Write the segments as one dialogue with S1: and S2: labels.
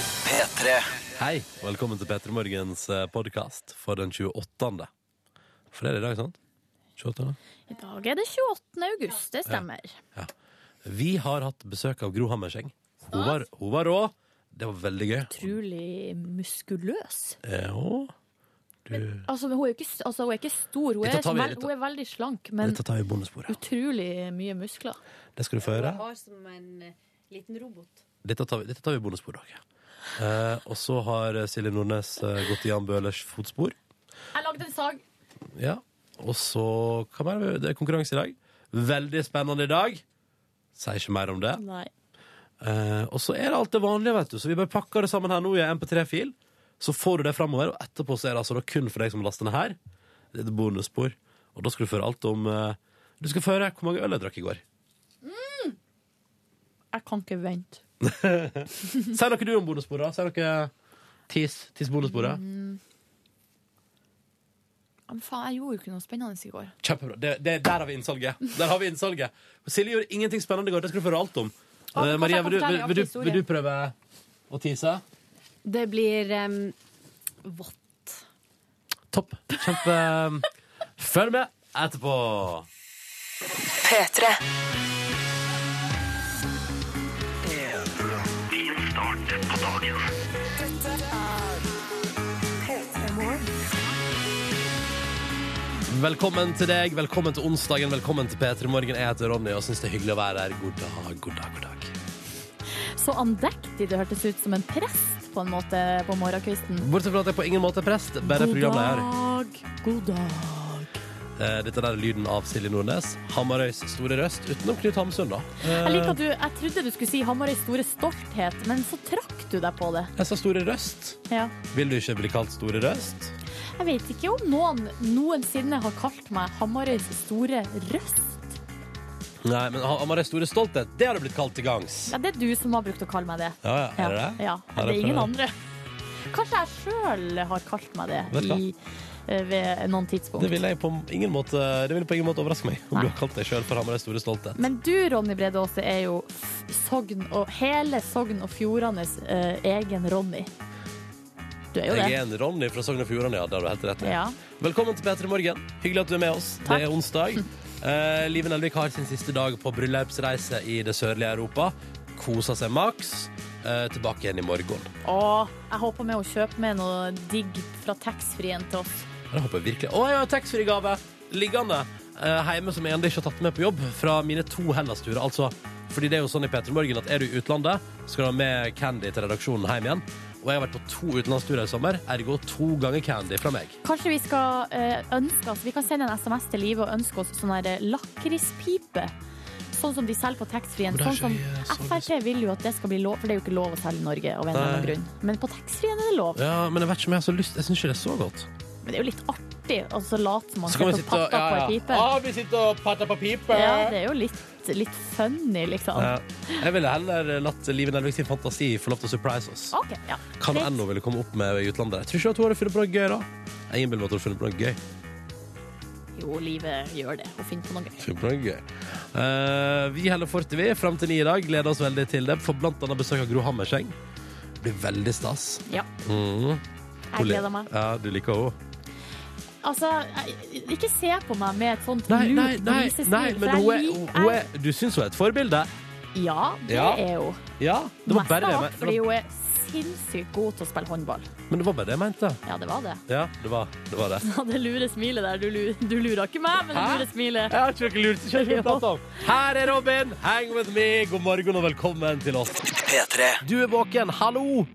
S1: P3.
S2: Hei, velkommen til Petter Morgens podkast for den 28. For det er det i dag, sant? 28.
S3: I dag er det 28. august, det stemmer.
S2: Vi har hatt besøk av Gro Hammerseng. Hun var, hun var rå. Det var veldig gøy.
S3: Utrolig muskuløs.
S2: Eh, å, du,
S3: Altså, hun er jo ikke, s- altså, hun er ikke stor, hun
S2: Dette
S3: er,
S2: tar vi-
S3: vel,
S2: dette-
S3: hun er veldig slank, men
S2: dette tar vi i bonussporet.
S3: utrolig mye muskler.
S2: Det skal du få høre.
S4: Har som en eh, liten robot.
S2: Dette tar vi, dette tar vi i bonussporet. dere. Eh, og så har Silje Nordnes eh, gått i Jan Bøhlers fotspor.
S3: Jeg lagde en sag.
S2: Ja. Og så hva mer? er det? Det er konkurranse i dag. Veldig spennende i dag. Sier ikke mer om det.
S3: Nei.
S2: Eh, og så er det alt det vanlige, vet du. Så vi bare pakker det sammen her nå i en MP3-fil. Så får du det framover, og etterpå så er det altså da kun for deg som laster ned her. Det er et bonusspor. Og da skal du få høre alt om eh, Du skal få høre hvor mange øl jeg drakk i går.
S3: Jeg kan ikke vente.
S2: Si noe du om bonussporet. da. Si noe Tis, tis bonussporet.
S3: Men faen, jeg gjorde jo ikke noe spennende i går.
S2: Kjempebra. Det, det, der har vi innsalget. Der har vi innsalget. Og Silje gjorde ingenting spennende i går. Det skal du få høre alt om. Eh,
S3: Ja, men kanskje
S2: Maria,
S3: jeg kan
S2: vil du,
S3: fortelle
S2: vil, vil,
S3: en
S2: du,
S3: artig
S2: vil du prøve å tise?
S4: Det blir em, vått.
S2: Topp. Kjempe um, Følg med etterpå.
S5: P3.
S2: Velkommen til deg, velkommen til onsdagen, velkommen til P3 Morgen. Jeg heter Ronny og syns det er hyggelig å være her. God dag, god dag, god dag.
S3: Så andektig det hørtes ut som en prest på en måte på morgenkvisten.
S2: Bortsett fra at jeg på ingen måte er prest, bare programleder.
S3: dag, god dag.
S2: Eh, Dette der er lyden av Silje Nordnes. Hamarøys store røst, utenom Knut Hamsun, da. Eh,
S3: Jeg liker at du, jeg trodde du skulle si Hamarøys store stolthet, men så trakk du deg på det.
S2: Jeg sa Store Røst.
S3: Ja.
S2: Vil du ikke bli kalt Store Røst?
S3: Jeg vet ikke om noen noensinne har kalt meg Hamarøys store røst.
S2: Nei, men Ha- Hamarøys store stolthet, det har det blitt kalt til gangs.
S3: Ja, det er du som har brukt å kalle meg det.
S2: Ja, ja, er det det?
S3: Ja,
S2: Er
S3: det
S2: det
S3: er ingen
S2: for-
S3: andre. Kanskje jeg sjøl har kalt meg det
S2: Vet du hva?
S3: i, eh, ved noen tidspunkt.
S2: Det vil jeg på ingen måte, det vil på ingen måte overraske meg, om
S3: Nei.
S2: du har kalt deg sjøl for Hamarøys store stolthet.
S3: Men du, Ronny Brede Aase, er jo f- Sogn og, hele Sogn og Fjordanes eh, egen Ronny. Du er jo
S2: Jeg
S3: det.
S2: er en Ronny fra Sogn og Fjordane, ja. Det har du helt rett i.
S3: Ja.
S2: Velkommen til P3 Morgen. Hyggelig at du er med oss.
S3: Takk.
S2: Det er onsdag. Eh, Live Nelvik har sin siste dag på bryllupsreise i det sørlige Europa. Kosa seg maks. Eh, tilbake igjen i morgen.
S3: Og jeg håper med å kjøpe med noe digg fra taxfree-en til oss.
S2: Det håper jeg virkelig. Å, jeg har taxfree-gave liggende eh, hjemme som jeg ennå ikke har tatt med på jobb fra mine to Hellas-turer. Altså, fordi det er jo sånn i P3 Morgen at er du i utlandet, skal du ha med candy til redaksjonen hjem igjen. Og jeg har vært på to utenlandsturer i sommer, ergo to ganger candy fra meg.
S3: Kanskje vi skal eh, ønske oss Vi kan sende en SMS til Live og ønske oss sånn her lakrispipe. Sånn som de selger på taxfree-en.
S2: Og det er
S3: Sånn som
S2: ikke så
S3: Frp vil jo at det skal bli lov, for det er jo ikke lov å selge i Norge av en eller annen
S2: Nei.
S3: grunn. Men på taxfree-en er det lov.
S2: Ja, men jeg vet ikke om jeg har så lyst Jeg syns ikke det er så godt.
S3: Men det er jo litt artig å så late som man
S2: Så kan vi
S3: sitter
S2: sitte
S3: og
S2: og
S3: pakker
S2: ja,
S3: på ei
S2: ja.
S3: pipe.
S2: Ah, vi sitter og patter på pipe!
S3: Ja, det er jo litt, litt funny, liksom.
S2: Ja. Jeg ville heller latt Live Nelvik sin fantasi få lov til å surprise oss.
S3: OK. Ja.
S2: Hva nå
S3: Greit.
S2: enn hun ville komme opp med i utlandet. Jeg tror ikke at hun hadde funnet på noe gøy, da. Jeg innbiller meg at hun hadde funnet på noe gøy.
S3: Jo, livet gjør det. Å finne på noe gøy.
S2: Funnet på noe gøy. Eh, vi holder fortet, vi. Fram til ni i dag. Gleder oss veldig til det. Får blant annet besøk av Gro Hammerseng. Det blir veldig stas.
S3: Ja,
S2: Mm.
S3: jeg gleder meg.
S2: Ja, du liker henne.
S3: Altså, jeg, ikke se på meg med et sånt
S2: Nei, nei,
S3: lurt
S2: nei,
S3: grisesmil,
S2: nei, men
S3: for jeg
S2: hun er,
S3: lik-
S2: hun er Du syns hun er et forbilde?
S3: jeg- Ja, det
S2: Ja.
S3: er hun.
S2: Ja. Det var
S3: Mest
S2: bare det
S3: av
S2: jeg
S3: alt
S2: men-
S3: fordi hun er sinnssykt god til å spille håndball.
S2: Men det var bare det jeg mente.
S3: Ja, det var det.
S2: Ja, det var det. Var det.
S3: Det lure smilet der. Du, lu- du lurer ikke meg, men det
S2: Hæ?
S3: lure smilet.
S2: Jeg har ikke noe lurt ikke jeg prate om. Her er Robin, hang with me. God morgen og velkommen til oss.
S1: P3.
S2: Du er våken, hallo!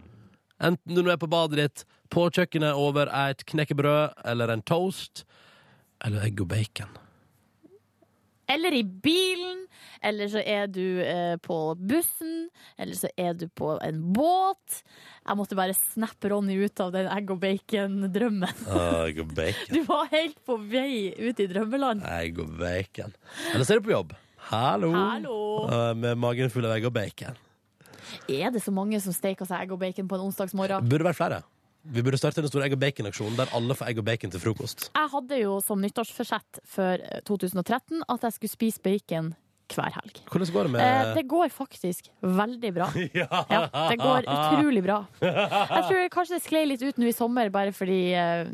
S2: Enten du er på badet ditt, på kjøkkenet over et knekkebrød eller en toast, eller egg og bacon.
S3: Eller i bilen, eller så er du eh, på bussen, eller så er du på en båt. Jeg måtte bare snappe Ronny ut av den egg og bacon-drømmen.
S2: egg og bacon.
S3: Du var helt på vei ut i drømmeland.
S2: Egg og bacon. Eller så er du på jobb. Hallo!
S3: Hallo.
S2: Eh, Med magen full av egg og bacon.
S3: Er det så mange som steker seg egg og bacon på en onsdagsmorgen?
S2: Burde vært flere. Vi burde starte en stor egg og bacon-aksjon der alle får egg og bacon til frokost.
S3: Jeg hadde jo som nyttårsforsett for eh, 2013 at jeg skulle spise bacon hver helg.
S2: Hvordan går det
S3: Eh,
S2: med
S3: det går faktisk veldig bra.
S2: ja.
S3: Ja, det går utrolig bra. Jeg tror kanskje det sklei litt ut nå i sommer, bare fordi eh,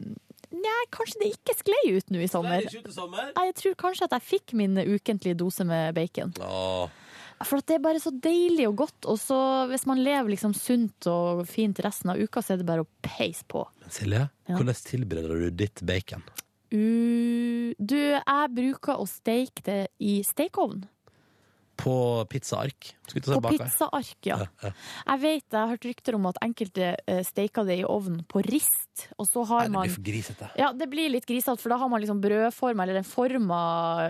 S3: Nei, kanskje det ikke sklei ut nå i sommer.
S2: Veldig skjult i sommer.
S3: Nei, Jeg tror kanskje at jeg fikk min ukentlige dose med bacon.
S2: Åh.
S3: For at det er bare så deilig og godt, og så hvis man lever liksom sunt og fint resten av uka, så er det bare å peise på.
S2: Silje,
S3: Ja.
S2: hvordan tilbereder du ditt bacon?
S3: Uh, du, jeg bruker å steike det i stekeovn.
S2: På pizzaark? Skulle ikke si
S3: På
S2: bakverk.
S3: pizzaark, ja. Jeg vet, jeg har hørt rykter om at enkelte eh, steiker det i ovnen på rist, og så
S2: Nei,
S3: har
S2: det
S3: man
S2: blir for grisete.
S3: Ja, det blir litt grisete, for da har man liksom brødforma, eller en forma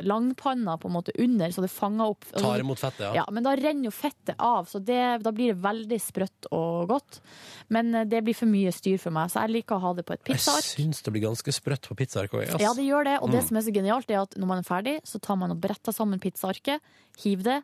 S3: langpanna på en måte under, så det fanger opp.
S2: Tar imot fettet, ja.
S3: Ja, men da renner jo fettet av, så det, da blir det veldig sprøtt og godt. Men eh, det blir for mye styr for meg, så jeg liker å ha det på et
S2: Jeg
S3: pizzaark.
S2: syns det blir ganske sprøtt på pizzaark òg.
S3: Ja, det gjør det, og
S2: Mm.
S3: det som er så genialt, er at når man er ferdig, så tar man og bretter sammen pizzaarket, hiv det,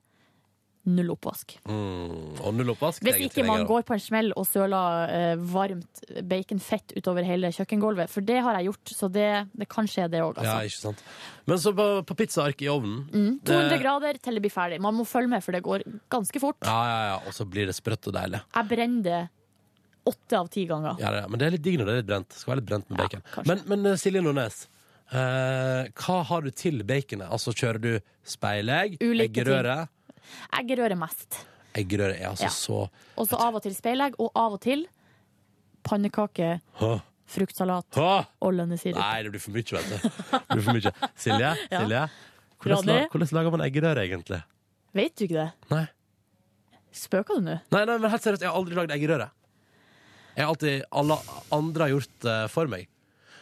S3: null oppvask.
S2: mm, og null oppvask. det
S3: Hvis
S2: er jeg
S3: ikke man
S2: tilhenger av.
S3: går på en smell og søler eh, varmt baconfett utover hele kjøkkengulvet, for det har jeg gjort, så det, det kan skje det òg,
S2: Ja,
S3: altså.
S2: ikke sant. Men så på, på pizzaark i ovnen.
S3: Mm, 200
S2: det-
S3: grader til det blir ferdig. Man må følge med, for det går ganske fort.
S2: Ja, ja, ja, og så blir det sprøtt og deilig.
S3: Jeg brenner det åtte av ti ganger.
S2: Ja, det, men det er litt digg når det er litt brent. Det Skal være litt brent med
S3: Ja,
S2: bacon.
S3: kanskje.
S2: Men, men eh, Silje Nordnes, eh, hva har du til baconet? Altså, kjører du speilegg,
S3: Ulike ting.
S2: eggerøre?
S3: Eggerøre mest.
S2: Eggerøre er altså
S3: Ja.
S2: så
S3: Og så av og til speilegg, og av og til pannekake,
S2: Hå,
S3: fruktsalat
S2: hå!
S3: og lønnesirup.
S2: Nei, det blir for mye, vet du. Det blir for mye. Silje,
S3: Ja.
S2: Silje hvordan,
S3: Ronny?
S2: la- hvordan lager man eggerøre, egentlig?
S3: Vet du ikke det?
S2: Nei.
S3: Spøker du nå?
S2: Nei, nei, men helt seriøst, jeg har aldri lagd eggerøre. Jeg har alltid, Alle andre har gjort det for meg.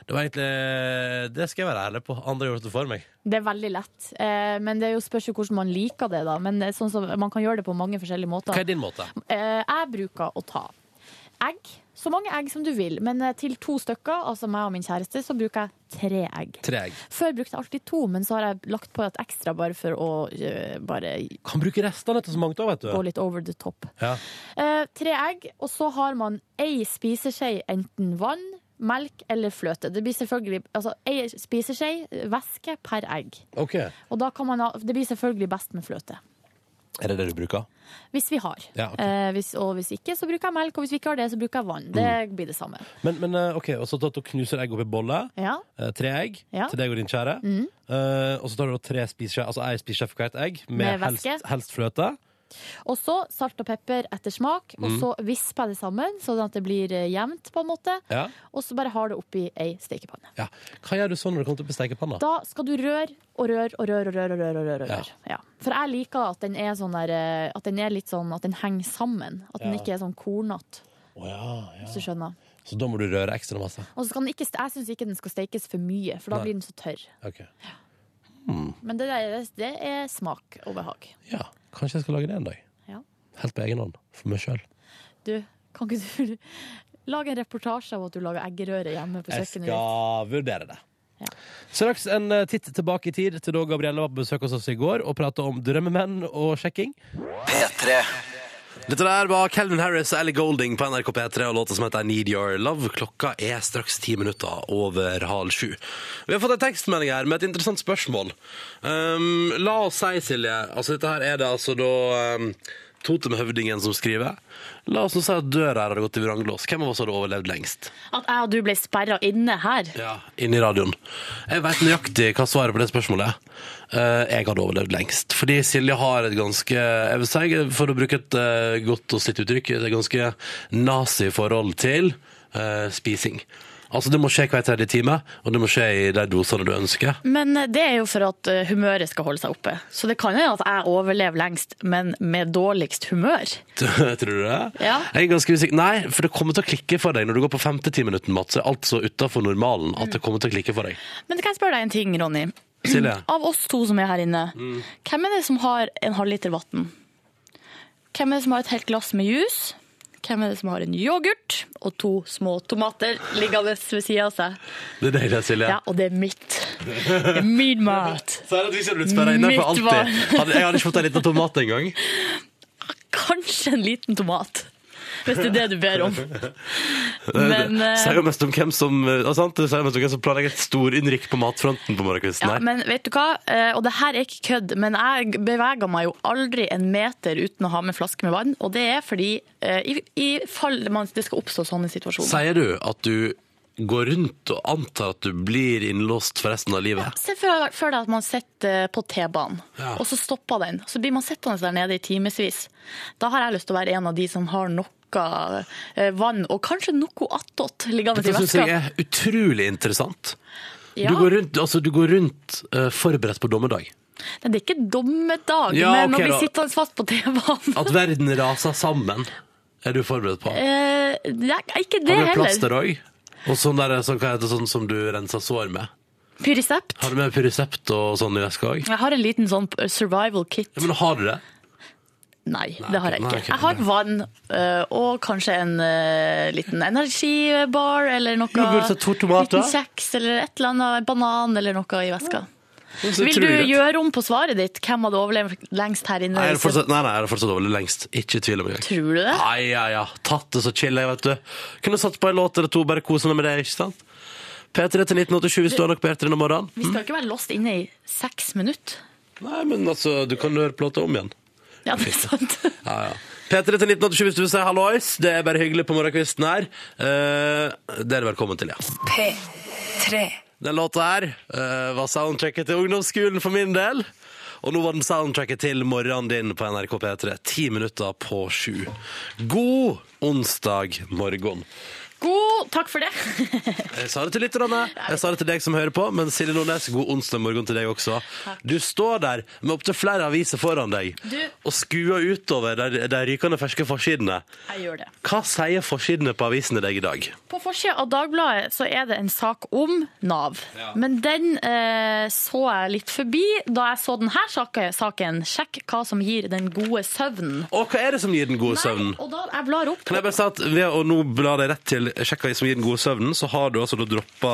S2: Det var egentlig Det skal jeg være ærlig på. Andre har gjort det for meg.
S3: Det er veldig lett, eh, men det er jo spørs jo hvordan man liker det, da. Men eh, sånn som, man kan gjøre det på mange forskjellige
S2: Hva
S3: måter.
S2: er din måte?
S3: Eh, jeg bruker å ta egg. Så mange egg som du vil, men eh, til to stykker, altså meg og min kjæreste, så bruker jeg tre egg.
S2: Tre egg.
S3: Før brukte jeg alltid to, men så har jeg lagt på et ekstra bare for å eh, bare
S2: Kan bruke restene til så mangt òg, vet
S3: gå
S2: du.
S3: litt over the top.
S2: Ja.
S3: Eh, tre egg, og så har man ei spiseskje enten vann, melk eller fløte. Det blir selvfølgelig altså ei spiseskje væske per egg.
S2: OK. Er
S3: Og da kan man ha, det blir selvfølgelig best med fløte.
S2: det det du bruker?
S3: Hvis vi har.
S2: Ja, ok.
S3: Eh, hvis, og hvis ikke, så bruker jeg melk. Og hvis vi ikke har det, så bruker jeg vann. Det
S2: Mm.
S3: blir det samme.
S2: Men, men eh, OK, og så tar du og knuser egg oppi bolle.
S3: Ja.
S2: eh, Tre egg
S3: Ja. Mm.
S2: til deg og din kjære. Eh, og så tar du da tre spiseskjeer, altså ei spiseskje for hvert egg, med,
S3: Med væske.
S2: helst, helst fløte.
S3: Og så salt og pepper etter smak,
S2: Mm.
S3: og så visper jeg det sammen, sånn at det blir eh, jevnt, på en måte.
S2: Ja.
S3: Og så bare har det oppi ei stekepanne.
S2: Ja. Hva gjør du sånn når du kommer til å besteike panna?
S3: Da skal du røre og røre og røre og røre. og røre, og røre, og røre. Ja. For jeg liker at den er sånn der, eh, at den er litt sånn at den henger sammen. At den
S2: Ja.
S3: ikke er sånn kornete,
S2: Å ja, ja.
S3: hvis du skjønner.
S2: Så da må du røre ekstra masse?
S3: Og så skal den ikke, jeg syns ikke den skal stekes for mye, for da
S2: Nei.
S3: blir den så tørr.
S2: Ok.
S3: Men det, der, det er smak og behag.
S2: Ja, kanskje jeg skal lage det en dag.
S3: Ja.
S2: Helt på egen hånd. For meg sjøl.
S3: Du, kan ikke du lage en reportasje av at du lager eggerøre hjemme på
S2: Jeg
S3: kjøkkenet
S2: skal vurdere det.
S3: Ja.
S2: Straks en eh, titt tilbake i tid til da Gabrielle var på besøk hos oss i går og prata om drømmemenn og sjekking.
S6: P3
S2: Dette der var Calvin Harris og Ellie Golding på NRK P3 og låta som heter I Need Your Love. Klokka er straks ti minutter over halv sju. Vi har fått en tekstmelding her med et interessant spørsmål. Um, la oss si, Silje altså Dette her er det altså da um, Totemhøvdingen som skriver. La oss nå si at døra her hadde gått i vranglås. Hvem av oss hadde overlevd lengst?
S3: At jeg og du ble sperra inne her.
S2: Ja, Inni radioen. Jeg veit nøyaktig hva svaret på det spørsmålet er. Eh, jeg hadde overlevd lengst. Fordi Silje har et ganske jeg vil si, For å bruke et eh, godt og slitt uttrykk, et ganske nazi forhold til eh, spising. Altså Det må skje hver tredje time, og det må skje i de dosene du ønsker.
S7: Men det er jo for at eh, humøret skal holde seg oppe. Så det kan hende at jeg overlever lengst, men med dårligst humør.
S2: Tror du det?
S7: Ja.
S2: Jeg er ganske usikker. Nei, for det kommer til å klikke for deg når du går på femte timinuten, Mats. er Alt så utafor normalen at det kommer til å klikke for deg.
S7: Men kan jeg spørre deg en ting, Ronny?
S2: Silje?
S7: Av oss to som er her inne, hvem er det som har en halvliter vann? Hvem er det som har et helt glass med juice? Hvem er det som har en yoghurt og to små tomater liggende ved sida av seg?
S2: Det er deg, det, Silje.
S7: Ja, og det er mitt. Det er min mat.
S2: Så er det at hvis jeg hadde blitt sperra inne for
S7: Mitt var-
S2: alltid. Hadde- Jeg hadde ikke fått en liten tomat engang.
S7: Kanskje en liten tomat.
S3: Hvis det er det du ber om. Men,
S2: det
S3: eh,
S2: sier jo mest om hvem som, eh, ja, sant? Det sier jo mest om hvem som planlegger et storinnrykk på matfronten på morgenkvisten.
S3: Ja,
S2: her.
S3: men vet du hva? Eh, Og det her er ikke kødd, men jeg beveger meg jo aldri en meter uten å ha med en flaske med vann. Og det er fordi eh, i, i fall det man, det skal oppstå sånne situasjoner.
S2: Sier du at du går rundt og antar at du blir innlåst for resten av livet?
S3: Se for, for deg at man sitter eh, på T-banen,
S2: Ja.
S3: og så stopper den. Så blir man sittende der nede i timevis. Da har jeg lyst til å være en av de som har noe eh, vann, og kanskje noe attåt liggende
S2: Dette
S3: i
S2: syns jeg
S3: veska.
S2: er utrolig interessant.
S3: Ja.
S2: Du går rundt, altså, du går rundt eh, forberedt på dommedag.
S3: Nei, Det er ikke dommedag,
S2: Ja,
S3: men
S2: ok,
S3: å
S2: da.
S3: bli sittende fast på T-banen
S2: At verden raser sammen, er du forberedt på.
S3: eh, det er Ikke det
S2: Har du plass
S3: heller.
S2: der òg? Og sånn, der, sånn, hva heter det, sånn som du renser sår med.
S3: Pyrisept.
S2: Har du med Pyresept og sånn i veska òg?
S3: Jeg har en liten sånn survival kit.
S2: Ja, men har du det?
S3: Nei, det har jeg
S2: nei,
S3: ikke.
S2: ok,
S3: Jeg har
S2: det-
S3: vann øh, og kanskje en øh, liten energibar eller noe.
S2: Yoghurt og to tomater.
S3: Liten kjeks eller et eller annet, en banan eller noe i veska.
S2: Det er så
S3: Vil du
S2: utrolig greit.
S3: gjøre om på svaret ditt? Hvem hadde overlevd lengst her inne?
S2: Nei, jeg er fortsatt, nei, nei, jeg er fortsatt over lengst. Ikke i tvil om engang.
S3: Tror du det?
S2: Nei, ja, ja. Tatt det så chill, jeg, vet du. Kunne satt på en låt eller to, bare kosa meg med det, ikke sant? P3 til 1987, vi står nok på P3 om morgenen.
S3: Vi skal jo ikke være låst inne i seks minutter.
S2: Nei, men altså, du kan høre plata om igjen.
S3: Ja, det er sant.
S2: Ja, ja. P3 til 1987 hvis du vil si hallois. Det er bare hyggelig på morgenkvisten her. Eh, det er du velkommen til, ja.
S4: P3.
S2: Den låta her eh, var soundtracket til ungdomsskolen for min del. Og nå var den soundtracket til morgenen din på NRK P3. Ti minutter på sju. God onsdag morgen.
S3: God, takk for det.
S2: Jeg sa det til lytterne, jeg sa det til deg som hører på, men Silje Nordnes, god onsdag morgen til deg også. Du står der med opptil flere aviser foran deg
S3: Du-
S2: og skuer utover de, de rykende ferske forsidene.
S3: Jeg gjør det.
S2: Hva sier forsidene på avisene deg i dag?
S3: På forsida av Dagbladet så er det en sak om Nav. Men den eh, så jeg litt forbi da jeg så denne saka- saken. Sjekk hva som gir den gode søvnen.
S2: Og hva er det som gir den gode søvnen?
S3: Nei, og da jeg blar opp
S2: Kan jeg bare si at ved å nå bla deg rett til sjekka i som gir den gode søvnen, så har du altså da droppa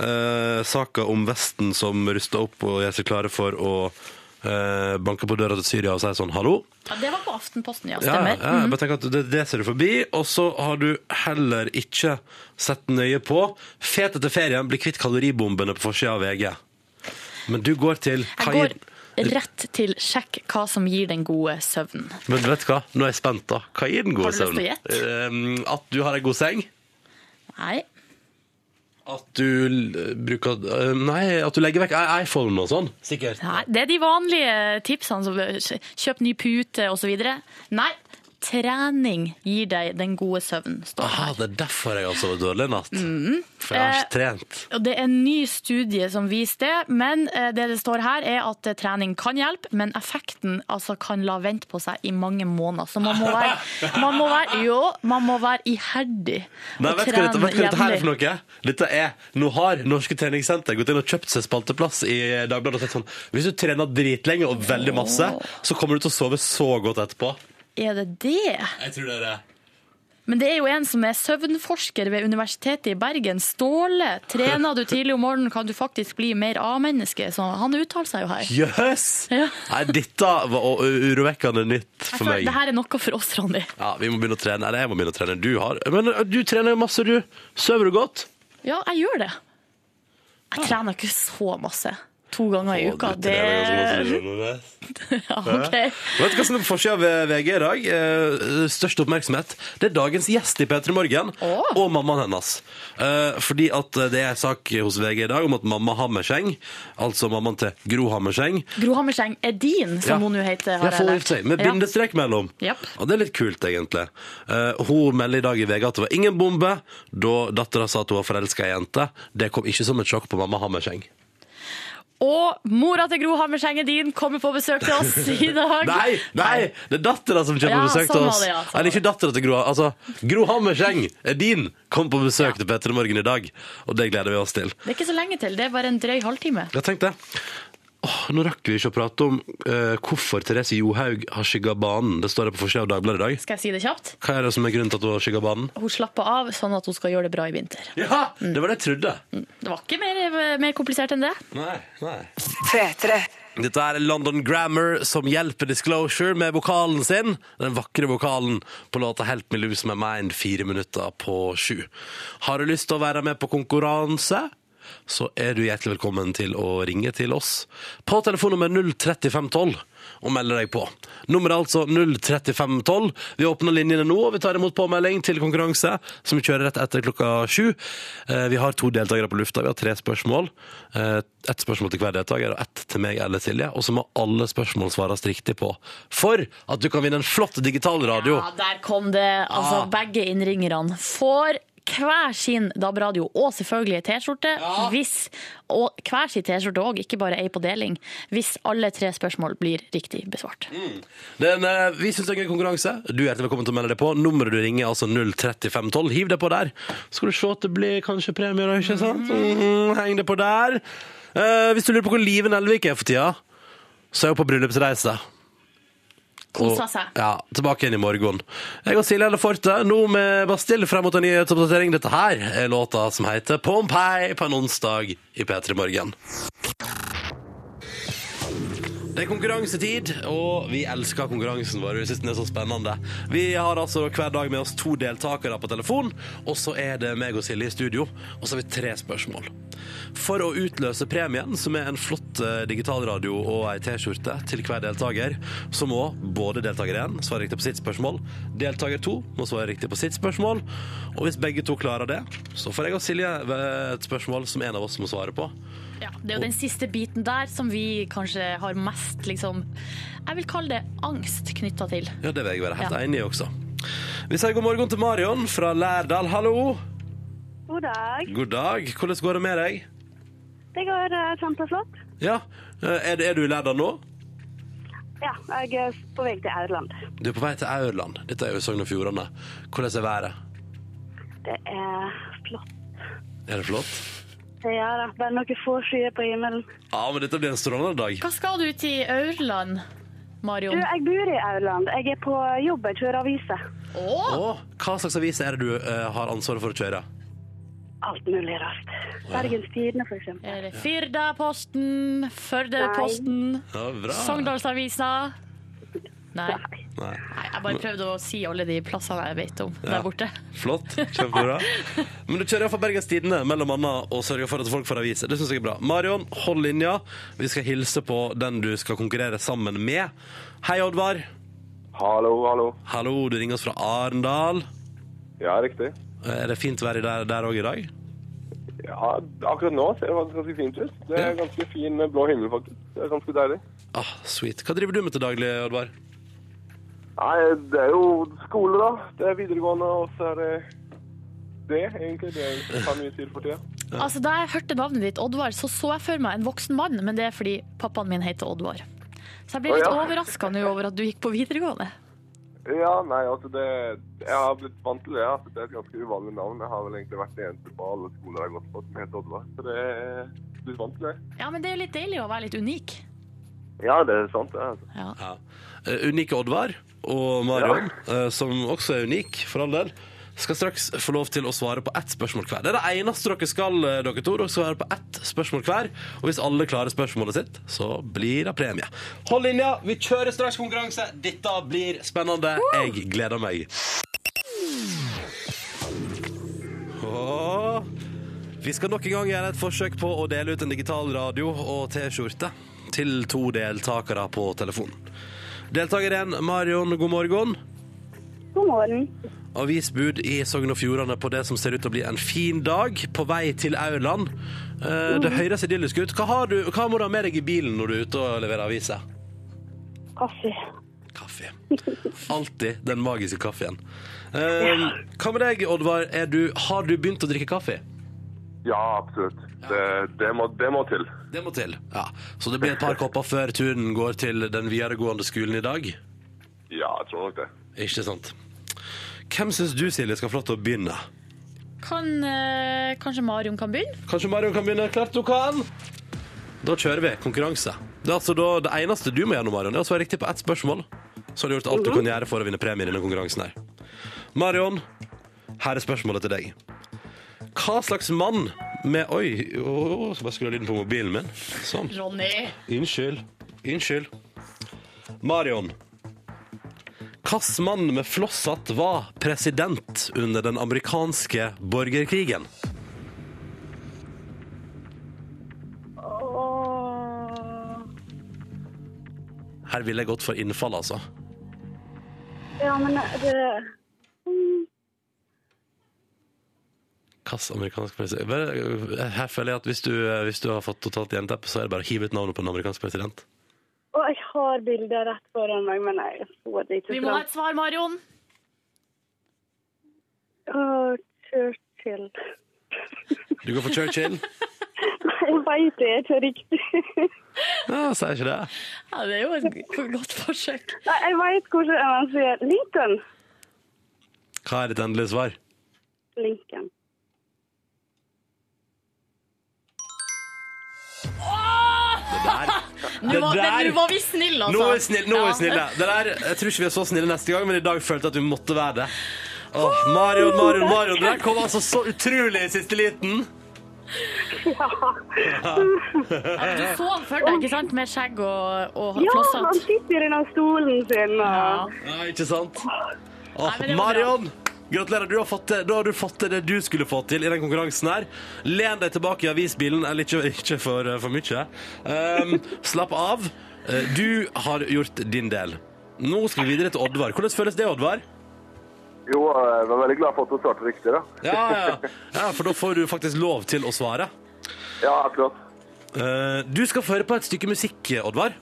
S2: eh, saka om Vesten som ruster opp og gjør seg klare for å eh, banke på døra til Syria og si sånn hallo.
S3: ja, Det var på Aftenposten, ja.
S2: Ja, ja,
S3: Stemmer. Mm. Mhm.
S2: jeg bare tenker at det, det ser du forbi, og så har du heller ikke sett nøye på. Fet etter ferien, bli kvitt kaloribombene på forsida av VG. Men du går til hva
S3: Jeg
S2: gir-
S3: går rett til 'sjekk hva som gir den gode søvnen'.
S2: Men vet du hva? Nå er jeg spent, da. Hva gir den gode
S3: Har du
S2: søvnen?
S3: lyst til
S2: Eh, at du har ei god seng.
S3: Nei.
S2: At du l- bruker eh, Nei, at du legger vekk i- iPhone og sånn. Sikkert.
S3: Nei, det er de vanlige tipsene. Som kjøp ny pute osv. Nei, trening gir deg den gode søvnen. Står. det.
S2: Aha, Ah, det er derfor jeg har sovet dårlig i natt. For jeg har ikke trent.
S3: Mm. Eh, Og det er en ny studie som viser det, men eh, det det står her er at eh, trening kan hjelpe, men effekten altså, kan la vente på seg i mange måneder. Så man må være, man må være, jo, man må være iherdig
S2: Nei,
S3: og
S2: vet du hva dette, vet
S3: trene
S2: du hva dette her er for
S3: jevnlig.
S2: noe? Dette er, Nå har Norske treningssenter gått inn og kjøpt seg spalteplass i Dagbladet og sagt sånn Hvis du trener dritlenge og veldig masse, så kommer du til å sove så godt etterpå.
S3: Er det det?
S2: Jeg tror det er det.
S3: Men det er jo en som er søvnforsker ved Universitetet i Bergen. Ståle. Trener du tidlig om morgenen, kan du faktisk bli mer A-menneske. Så han uttaler seg jo her.
S2: Jøss!
S3: Ja.
S2: Nei, dette var u- urovekkende nytt
S3: Jeg
S2: for
S3: føler,
S2: meg.
S3: det her er noe for oss, Ronny.
S2: Ja, vi må begynne å trene. Eller jeg må begynne å trene. Du har Men ø, du trener jo masse, du. Sover du godt?
S3: Ja, jeg gjør det. Jeg trener ikke så masse. To ganger i uka.
S2: Ah. Å, du
S3: Det
S2: trener jo så masse, skjønner du det.
S3: ja, ok.
S2: Vet du hva som er på forsida ved VG i dag? Eh, Størst oppmerksomhet. Det er dagens gjest i P3 Morgen
S3: Åh.
S2: og mammaen hennes. Eh, Fordi at det er en sak hos VG i dag om at mamma Hammerseng, altså mammaen til Gro Hammerseng
S3: Gro Hammerseng er din, som hun nå heter.
S2: Ja, får hun gift seg, Med
S3: Ja.
S2: bindestrek mellom.
S3: Japp.
S2: Og det er litt kult, egentlig. Eh, hun melder i dag i VG at det var ingen bombe da dattera sa at hun var forelska i ei jente. Det kom ikke som et sjokk på mamma Hammerseng.
S3: Og mora til Gro Hammerseng er din, kommer på besøk til oss i dag.
S2: Nei, nei, det er dattera som kommer
S3: Ja,
S2: på besøk
S3: sånn
S2: til
S3: var
S2: oss.
S3: det, ja, sånn
S2: Eller ikke dattera til Gro. Altså, Gro Hammerseng er din! Kom på besøk til Petter i morgen i dag, og det gleder vi oss til.
S3: Det er ikke så lenge til, det er bare en drøy halvtime.
S2: Jeg tenkte åh, Nå rakk vi ikke å prate om eh, hvorfor Therese Johaug har skygga banen. Det står det på forsida av Dagbladet i dag.
S3: Skal jeg si det kjapt?
S2: Hva er det som er grunnen til at hun har skygga banen?
S3: Hun slapper av, sånn at hun skal gjøre det bra i vinter.
S2: Ja! Det var det jeg trodde.
S3: Det var ikke mer, mer komplisert enn det.
S2: Nei, nei.
S4: P3.
S2: Dette er London Grammar som hjelper Disclosure med vokalen sin. Den vakre vokalen på låta 'Help Me Lose My Mind' fire minutter på sju. Har du lyst til å være med på konkurranse? Så er du hjertelig velkommen til å ringe til oss på telefonnummer 03512 og melde deg på. Nummeret er altså 03512. Vi åpner linjene nå, og vi tar imot påmelding til konkurranse, som vi kjører rett etter klokka sju. Eh, Vi har to deltakere på lufta. Vi har tre spørsmål. Eh, Ett spørsmål til hver deltaker, og ett til meg eller Silje. Og så må alle spørsmål svares riktig på for at du kan vinne en flott digital radio.
S3: Ja, der kom det. Altså,
S2: Ah.
S3: Begge innringerne får hver sin DAB-radio og selvfølgelig T-skjorte. Hvis- Og hver sin T-skjorte òg, ikke bare ei på deling. Hvis alle tre spørsmål blir riktig besvart.
S2: Mm. Det er en, eh, vi syns det er en gøy konkurranse. Du er hjertelig velkommen til å melde deg på. Nummeret du ringer, er altså 03512. Hiv deg på der. Så skal du se at det blir kanskje premier, da, ikke sant? Mm, heng deg på der. Eh, hvis du lurer på hvor Live Nelvik er for tida, så er hun på bryllupsreise.
S3: Kosa
S2: Og-
S3: seg.
S2: Ja, tilbake igjen i morgen. Jeg og Silje Elle Forte, nå med Bastille frem mot en nyhetsoppdatering. Dette her er låta som heter Pompeii på en onsdag i P3 Morgen. Det er konkurransetid, og vi elsker konkurransen vår. Vi synes den er så spennende. Vi har altså hver dag med oss to deltakere på telefon, og så er det meg og Silje i studio, og så har vi tre spørsmål. For å utløse premien, som er en flott eh, digitalradio og ei T-skjorte til hver deltaker, så må både deltaker 1 svare riktig på sitt spørsmål, deltaker 2 må svare riktig på sitt spørsmål, og hvis begge to klarer det, så får jeg og Silje eh, et spørsmål som en av oss må svare på.
S3: Ja, det er jo den siste biten der som vi kanskje har mest liksom, Jeg vil kalle det angst knytta til.
S2: Ja, det vil jeg være helt
S3: Ja.
S2: enig i også. Vi sier god morgen til Marion fra Lærdal. Hallo!
S8: God dag.
S2: God dag. Hvordan går det med deg?
S8: Det går eh, kjempeflott.
S2: Ja, eh, Er, er du i Lærdal nå?
S8: Ja, jeg er på vei til Aurland.
S2: Du er på vei til Aurland. Dette er jo Sogn og Fjordane. Hvordan er været?
S8: Det er flott.
S2: Er det flott?
S8: Det er det. Bare noen få skyer på himmelen.
S2: Ja, men dette blir en strålende dag.
S3: Hva skal du til Aurland,
S8: Du,
S3: Marion?
S8: jeg bor i Aurland. Jeg er på jobb. Jeg kjører aviser.
S3: Å,
S2: Og hva slags avis er det du eh, har ansvaret for å kjøre?
S8: Alt mulig rart. Bergens Tidende, for eksempel.
S3: er det Firdaposten, Førdeposten,
S2: Ja, bra.
S3: Sogndalsavisa? Nei.
S2: Nei.
S3: Nei, jeg bare prøvde å si alle de plassene jeg vet om der borte.
S2: Flott. Kjempebra. Men du kjører iallfall Bergens Tidende mellom annet og sørger for at folk får aviser. Det syns jeg er bra. Marion, hold linja. Vi skal hilse på den du skal konkurrere sammen med. Hei, Oddvar.
S9: Hallo, hallo.
S2: Hallo, du ringer oss fra Arendal. Eh,
S9: Ja, riktig.
S2: Er det fint vær i der- der òg i dag?
S9: Ja, akkurat nå ser det faktisk ganske fint ut. Det
S2: Ja.
S9: er ganske fin blå himmel, faktisk. Det er ganske deilig.
S2: Ah, sweet. Hva driver du med til daglig, Oddvar?
S9: Nei, det er jo skole, da. Det er videregående, og så er det det, egentlig. Det jeg tar mye tid for tida.
S3: Altså, Da jeg hørte navnet ditt, Oddvar, så så jeg for meg en voksen mann, men det er fordi pappaen min heter Oddvar. Så jeg ble
S9: Å,
S3: litt
S9: ja.
S3: overraska nå over at du gikk på videregående.
S9: Ja, nei, altså det Jeg har blitt vant til det. Altså, det er et ganske uvanlig navn. Jeg har vel egentlig vært den eneste på alle skoler jeg har gått på som heter Oddvar. Så det er blitt vant til det.
S3: Ja, men det er jo litt deilig å være litt unik.
S9: Ja, det er sant, det. Altså.
S2: Eh, Unike Oddvar og Marion, eh, som også er unik, for all del, skal straks få lov til å svare på ett spørsmål hver. Det er det eneste dere skal, eh, dere to. Dere skal svare på ett spørsmål hver. Og hvis alle klarer spørsmålet sitt, så blir det premie. Hold linja, vi kjører straks konkurranse. Dette blir spennende. Jeg gleder meg. Åh. Vi skal nok en gang gjøre et forsøk på å dele ut en digital radio og T-skjorte til to deltakere på telefon. Deltaker 1, Marion, god morgen.
S8: God morgen.
S2: Avisbud i Sogn og Fjordane på det som ser ut til å bli en fin dag, på vei til Aurland. Eh, Det høres idyllisk ut. Hva, har du, hva må du ha med deg i bilen når du er ute og leverer aviser?
S8: Kaffe.
S2: Kaffe. Alltid den magiske kaffen. Eh, Hva med deg, Oddvar? Er du, har du begynt å drikke kaffe?
S9: Ja, absolutt. Det, det, må, det må til.
S2: Det må til. Ja. Så det blir et par kopper før turen går til den videregående skolen i dag?
S9: Ja, jeg tror nok det.
S2: Ikke sant. Hvem syns du, Silje, skal få lov til å begynne?
S3: Kan, eh, kanskje Marion kan begynne?
S2: Kanskje Marion kan begynne? Klart du kan! Da kjører vi konkurranse. Det, er altså da, det eneste du må gjøre nå, Marion, er å svare riktig på ett spørsmål. Så har du gjort alt du kan gjøre for å vinne premie i denne konkurransen her. Marion, her er spørsmålet til deg. Hva slags mann med Oi, å, å, så bare skulle jeg ha lyden på mobilen min. Sånn.
S3: Ronny.
S2: Unnskyld. Unnskyld. Marion. Hvilken mann med flosshatt var president under den amerikanske borgerkrigen? Her ville jeg gått for innfall, altså.
S8: Ja, men eh, det
S2: Hvilken amerikansk president Bare, Her føler jeg at hvis du, eh, hvis du har fått totalt jernteppe, så er det bare å hive ut navnet på en amerikansk president.
S8: Og jeg har bildet rett foran meg, men jeg får det ikke
S3: Vi må ha et svar, Marion.
S8: Å, Churchill.
S2: Du går for Churchill?
S8: Jeg veit det er ikke riktig.
S2: Ja, sier ikke det.
S5: Ja, det er jo et godt forsøk.
S8: Nei, jeg veit hvordan man sier Lincoln.
S2: Hva er ditt endelige svar?
S8: Lincoln.
S5: Nå var,
S2: Det der-
S5: men nå var vi snille, altså.
S2: Nå er vi snille! Nå er vi snille. Det der, jeg tror ikke vi er så snille neste gang, men i dag følte jeg at vi måtte være det. Åh, Marion, Marion, Marion. Det der kom altså så utrolig i siste liten.
S3: Du så han for deg, ikke sant? Med skjegg og, og
S8: Ja, han
S3: flosshatt.
S8: sitter i denne stolen sin. eh,
S3: Ja.
S8: Og...
S2: Ja, ikke sant? Åh,
S3: men det var
S2: Marion! Gratulerer, du har fått til, da har du fått til det du skulle få til i den konkurransen her. Len deg tilbake i avisbilen, eller ikke, ikke for, eh, for mye. Ehm, slapp av. Eh, Du har gjort din del. Nå skal vi videre til Oddvar. Hvordan føles det, Oddvar?
S9: Jo, eh, jeg var veldig glad for at hun svarte riktig, da.
S2: Ja, ja, ja. ja, for da får du faktisk lov til å svare.
S9: Ja, akkurat.
S2: Eh, Du skal få høre på et stykke musikk, Oddvar.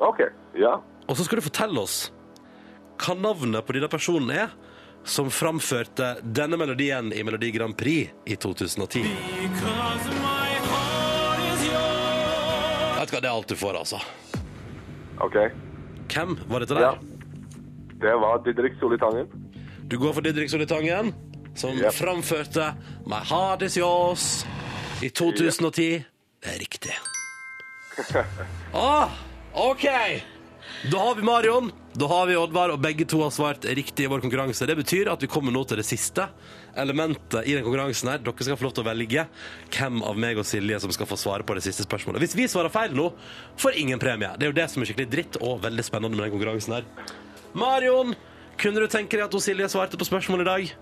S9: OK. Ja.
S2: Og så skal du fortelle oss hva navnet på denne personen er som framførte denne melodien i Melodi Grand Prix i 2010. Vet du hva, det er alt du får, altså.
S9: OK.
S2: Hvem var dette
S9: Ja.
S2: der?
S9: Det var Didrik Solitangen.
S2: Du går for Didrik Solitangen, som
S9: Yep.
S2: framførte My Heart Is Yours i 2010. Det er riktig. ah, OK! Da har vi Marion, da har vi Oddvar, og begge to har svart riktig i vår konkurranse. Det betyr at vi kommer nå til det siste elementet i den konkurransen her. Dere skal få lov til å velge hvem av meg og Silje som skal få svare på det siste spørsmålet. Hvis vi svarer feil nå, får ingen premie. Det er jo det som er skikkelig dritt og veldig spennende med den konkurransen her. Marion, kunne du tenke deg at hun Silje svarte på spørsmålet i dag?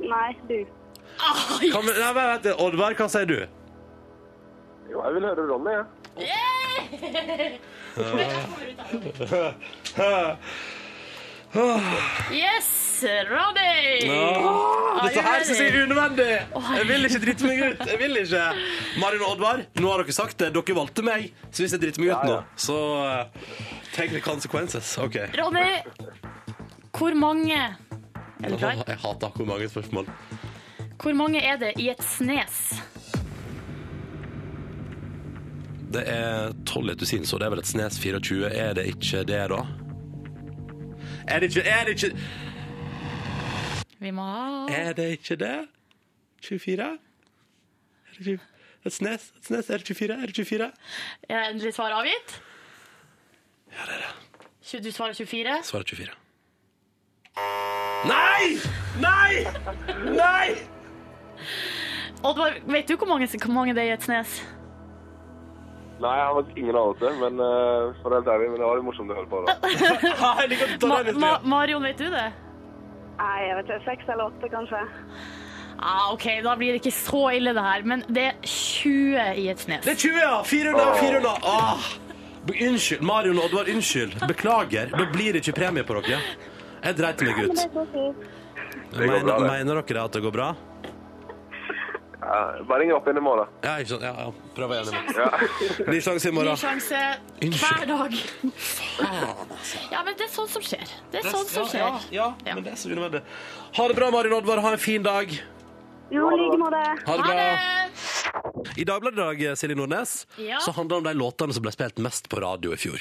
S8: Nei, du.
S2: Kan vi, nei, vent, vent, Oddvar, hva sier du?
S9: Jo, jeg vil høre Ronny, jeg. Ja.
S3: Yes, Ronny!
S2: Åh, Dette her synes jeg er unødvendig.
S3: Oi.
S2: Jeg vil ikke drite meg ut. Jeg vil ikke. Marin og Oddvar, nå har dere sagt det. Dere valgte meg. Så hvis jeg driter meg ut nå,
S9: ja.
S2: så uh, take the consequences. OK.
S3: Ronny,
S5: Hvor mange Er du
S2: Åh,
S5: klar?
S2: jeg hater hvor mange spørsmål.
S3: hvor mange er det i et snes?
S2: Det er 12 i et dusin, så det er vel et snes 24. Er det ikke det, da? Er det ikke Er det ikke,
S5: Vi må ha
S2: er det, ikke det? 24? Er det 20? Et snes? Et snes? Er det 24? Er det 24?
S5: Er endelig svar avgitt? Ja, det er det. Du svarer 24?
S2: Svaret 24. Nei! Nei! Nei!
S5: Oddvar, vet du hvor mange, hvor mange det er i et snes?
S9: Nei, jeg har faktisk ingen anelse, men eh, for å være helt ærlig, men det var jo morsomt å høre på. da.
S2: Nei, det går
S5: Ma
S2: dårlig.
S5: Ma Marion, vet du det?
S8: Nei, jeg vet ikke. Seks eller åtte, kanskje.
S5: Ah, ok, da blir det ikke så ille det her, men det er 20 i et snes.
S2: Det er 20, ja. 400, 400. Åh. Ah. Be- Unnskyld, Marion og Oddvar, unnskyld. Beklager. Da blir det ikke premie på dere. Jeg dreit meg ut.
S8: Så fint.
S9: Det går bra,
S2: Mener,
S9: det.
S2: mener dere at det går bra?
S9: Ja, bare ring opp igjen i morgen.
S2: Ja, ikke sant. Ja, ja. Prøv igjen. i morgen. Ny sjanse i
S5: Ny
S2: morgen.
S5: sjanse hver
S2: Unnskyld.
S5: dag. Ja, men det er sånn som skjer. Det er sånn som
S2: Ja,
S5: skjer.
S2: ja, ja, men det er så unødvendig. Ha det bra, Marion og Oddvar. Ha en fin dag.
S8: Jo, i like måte.
S2: Ha
S5: Ha
S2: det bra.
S5: det!
S2: I Dagbladet i dag, eh, Silje Nordnes,
S5: Ja.
S2: så handler det om de låtene som ble spilt mest på radio i fjor.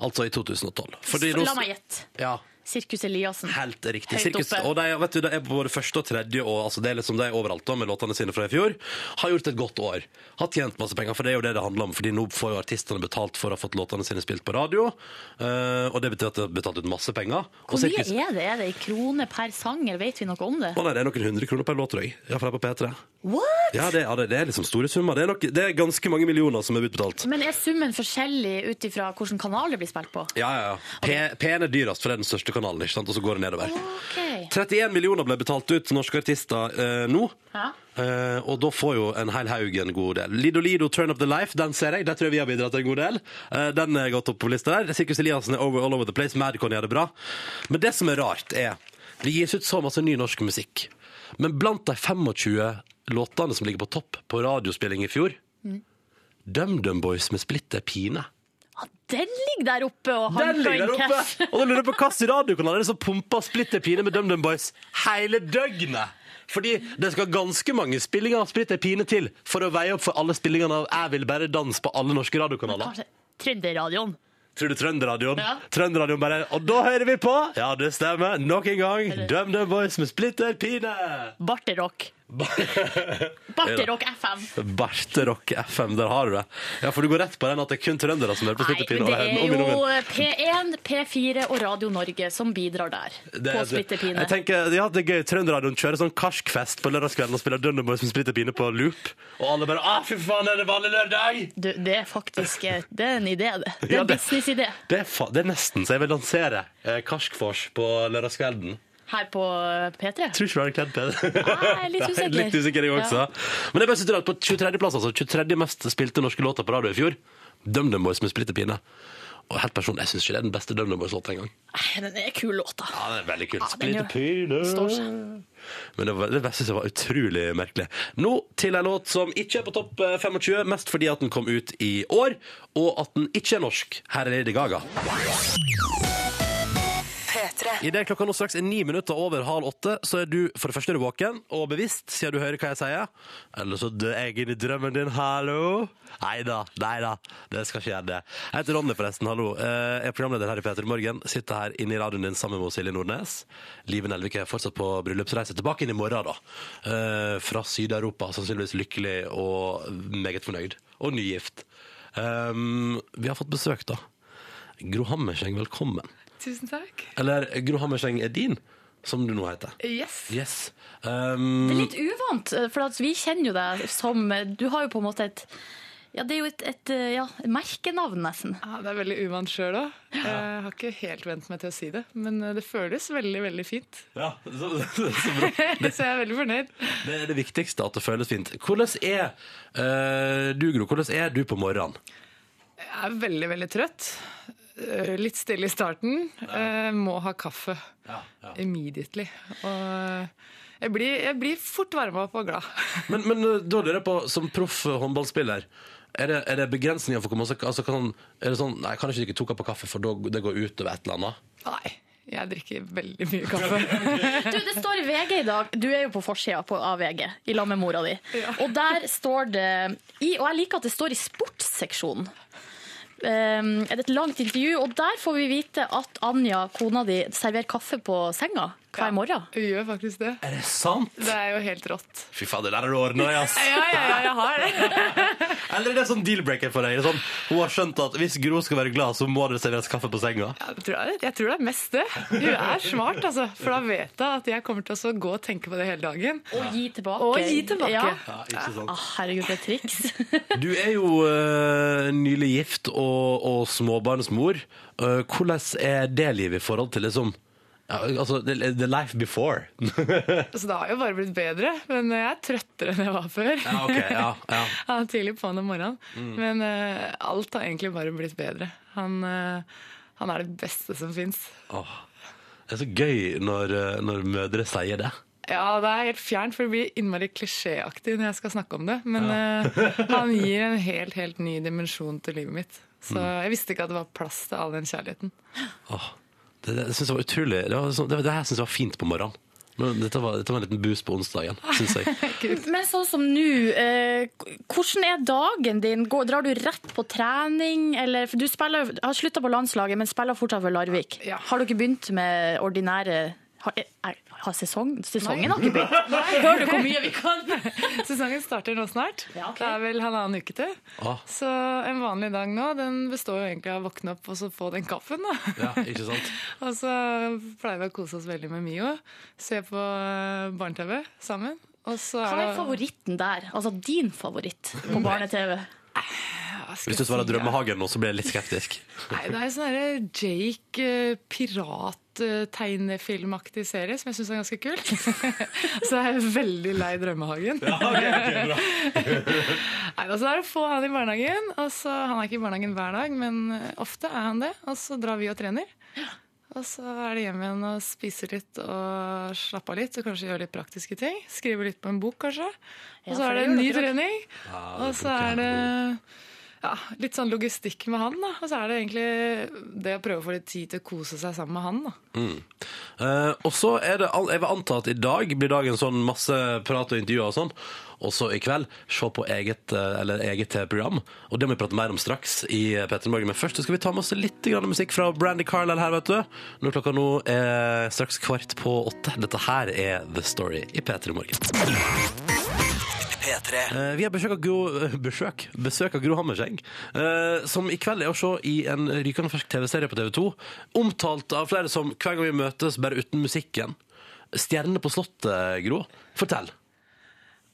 S2: Altså i 2012. Fordi nå-
S5: La meg gjette.
S2: Ja.
S5: Sirkus Eliassen.
S2: Helt riktig.
S5: Høyt
S2: Sirkus,
S5: oppe.
S2: og de, vet du, de er på både første og tredje, og altså, det er liksom de er overalt da, med låtene sine fra i fjor. Har gjort et godt år. Har tjent masse penger, for det er jo det det handler om. fordi nå får jo artistene betalt for å ha fått låtene sine spilt på radio. eh, og det betyr at de har betalt ut masse penger. Og
S3: Hvor mye
S2: Sirkus
S3: er det? Er det i kroner per sang, eller vet vi noe om det?
S2: Å nei, det er noen hundre kroner per låt, tror jeg. Iallfall her på P3.
S3: What?
S2: Ja, det, ja, det, det er liksom store summer. Det er, nok, det er ganske mange millioner som er utbetalt.
S3: Men er summen forskjellig ut ifra hvilken kanal det blir spilt på?
S2: Ja, ja, ja. P, P1 er dyrest, for det er den største kanalen, ikke sant? og så går det nedover.
S3: Ok.
S2: 31 millioner ble betalt ut til norske artister eh, nå.
S3: Ja.
S2: Eh, og da får jo en hel haug en god del. Lido Lido, Turn Up The Life, den ser jeg. Der tror jeg vi har bidratt en god del. Eh, den er gått opp på lista der. Sirkus Eliassen er over, all over the place. Madcon gjør det bra. Men det som er rart, er det gis ut så masse ny norsk musikk. Men blant de 25 låtene som ligger på topp på radiospilling i fjor, DumDum Boys med Splitter Pine.
S3: Ja, den ligger der oppe og
S2: Den
S3: hanker
S2: ligger
S3: inn
S2: der oppe!
S3: cash.
S2: Og da lurer jeg på hvilken radiokanal er det som pumper Splitter Pine med DumDum Boys hele døgnet? Fordi det skal ganske mange spillinger av Splitter Pine til for å veie opp for alle spillingene av Jeg vil bare danse på alle norske radiokanaler.
S3: Kanskje Trønderradioen.
S2: Tror du Trønderradioen?
S3: Ja.
S2: Trønderradioen bare Og da hører vi på! Ja, det stemmer. Nok en gang DumDum Boys med Splitter Pine!
S3: Barterock. Barterock FM.
S2: Barterock FM, der har du det. Ja, for du går rett på den at det er kun trøndere som hører på
S3: Nei,
S2: Splitter Pine.
S3: men det
S2: og-
S3: er
S2: og min og min.
S3: jo P1, P4 og Radio Norge som bidrar der.
S2: Det-
S3: På splitterpine.
S2: Jeg tenker, ja, det er gøy. Trønderradioen kjører sånn karskfest på lørdagskvelden og spiller Dunderboys med splitter pine på loop. Og alle bare ah, fy faen, er det vanlig lørdag?'
S3: Du, det er faktisk eh, det er en idé, det. Det er
S2: Ja,
S3: en
S2: det-
S3: businessidé
S2: Det er, fa det er nesten så jeg vil lansere eh, Karskfors på lørdagskvelden.
S3: her på eh, P3.
S2: Tror ikke du hadde kledd bedre.
S3: Nei, Ah, jeg er litt
S2: Nei,
S3: usikker.
S2: litt usikker jeg også. Men det er bare så rart på 23.-plass, altså. 23. mest spilte norske låter på radio i fjor. DumDumBoys med splitter pine. Og helt personlig, jeg syns ikke det er den beste DumDumBoys-låta engang.
S3: Nei, Den er kul låt, da.
S2: Ja, det er veldig kult.
S3: den
S2: Splitter pine.
S3: Står seg.
S2: Men det, var, det synes jeg var utrolig merkelig. Nå til en låt som ikke er på topp eh, 25, mest fordi at den kom ut i år, og at den ikke er norsk. Her er Lady Gaga.
S10: P3.
S2: Idet klokka nå straks er ni minutter over halv åtte, så er du for det første er du våken og bevisst, siden du hører hva jeg sier. Eller så dør jeg inn i drømmen din, hallo. Nei da, nei da. Det skal ikke gjøre det. Jeg heter Ronny, forresten, hallo. Eh, Jeg er programleder her i P3 Morgen. Sitter her inne i radioen din sammen med Silje Nordnes. Live Nelvik er fortsatt på bryllupsreise. Tilbake inn i morgen, da. Eh, Fra Syd-Europa. Sannsynligvis lykkelig og meget fornøyd. Og nygift. Um, vi har fått besøk, da. Gro Hammerseng, velkommen.
S11: Tusen takk.
S2: Eller Gro Hammerseng er din, som du nå heter.
S11: Yes.
S2: Yes. Um,
S3: Det er litt uvant, eh, for at vi kjenner jo deg som eh, Du har jo på en måte et ja, Det er jo et, et eh, ja, merkenavn, nesten.
S11: Ja, Ah, det er veldig uvant sjøl òg. Jeg har ikke helt vent meg til å si det, men eh, det føles veldig, veldig fint.
S2: ja, så, så bra.
S11: Så jeg er veldig fornøyd.
S2: Det er det viktigste, at det føles fint. Hvordan er eh, du, Gro? Hvordan er du på morgenen?
S11: Jeg er veldig, veldig trøtt. Eh, Litt stille i starten. Eh, Må ha kaffe immediately. Og jeg blir, jeg blir fort varma opp og glad.
S2: Men, men eh, da lurer jeg på, som proff håndballspiller er det, er det begrensninger for hvor mye altså kan, Er det sånn Nei, kan ikke drikke to kopper kaffe, for da det går utover et eller annet?
S11: Nei, jeg drikker veldig mye kaffe.
S3: Du, Det står i VG i dag. Du er jo på forsida på- av VG i lag med mora di. Og der står det i, Og jeg liker at det står i sportsseksjonen. Um, er det et langt intervju, og der får vi vite at Anja, kona di, serverer kaffe på senga hver morgen.
S11: Jeg gjør faktisk det.
S2: Er det sant?
S11: Det er jo helt rått.
S2: Fy fader, der er du ordna, ass!
S11: Ja, ja, ja, jeg har det.
S2: Eller er det sånn deal-breaker for deg? Er det Sånn, hun har skjønt at hvis Gro skal være glad, så må det serveres kaffe på senga?
S11: Jeg tror, jeg, jeg tror det er mest det. Hun er smart, altså. For da vet jeg at jeg kommer til å så gå og tenke på det hele dagen.
S3: Og gi tilbake.
S11: Og gi tilbake.
S3: Ja.
S2: Ja, ikke sant?
S3: Ah, herregud, det er triks.
S2: Du er jo eh, nylig gift og, og småbarnsmor. Eh, hvordan er det livet i forhold til liksom ja, altså, the, the life before?
S11: Så det Altså, har jo bare blitt bedre. Men jeg er trøttere enn jeg var før.
S2: Ja, ok, ja, ja. Mm.
S11: Han er tidlig på'n om morgenen. Men eh, alt har egentlig bare blitt bedre. Han, eh, han er det beste som fins.
S2: Åh, det er så gøy når, eh, når mødre sier det.
S11: Ja, det er helt fjernt, for det blir innmari klisjéaktig når jeg skal snakke om det. Men eh, han gir en helt, helt ny dimensjon til livet mitt. Så
S2: Mm.
S11: jeg visste ikke at det var plass til all den kjærligheten.
S2: Åh, det, det, jeg synes det var utrolig. Det, var, sånn- det, det her synes jeg var fint på morgenen. Men dette var, dette var en liten boost på onsdagen, syns jeg.
S3: Men sånn som nå, eh, hvordan er dagen din? Går, drar du rett på trening? Eller, for du spiller, har slutta på landslaget, men spiller fortsatt for Larvik.
S11: Ja.
S3: Har du ikke begynt med ordinære har, eh, er, har sesong, Sesongen har ikke begynt. Hører du hvor mye vi kan?
S11: Sesongen starter nå snart.
S3: Ja, ok.
S11: Det er vel halvannen uke til.
S2: Ah.
S11: Så en vanlig dag nå, den består jo egentlig av å våkne opp og så få den kaffen, da.
S2: Ja, ikke sant?
S11: Og så pleier vi å kose oss veldig med Mio. Se på eh, barne-TV sammen. Og så
S3: Hva
S11: er
S3: er
S11: det
S3: favoritten der? Altså din favoritt på barne-TV?
S11: Hva skal
S2: Hvis du
S11: jeg
S2: svarer
S11: si, da?
S2: Drømmehagen nå, så blir jeg litt skeptisk.
S11: Nei, det er en sånn derre Jake eh, pirat-tegnefilmaktig serie som jeg syns er ganske kul. så jeg er veldig lei Drømmehagen. Nei, altså det er å få han i barnehagen. Og så, han er ikke i barnehagen hver dag, men eh, ofte er han det. Og så drar vi og trener. Og så er det hjem igjen og spiser litt og slappe av litt. Og kanskje gjøre litt praktiske ting. Skrive litt på en bok, kanskje. Og
S3: Ja,
S11: så
S3: for
S11: er det
S3: det
S11: en
S3: gjør
S11: ny
S3: dere også.
S11: trening. Og så er det ja, litt sånn logistikk med han, da. Og så er det egentlig det å prøve å få litt tid til å kose seg sammen med han, da.
S2: Eh, og så er det all- Jeg vil anta at i dag blir dagen sånn masse prat og intervjuer og sånn. Og så i kveld se på eget, eh, eller eget TV-program. Og det må vi prate mer om straks i P3 Morgen. Men først så skal vi ta med oss litt grann musikk fra Brandy Carlisle her, vet du. Når klokka nå er straks kvart på åtte. Dette her er The Story i P3 Morgen. Eh, vi har besøk av Gro, eh, besøk, besøk av Gro Hammerseng, eh, som i kveld er å se i en rykende fersk TV-serie på TV 2. Omtalt av flere som hver gang vi møtes, bare uten musikken. Stjerne på Slottet, Gro. Fortell.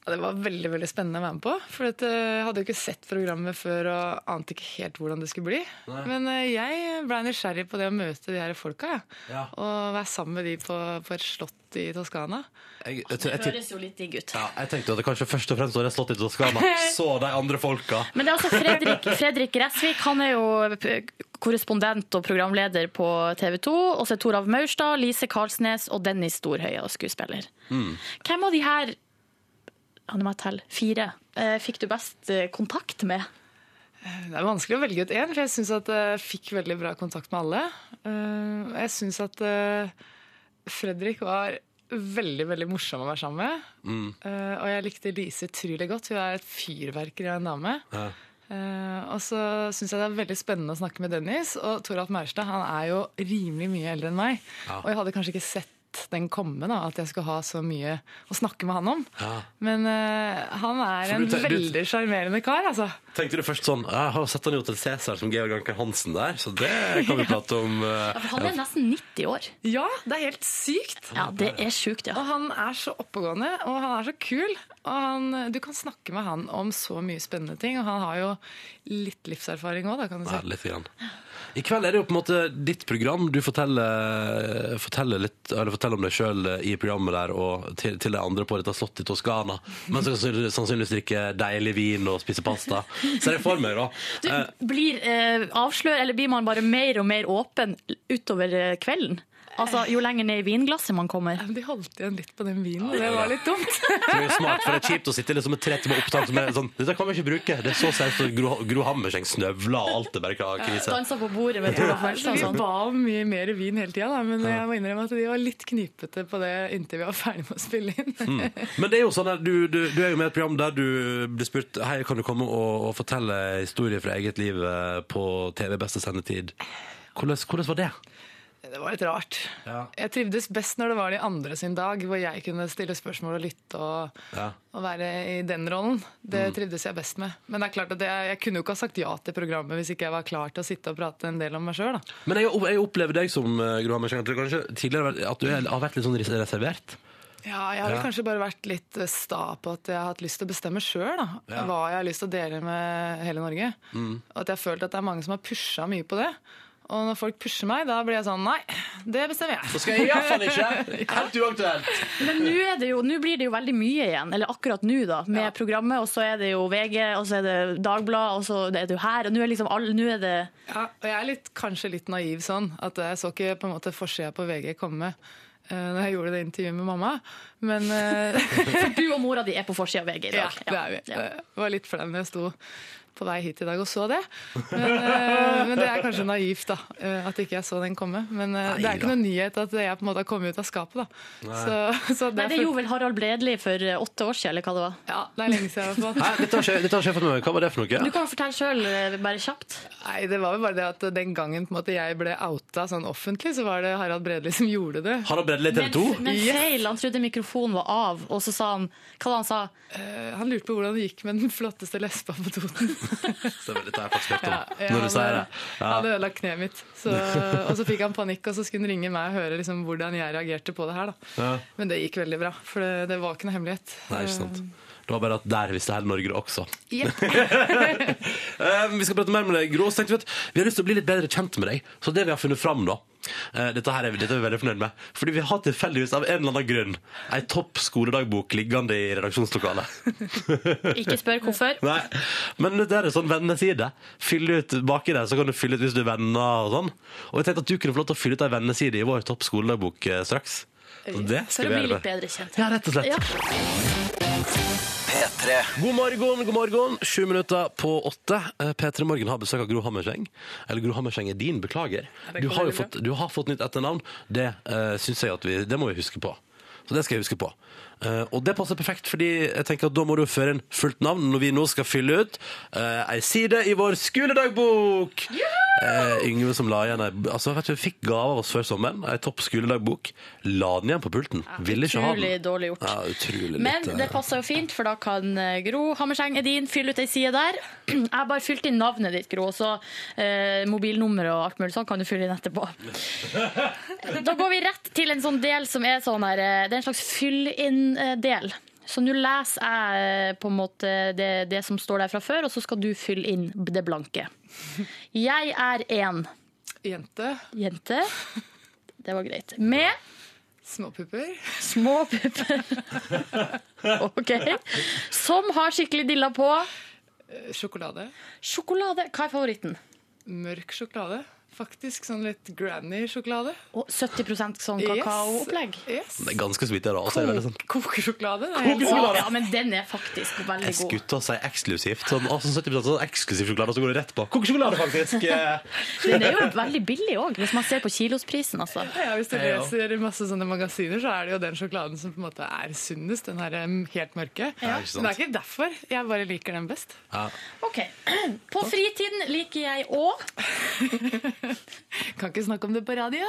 S11: Ja, Det var veldig veldig spennende å være med på. For at, eh, jeg hadde jo ikke sett programmet før og ante ikke helt hvordan det skulle bli. Men eh, jeg ble nysgjerrig på det å møte de her folka. jeg.
S2: Ja.
S11: Og være sammen med de på, på et slott i Toskana.
S2: Jeg,
S3: Det høres jo litt digg ut.
S2: ja, jeg tenkte at det kanskje først og fremst var det Slottet i Toskana. Så de andre folka.
S3: Men det er altså Fredrik, Fredrik Gressvik, han er jo p- korrespondent og programleder på TV 2. Og så er Torav Maurstad, Lise Karlsnes og Dennis Storhøia skuespiller. Hvem av de her ja, nå må jeg telle, fire eh, fikk du best eh, kontakt med?
S11: Det er vanskelig å velge ut én, for jeg syns at eh, jeg fikk veldig bra kontakt med alle. Eh, Jeg syns at eh, Fredrik var veldig veldig morsom å være sammen med. Eh, Og jeg likte Lise utrolig godt. Hun er et fyrverkeri av en dame. Eh, og så syns jeg det er veldig spennende å snakke med Dennis. Og Toralf Maurstad han er jo rimelig mye eldre enn meg. Og jeg hadde kanskje ikke sett den komme, da, at jeg skulle ha så mye å snakke med han om.
S2: Ja.
S11: Men eh, han er
S2: For
S11: en
S2: du te- du-
S11: veldig sjarmerende kar, altså.
S2: Tenkte du først sånn Jeg har sett han jo til Cæsar som Georg Anker Hansen der, så det kan vi prate om. eh,
S3: For han er nesten 90 år.
S11: Ja, det er helt sykt.
S3: Ja, det er sjukt, ja.
S11: Og han er så oppegående, og han er så kul. Og han, du kan snakke med han om så mye spennende ting, og han har jo litt livserfaring òg, da, kan du
S2: Ja,
S11: si.
S2: litt grann. I kveld er det jo på en måte ditt program. Du forteller, forteller, litt, eller forteller om deg sjøl i programmet der og til, til de andre på dette slottet i Toskana. Men så kan du sannsynligvis drikke deilig vin og spise pasta. Så det får meg, da.
S3: Du,
S2: Eh,
S3: blir eh, avslør, eller blir man bare mer og mer åpen utover eh, kvelden? Altså, Jo lenger ned i vinglasset man kommer.
S11: De holdt igjen litt på den vinen, og det var litt dumt.
S2: det er jo smart, for det er kjipt å sitte liksom med tre timer opptak som er sånn Dette kan vi ikke bruke. Det er så seriøst. og Gro, Gro Hammerseng snøvler og alt er bare kra- krise.
S3: Danser på bordet med Toralf
S11: Så
S3: Maurstad.
S11: vi
S3: sånn.
S11: ba om mye mer vin hele tida, men jeg må innrømme at de var litt knipete på det inntil vi var ferdig med å spille inn.
S2: Men det er jo sånn at du, du, du er jo med i et program der du blir spurt Hei, kan du komme og, og fortelle historier fra eget liv eh, på TV beste sendetid. Hvordan, hvordan var det?
S11: Det var litt rart.
S2: Ja.
S11: Jeg trivdes best når det var de andre sin dag, hvor jeg kunne stille spørsmål og lytte og,
S2: Ja.
S11: og være i den rollen. Det trivdes jeg best med. Men det er klart at jeg, jeg kunne jo ikke ha sagt ja til programmet hvis ikke jeg var klar til å sitte og prate en del om meg sjøl.
S2: Men jeg, jeg opplever deg som eh, Gro Hammerseng, at du kanskje tidligere har vært- at du er- har vært litt sånn res- reservert.
S11: Ja, jeg har
S2: Ja.
S11: vel kanskje bare vært litt eh, sta på at jeg har hatt lyst til å bestemme sjøl
S2: Ja. Mm.
S11: hva jeg har lyst til å dele med hele Norge. Og at jeg har følt at det er mange som har pusha mye på det. Og når folk pusher meg, da blir jeg sånn Nei, det bestemmer jeg.
S2: skal jeg iallfall ikke! Helt uaktuelt!
S3: Men nå er det jo- nå blir det jo veldig mye igjen, eller akkurat nå, da, med programmet. Og så er det jo VG, og så er det Dagbladet, og så er det jo her. Og nå er liksom alle Nå er det
S11: Ja, og jeg er litt, kanskje litt naiv sånn, at jeg så ikke på en måte forsida på VG komme eh, når jeg gjorde det intervjuet med mamma. Men eh,
S3: Du og mora di er Eh, på forsida av VG i
S11: ja,
S3: dag.
S11: det er vi. Eh,
S3: Ja.
S11: Jeg var litt flau når jeg sto på vei hit i dag og så det. Men, eh, men det er kanskje naivt da, eh, at ikke jeg så den komme. Men eh, det er ikke
S2: Neida.
S11: noen nyhet at jeg på en måte har kommet ut av skapet. da. Så, så
S3: Nei, det
S11: derfor-
S3: gjorde vel Harald Bredli for eh, åtte år siden, eller hva det var.
S11: Ja, det er lenge siden i hvert fall.
S2: Hæ, dette har ikke jeg- dette har ikke jeg fått med meg. Hva var det for
S3: Du
S2: noe?
S3: kan fortelle sjøl, bare kjapt.
S11: Nei, det var vel bare det at den gangen på en måte, jeg ble outa sånn offentlig, så var det Harald Bredli som gjorde det.
S2: Harald Bredli i TV 2?
S3: Men feil. Han trodde mikrofonen var av, og så sa han Hva han sa
S11: Eh, Han lurte på hvordan det gikk med den flotteste lesba på Toten.
S2: Stemmer, dette har jeg faktisk hørt om.
S11: Ja,
S2: Når du
S11: han
S2: sier det.
S11: hadde- Han hadde ødelagt kneet mitt. Så, og så fikk han panikk, og så skulle han ringe meg og høre liksom, hvordan jeg reagerte på det her. Da.
S2: Ja.
S11: Men det gikk veldig bra, for det, det var ikke noe hemmelighet.
S2: Nei, ikke sant. Det var bare at der visste hele Norge det også.
S11: Eh, jepp.
S2: Eh, vi skal prate mer med deg, Grå. Så tenkte vi at vi har lyst til å bli litt bedre kjent med deg. Så det vi har funnet fram, da eh, dette, her er, vi- dette er vi veldig fornøyd med. Fordi vi har tilfeldigvis av en eller annen grunn ei topp skoledagbok liggende i redaksjonslokalet.
S3: Ikke spør hvorfor.
S2: Nei, Men det er en sånn venneside. Fyll ut baki der, så kan du fylle ut hvis du er venner og sånn. Og jeg tenkte at du kunne få lov til å fylle ut ei venneside i vår topp skoledagbok eh, straks. Så det
S3: For
S2: skal
S3: å
S2: vi
S3: bli
S2: gjøre.
S3: litt
S2: med.
S3: bedre kjent.
S2: Ja, rett og slett.
S3: Ja.
S12: P3.
S2: God morgen, god morgen. Sju minutter på åtte. Eh, P3 Morgen har besøk av Gro Hammerseng. Eller Gro Hammerseng er din, beklager.
S11: det
S2: Du
S11: går
S2: har jo
S11: veldig bra.
S2: fått, du har fått nytt etternavn. Det eh, synes jeg at vi Det må vi huske på. Så det skal jeg huske på. Eh, og det passer perfekt, fordi jeg tenker at da må du føre inn fullt navn når vi nå skal fylle ut uh, ei side i vår skoledagbok. Eh, Yngve som la igjen ei Altså, vet du, vi fikk gave av oss før sommeren. Ei topp skoledagbok. La den igjen på pulten. Ville ikke ha
S3: Utrolig
S2: den.
S3: dårlig gjort.
S2: Ja, utrolig
S3: Men
S2: lite.
S3: det passer jo fint, for da kan eh, Gro Hammerseng Edin fylle ut ei side der. Jeg har bare fylt inn navnet ditt, Gro, så eh, mobilnummer og alt mulig sånn kan du fylle inn etterpå. Da går vi rett til en sånn del som er sånn her eh, Det er en slags fyll-inn-del. Så nå leser jeg eh, på en måte det, det som står der fra før, og så skal du fylle inn det blanke. Jeg er en
S11: Jente,
S3: jente. Det var greit. Med
S11: småpupper,
S3: Små pupper. OK. Som har skikkelig dilla på.
S11: eh, sjokolade,
S3: Sjokolade. Hva er favoritten?
S11: mørk sjokolade. Faktisk sånn litt granny-sjokolade.
S3: Og 70 sånn kakaoopplegg.
S11: Yes.
S2: Det er ganske så vidt jeg raser. det er sånn-
S11: Kokesjokolade. det er helt-
S3: Å, Ja, men den er faktisk veldig
S2: Jeg
S3: god.
S2: skulle til å si eksklusivt. Sånn, altså 70 sånn eksklusiv sjokolade, og så går det rett på. Kokesjokolade, faktisk! Eh,
S3: Den er jo veldig billig òg, hvis man ser på kilosprisen, altså.
S11: Ja, hvis du
S2: Ja, ja.
S11: leser masse sånne magasiner, så er det jo den sjokoladen som på en måte er sunnest. Den her um, helt mørke.
S2: Ja, ikke sant.
S11: Men det er ikke derfor. Jeg bare liker den best.
S3: OK. På fritiden liker jeg òg
S11: Kan ikke snakke om det på radio.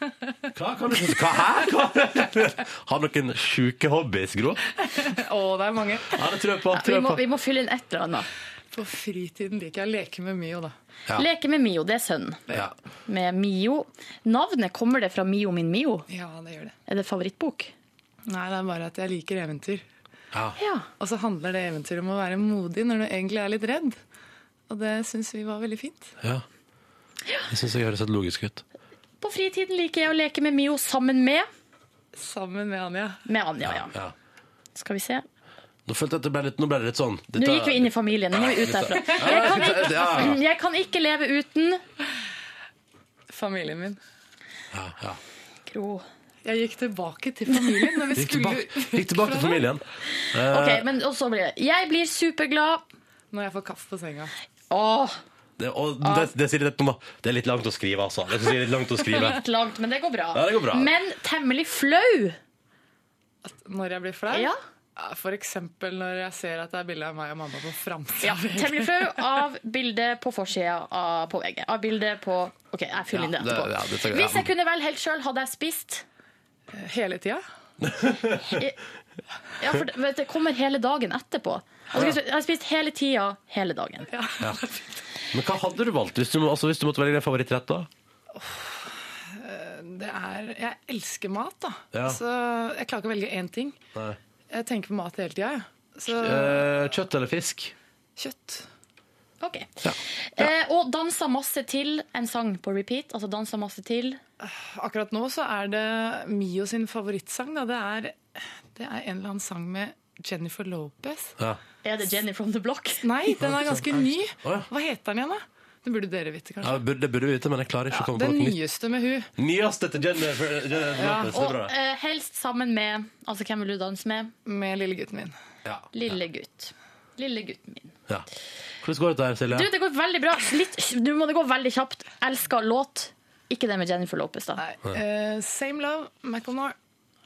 S2: Hva kan du Hva? Hæ? Hva? Har noen sjuke hobbyer, Gro?
S11: Å, det er mange.
S2: Ja, det tror jeg på.
S3: vi,
S2: Tror jeg
S3: må-
S2: på.
S3: vi må fylle inn et eller annet.
S11: På fritiden liker jeg å leke med Mio, da.
S2: Ja.
S3: Leke med Mio, det er sønnen.
S2: Ja.
S3: Med Mio. Navnet kommer det fra Mio min Mio?
S11: Ja, det gjør det.
S3: Er det favorittbok?
S11: Nei, det er bare at jeg liker eventyr.
S3: Ja.
S11: Og så handler det eventyret om å være modig når du egentlig er litt redd. Og det syns vi var veldig fint.
S2: ja. Det syns jeg høres helt logisk ut.
S3: På fritiden liker jeg å leke med Mio sammen med
S11: Sammen med Anja.
S3: Med Anja, ja.
S2: Ja.
S3: Skal vi se.
S2: Nå følte jeg at det ble litt, nå ble det litt sånn
S3: Nå gikk vi inn i familien. Nå må vi ut derfra. Jeg kan ikke,
S2: ja, ja.
S3: jeg kan ikke leve uten
S11: Familien min.
S2: ja, ja.
S3: Gro.
S11: Jeg gikk tilbake til familien når vi
S2: Gikk tilbake,
S11: skulle
S2: gikk tilbake til familien. Eh.
S3: Ok, men også blir det Jeg blir superglad.
S11: Når jeg får kaffe på senga.
S3: Åh,
S2: Det, og det, det, sier litt om, det er litt langt å skrive, altså. Det er litt langt å skrive.
S3: litt langt, men det går bra.
S2: Ja, det går bra.
S3: Men temmelig flau.
S11: At når jeg blir flau?
S3: Ja.
S11: Ja, For eksempel når jeg ser at det er bilde av meg og mamma på framtida.
S3: Ja, temmelig flau av bildet på forsida av- på VG. Av bildet på OK, jeg fyller inn
S2: Ja,
S3: det
S2: det- ja, det tar jeg-
S3: etterpå. Hvis jeg kunne velge helt sjøl, hadde jeg spist
S11: Hele tida.
S3: Ja, for det- vet, du, det kommer hele dagen etterpå. Altså, hvis- jeg har spist hele tida, hele dagen.
S2: Men hva hadde du valgt hvis du, må- altså, hvis du måtte velge din favorittrett, da?
S11: Det er, jeg elsker mat, da.
S2: Ja.
S11: Så jeg klarer ikke å velge én ting.
S2: Nei.
S11: Jeg tenker på mat hele tida. jeg. Så
S2: Eh, kjøtt eller fisk?
S11: kjøtt.
S3: Ok. Eh, og dansa masse til en sang på repeat. Altså dansa masse til.
S11: Akkurat nå så er det Mio sin favorittsang. Da. Det, er, det er en eller annen sang med Jennifer Lopez.
S2: Ja.
S3: Er det Jenny from the Block?
S11: Nei, den er ganske ny.
S2: Å, ja.
S11: Hva heter den igjen, da? Det burde dere vite,
S2: Ja,
S11: kanskje.
S2: det burde, det burde vi vite, men jeg klarer ikke å komme på
S11: Den
S2: noe nytt.
S11: nyeste med hun.
S2: Nyeste til Jennifer Jennifer Lopez, det er
S3: Og
S2: bra.
S3: eh, helst sammen med Altså, hvem vil du danse med?
S11: Med lillegutten min.
S2: Ja.
S3: Lille gutt. Lille gutten min.
S2: Ja. Hvordan går dette her, Silje?
S3: Du, det går veldig bra. Litt, nå må det gå veldig kjapt. Elsker låt. Ikke det med Jennifer Lopez, da.
S11: Eh, same love, McElnor.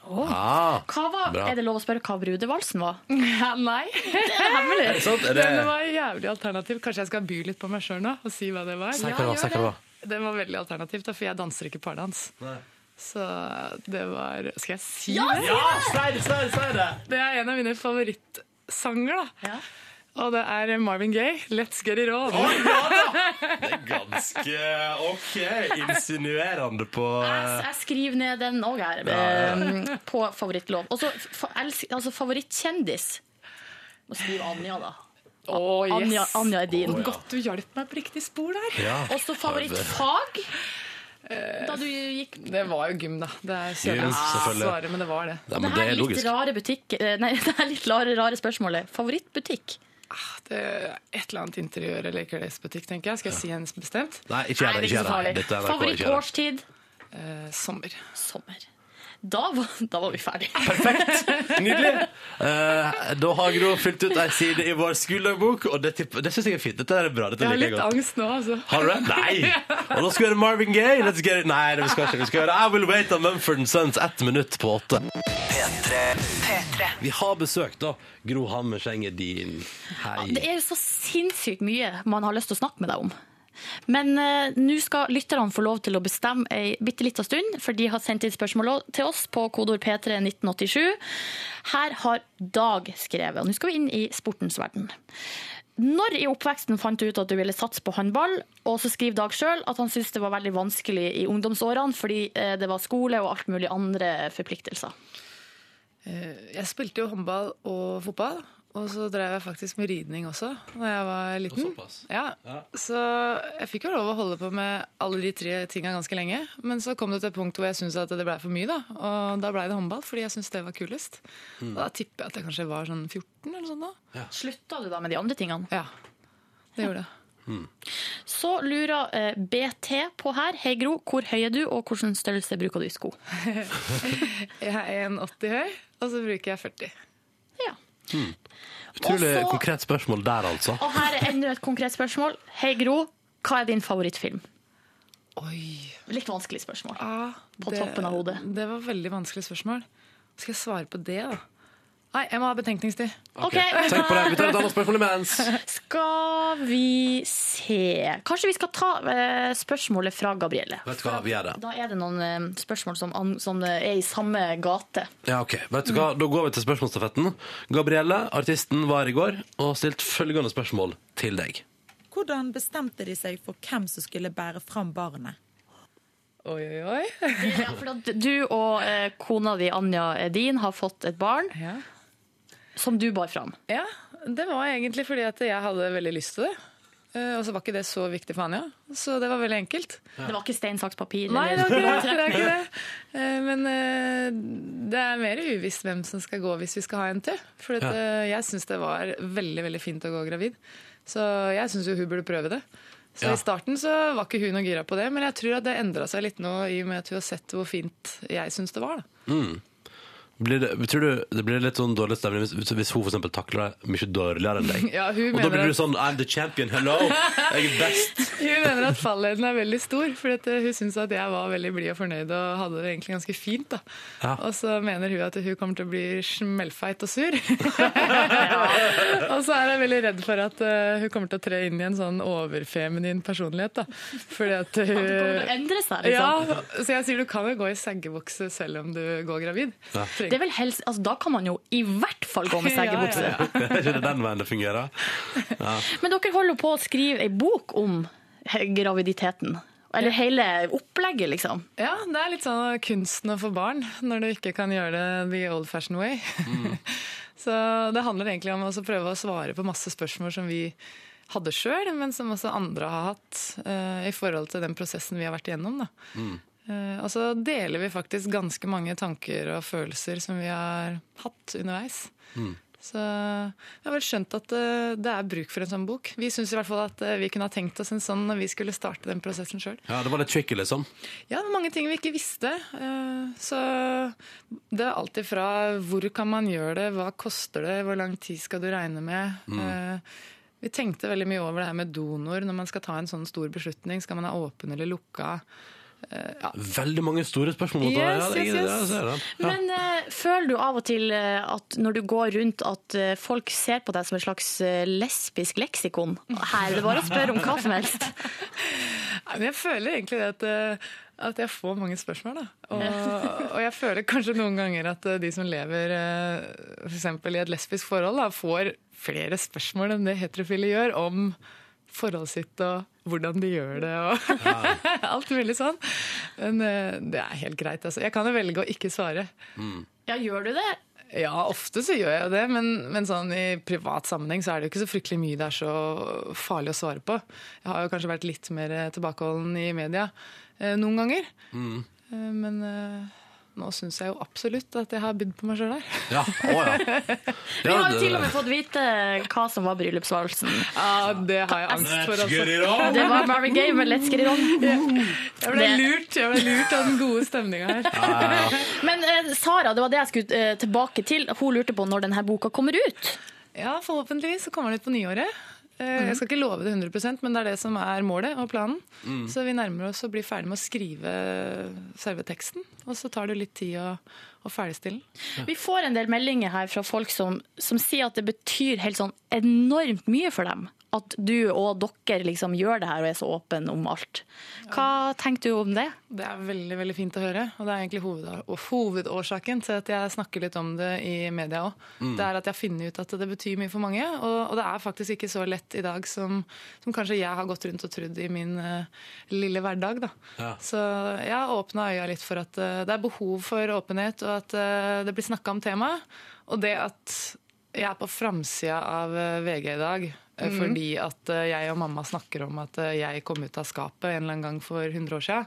S2: Ah,
S3: Hva var,
S2: Bra.
S3: Er det lov å spørre hva brudevalsen var?
S11: Nei.
S2: er det sant? Er det...
S11: Den var jævlig alternativ. Kanskje jeg skal by litt på meg sjøl nå og si hva det var.
S2: Si hva det var, si hva det var.
S11: Den var veldig alternativ, da, for jeg danser ikke pardans. Så det var Skal jeg si det?
S2: Ja, si det, si det, si det!
S11: Det er en av mine favorittsanger, da.
S3: Ja.
S11: Og det er Marvin Gaye, 'Let's Get It On'.
S2: Ganske OK. Insinuerende på
S3: Jeg, jeg skriver ned den òg her, eh, på favorittlov. Og så fa, elsk- altså, favorittkjendis. Må skrive Anja, da.
S11: Å, yes.
S3: Anja, Anja er din.
S11: Godt du hjalp meg på riktig spor der.
S2: ja.
S3: Og så favorittfag. Da du gikk
S11: Det var jo gym, da. Det er
S2: Gym,
S11: kjedelig å
S2: selvfølgelig.
S11: svare, men det var det.
S2: Nei,
S3: Det
S2: men det
S3: her
S2: er
S3: litt
S2: logisk.
S3: rare butikk eh, Nei, det her litt rare, rare spørsmålet. Favorittbutikk?
S11: Ah, det er et eller annet interiør eller klesbutikk, tenker jeg. Skal jeg si en bestemt?
S2: Nei, ikke gjør det. Ikke gjør det. Dette er NRK, ikke gjør det.
S3: Favorittårstid?
S11: Eh, sommer.
S3: Sommer. Da var, da var vi ferdige.
S2: Nydelig! Eh, da har Gro fylt ut ei side i vår skoledagbok, og det, tipp- det syns jeg er fint. Dette er bra. Dette
S11: Jeg har
S2: liker jeg
S11: litt
S2: godt.
S11: angst nå, altså.
S2: Har du det? Nei! Og nå skal vi høre Marvin Gaye. Let's get it. Nei, det vi skal ikke. Vi skal høre I Will Wait on Mumford Sons ett minutt på åtte. Vi har besøk, da. Gro Hammerseng er din. Hei.
S3: Det er jo så sinnssykt mye man har lyst til å snakke med deg om. Men eh, nå skal lytterne få lov til å bestemme ei bitte lita stund, for de har sendt inn spørsmål også til oss på kodeord P3 1987. Her har Dag skrevet, og nå skal vi inn i sportens verden. Når i oppveksten fant du ut at du ville satse på håndball? Og så skriver Dag sjøl at han syntes det var veldig vanskelig i ungdomsårene fordi eh, det var skole og alt mulig andre forpliktelser.
S11: Eh, Jeg spilte jo håndball og fotball, og så drev jeg faktisk med ridning også da jeg var liten.
S2: såpass.
S11: Ja.
S2: Ja.
S11: Så jeg fikk jo lov å holde på med alle de tre tinga ganske lenge. Men så kom det til et punkt hvor jeg syntes at det blei for mye, da. Og da blei det håndball, fordi jeg syntes det var kulest. Da tipper jeg at jeg kanskje var sånn 14 eller sånn da.
S3: Slutta du da med de andre tingene?
S11: Ja, det gjorde jeg.
S3: Så lurer eh, BT på her. Hei Gro, hvor høy er du, og hvilken størrelse bruker du i sko?
S11: Jeg er 1,80 høy, og så bruker jeg 40.
S3: Ja.
S2: Utrolig
S3: Og så-
S2: konkret spørsmål der, altså.
S3: Og her er enda et konkret spørsmål. Hei Gro, hva er din favorittfilm?
S11: Oi.
S3: Litt vanskelig spørsmål.
S11: Ja,
S3: På toppen av hodet.
S11: Det var veldig vanskelig spørsmål. Skal jeg svare på det, da? Nei, jeg må ha betenkningstid.
S3: Ok,
S2: Tenk på det. Vi tar et annet spørsmål imens.
S3: skal vi se Kanskje vi skal ta eh, spørsmålet fra Gabrielle.
S2: Vet du hva, vi gjør det.
S3: Da er det noen eh, spørsmål som, an, som eh, er i samme gate.
S2: Ja, ok. Vet du hva? Da går vi til spørsmålsstafetten. Gabrielle, artisten, var her i går og har stilt følgende spørsmål til deg.
S13: Hvordan bestemte de seg for hvem som skulle bære fram barnet?
S11: Oi, oi, oi.
S3: Ja, for at du og eh, kona di, Anja eh, din, har fått et barn
S11: Ja.
S3: som du bar fram.
S11: ja, det var egentlig fordi at jeg hadde veldig lyst til det. Eh, Og så var ikke det så viktig for Anja, så det var veldig enkelt.
S3: Det var ikke stein, saks, papir?
S11: Nei,
S3: eller-
S11: det var ikke det. det, var ikke det. Eh, Men eh, det er mer uvisst hvem som skal gå hvis vi skal ha en til. For at,
S2: Ja.
S11: eh, jeg syns det var veldig veldig fint å gå gravid, så jeg syns jo hun burde prøve det. Så
S2: Ja.
S11: I starten så var ikke hun noe gira på det, men jeg tror at det endra seg litt nå i og med at hun har sett hvor fint jeg syns det var. Da.
S2: Blir det, tror du det blir litt sånn dårlig stemning hvis, hvis hun for eksempel takler deg mye dårligere enn deg?
S11: Ja, hun
S2: og da
S11: mener
S2: blir
S11: at-
S2: du sånn I'm the champion, hello! Jeg er best!
S11: Hun mener at fallhøyden er veldig stor, for at eh, hun syns at jeg var veldig blid og fornøyd og hadde det egentlig ganske fint. da.
S2: Ja.
S11: Og så mener hun at hun kommer til å bli smellfeit og sur. og så er jeg veldig redd for at eh, hun kommer til å tre inn i en sånn overfeminin personlighet. da. Fordi at
S3: Det
S11: hun...
S3: kommer til å endre seg, liksom.
S11: Ja, så jeg sier du kan jo gå i seggebukse selv om du går gravid. Trenger
S3: Det er vel helst, altså, da kan man jo i hvert fall gå med seggebukse.
S11: Ja, ja, ja.
S2: Er ikke det den veien det fungerer?
S3: Men dere holder på å skrive ei bok om he- graviditeten. Eller hele opplegget, liksom.
S11: Ja, det er litt sånn kunsten å få barn når du ikke kan gjøre det the old fashioned way. så det handler egentlig om å så prøve å svare på masse spørsmål som vi hadde sjøl, men som også andre har hatt eh, i forhold til den prosessen vi har vært igjennom. Da. Eh, og så deler vi faktisk ganske mange tanker og følelser som vi har hatt underveis. Så jeg har vel skjønt at eh, det er bruk for en sånn bok. Vi syns i hvert fall at eh, vi kunne ha tenkt oss en sånn når vi skulle starte den prosessen sjøl.
S2: Ja, det var litt tricky, liksom.
S11: Ja, det var mange ting vi ikke visste. eh, Så det er alltid fra hvor kan man gjøre det, hva koster det, hvor lang tid skal du regne med.
S14: Mm.
S11: Eh, Vi tenkte veldig mye over det her med donor når man skal ta en sånn stor beslutning. Skal man ha åpen eller lukka? Eh, Ja.
S2: Veldig mange store spørsmål. mot
S11: Yes,
S2: det.
S11: yes,
S2: Ja, det-
S11: yes.
S2: ja, jeg ser det. Ja.
S3: Men eh, føler du av og til eh, at når du går rundt, at eh, folk ser på deg som et slags eh, lesbisk leksikon? Her er det bare å spørre om hva som helst.
S11: Nei, men Jeg føler egentlig det at, eh, at jeg får mange spørsmål. Da. Og, og jeg føler kanskje noen ganger at eh, de som lever eh, for eksempel i et lesbisk forhold, da, får flere spørsmål enn det heterofile gjør om forholdet sitt og hvordan de gjør det og alt mulig sånn. Men eh, det er helt greit. Altså. Jeg kan jo velge å ikke svare.
S3: Ja, gjør du det?
S11: Ja, ofte så gjør jeg jo det, men, men sånn i privat sammenheng så er det jo ikke så fryktelig mye det er så farlig å svare på. Jeg har jo kanskje vært litt mer eh, tilbakeholden i media eh, noen ganger.
S2: Mm.
S11: Eh, men eh, nå syns jeg jo absolutt at jeg har bydd på meg sjøl her.
S2: Ja, å ja.
S3: Vi har jo til og med fått vite hva som var bryllupsvalsen.
S11: Ja, det har jeg angst for, altså. Let's get it on!
S3: Det var Mary Gay med Let's Get It On.
S11: Jeg ble lurt, jeg ble lurt av den gode stemninga her.
S3: Men eh, Sara, det var det jeg skulle eh, tilbake til. Hun lurte på når denne boka kommer ut.
S11: Ja, forhåpentligvis så kommer den ut på nyåret. Eh, Jeg skal ikke love det 100 men det er det som er målet og planen.
S3: Mm.
S11: Så vi nærmer oss å bli ferdig med å skrive selve teksten. Og så tar det litt tid å, å ferdigstille den.
S3: Vi får en del meldinger her fra folk som, som sier at det betyr helt sånn enormt mye for dem. At du og dere liksom gjør det her og er så åpen om alt. Hva tenkte du om det?
S2: Eh,
S11: Det er veldig veldig fint å høre. Og det er egentlig hoveda- og hovedårsaken til at jeg snakker litt om det i media òg.
S3: Mm.
S11: Det er at jeg har funnet ut at det betyr mye for mange. Og, og det er faktisk ikke så lett i dag som, som kanskje jeg har gått rundt og trodd i min eh, lille hverdag. da.
S2: Ja.
S11: Så jeg har åpna øya litt for at eh, det er behov for åpenhet, og at eh, det blir snakka om temaet. Og det at jeg er på framsida av eh, VG i dag eh,
S2: Mhm.
S11: fordi at eh, jeg og mamma snakker om at eh, jeg kom ut av skapet en eller annen gang for 100 år siden,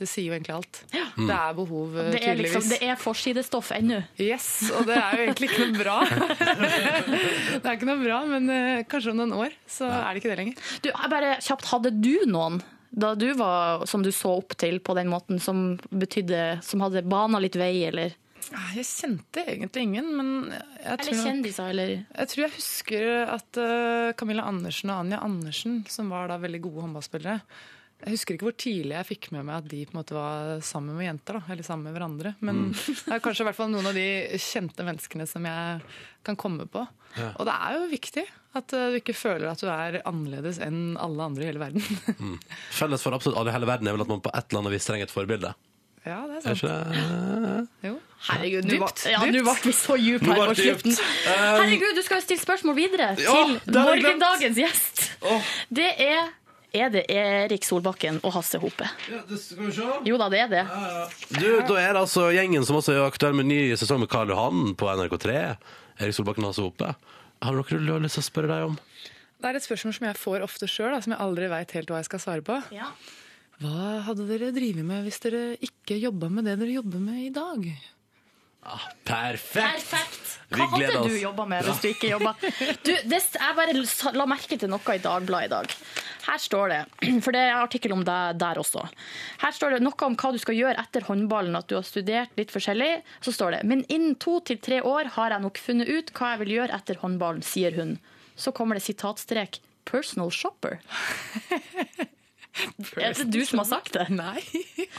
S11: det sier jo egentlig alt. Det er behov, eh,
S3: Det er, liksom,
S11: tydeligvis.
S3: det er forsidestoff ennå.
S11: Yes, og det er jo egentlig ikke noe bra. det er ikke noe bra, men eh, kanskje om noen år så er det ikke det lenger.
S3: Du, jeg bare kjapt, hadde du noen da du var, som du så opp til på den måten, som betydde, som hadde bana litt vei, eller?
S11: Nei, Jeg kjente egentlig ingen, men jeg
S3: Eller kjendiser, eller?
S11: Jeg tror jeg husker at eh, Camilla Andersen og Anja Andersen, som var da veldig gode håndballspillere Jeg husker ikke hvor tidlig jeg fikk med meg at de på en måte var sammen med jenter. da, Eller sammen med hverandre. Men det er kanskje i hvert fall noen av de kjente menneskene som jeg kan komme på.
S2: Ja.
S11: Og det er jo viktig at eh, du ikke føler at du er annerledes enn alle andre i hele verden.
S2: Mm. Felles for absolutt alle i hele verden er vel at man på et eller annet vis trenger et forbilde.
S11: ja, det er
S2: Er
S11: sant.
S2: ikke det?
S11: Jo.
S3: Herregud,
S2: Dypt,
S3: nå var- ja, nå ble vi så dype
S2: Nå
S3: her
S2: ble
S3: på
S2: det dypt.
S3: slutten.
S2: Um,
S3: Herregud, du skal jo stille spørsmål videre
S2: Ja,
S3: til
S2: det har jeg glemt.
S3: morgendagens gjest. Det er er det Erik Solbakken og Hasse Hope? Jo da, det er det.
S2: Du, da er det altså gjengen som også er aktuell med ny sesong med Karl Johan på NRK3. Erik Solbakken har så oppe. Har dere noe lyst til å spørre deg om?
S11: Det er et spørsmål som jeg får ofte sjøl, som jeg aldri veit helt hva jeg skal svare på. Hva hadde dere drevet med hvis dere ikke jobba med det dere jobber med i dag?
S2: Ah, Perfekt! Vi
S3: Hva
S2: gleder
S3: hadde du
S2: oss.
S3: jobba med
S2: Ja.
S3: hvis du ikke jobba? Du, det, jeg bare sa- la merke til noe i Dagbladet i dag. Her står det, for det er artikkel om deg der også. Her står det noe om hva du skal gjøre etter håndballen, at du har studert litt forskjellig. Så står det men innen to til tre år har jeg nok funnet ut hva jeg vil gjøre etter håndballen, sier hun. Så kommer det sitatstrek personal shopper. Er det du som har sagt det?
S11: Nei.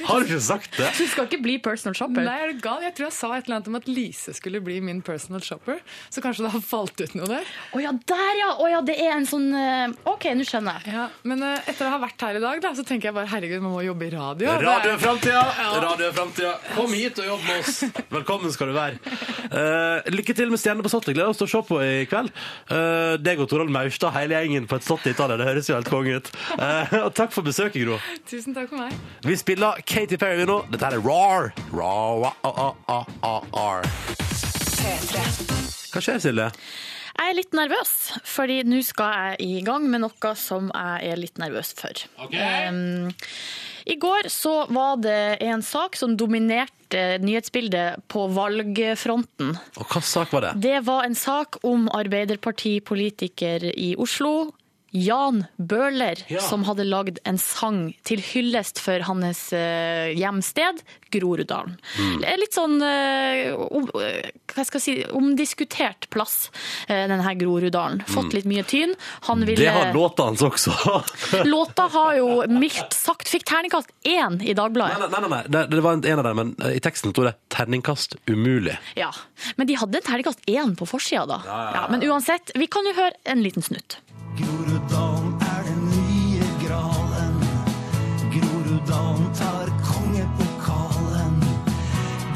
S2: Har du ikke sagt det?
S3: Du skal ikke bli personal shopper.
S11: Nei, er du gal? Jeg tror jeg sa et eller annet om at Lise skulle bli min personal shopper. Så kanskje det har falt ut noe der.
S3: Å ja, der ja! Å ja, det er en sånn eh, OK, nå skjønner jeg.
S11: Ja, men eh, etter å ha vært her i dag, da, så tenker jeg bare herregud, man må jobbe i radio. Det er-
S2: Radio er framtida! Radio er framtida. Kom hit og jobb med oss. Velkommen skal du være. Eh, lykke til med Stjerne på Slottet. Gleder oss til å se på i kveld. Eh, deg og Torald Maurstad, hele gjengen på et slott i Italia. Det høres jo helt konge ut. Eh, og takk for besøket, Gro.
S11: Tusen takk for meg.
S2: Vi spiller Katy Perry nå. Dette her er Roar. Roar, ah, ah, ah, ah, Hva skjer, Silje?
S3: Jeg er litt nervøs, fordi nå skal jeg i gang med noe som jeg er litt nervøs for. Em, I går så var det en sak som dominerte eh, nyhetsbildet på valgfronten.
S2: Og hva sak var det?
S3: Det var en sak om Arbeiderpartipolitiker i Oslo, Jan Bøhler,
S2: Ja.
S3: som hadde lagd en sang til hyllest for hans eh, hjemsted, Groruddalen.
S15: Mm.
S3: Det er Litt sånn eh, om, eh, hva skal jeg si, omdiskutert plass, eh, denne Groruddalen. Fått
S2: Mm.
S3: litt mye tyn. Han ville
S2: Det har låta hans også.
S3: Låta har jo mildt sagt fikk terningkast én i Dagbladet.
S2: Nei, nei, nei, det, det var en av dem, men eh, i teksten sto det 'terningkast umulig'.
S3: Ja, Men de hadde terningkast én på forsida, da. Ja,
S2: ja, ja.
S3: men uansett, vi kan jo høre en liten snutt.
S16: Groruddalen er den nye gralen. Groruddalen tar kongepokalen.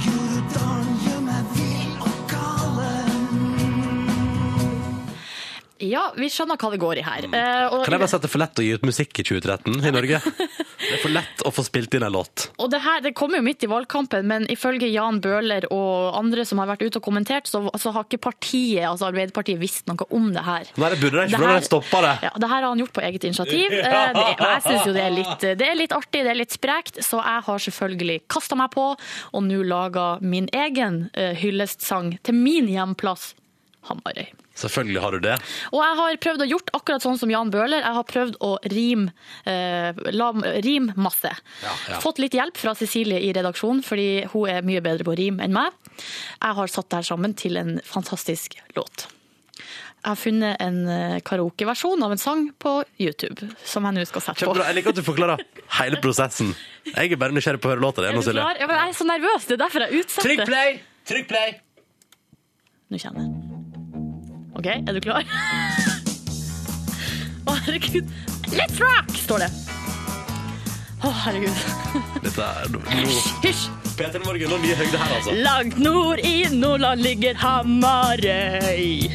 S16: Groruddalen gjør meg vill og galen.
S3: Ja, vi skjønner hva det går i her. Eh, og,
S2: Kan jeg bare si at det er for lett å gi ut musikk i 2013 i Norge? Det er for lett å få spilt inn en låt.
S3: og det her det kommer jo midt i valgkampen, men ifølge Jan Bøhler og andre som har vært ute og kommentert, så, så har ikke partiet, altså Arbeiderpartiet visst noe om det her.
S2: Nei, det burde de ikke, for da
S3: her-
S2: hadde de stoppa det.
S3: Ja, det her har han gjort på eget initiativ. Eh,
S2: Ja.
S3: Det er, og jeg syns jo det er, litt, eh, det er litt artig, det er litt sprekt, så jeg har selvfølgelig kasta meg på og nå laga min egen eh, hyllestsang til min hjemplass, Hamarøy.
S2: Selvfølgelig har du det.
S3: Og jeg har prøvd å gjort akkurat sånn som Jan Bøhler. Jeg har prøvd å rime, eh, la, rim masse.
S15: ja.
S3: Fått litt hjelp fra Cecilie i redaksjonen, fordi hun er mye bedre på å rime enn meg. Jeg har satt det her sammen til en fantastisk låt. Jeg har funnet en eh, karaokeversjon av en sang på YouTube, som jeg nå skal sette på.
S2: Kjempebra. Jeg liker at du forklarer hele prosessen. Jeg er bare nysgjerrig på å høre låta di.
S3: Er
S2: nå,
S3: du
S2: Silje.
S3: klar? Ja, men jeg er så nervøs, det er derfor jeg utsetter.
S2: Trykk play! Trykk play!
S3: Nå kommer den. OK, er du klar? Å, herregud. Let's rock, står det. Å, herregud.
S2: Dette er no, no.
S3: Hysj.
S2: Peter Morgen, noen nye høyder her, altså.
S3: Langt nord i Nordland ligger Hamarøy.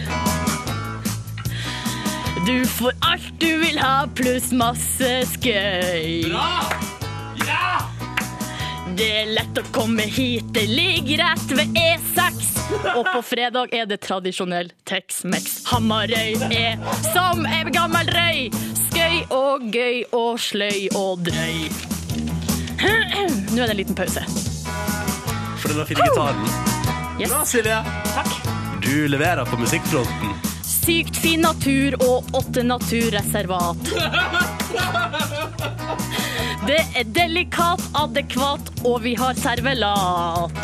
S3: Du får alt du vil ha, pluss masse skøy. Det er lett å komme hit, det ligger rett ved E6. Og på fredag er det tradisjonell Tex-Mex. Hamarøy er som en gammel røy. Skøy og gøy og sløy og drøy. Nå er det en liten pause.
S2: For den fine gitaren.
S3: Yes.
S2: Bra, Silje.
S3: Takk.
S2: Du leverer på musikkfronten.
S3: Sykt fin natur og åtte naturreservat. Det er delikat, adekvat, og vi har servelat.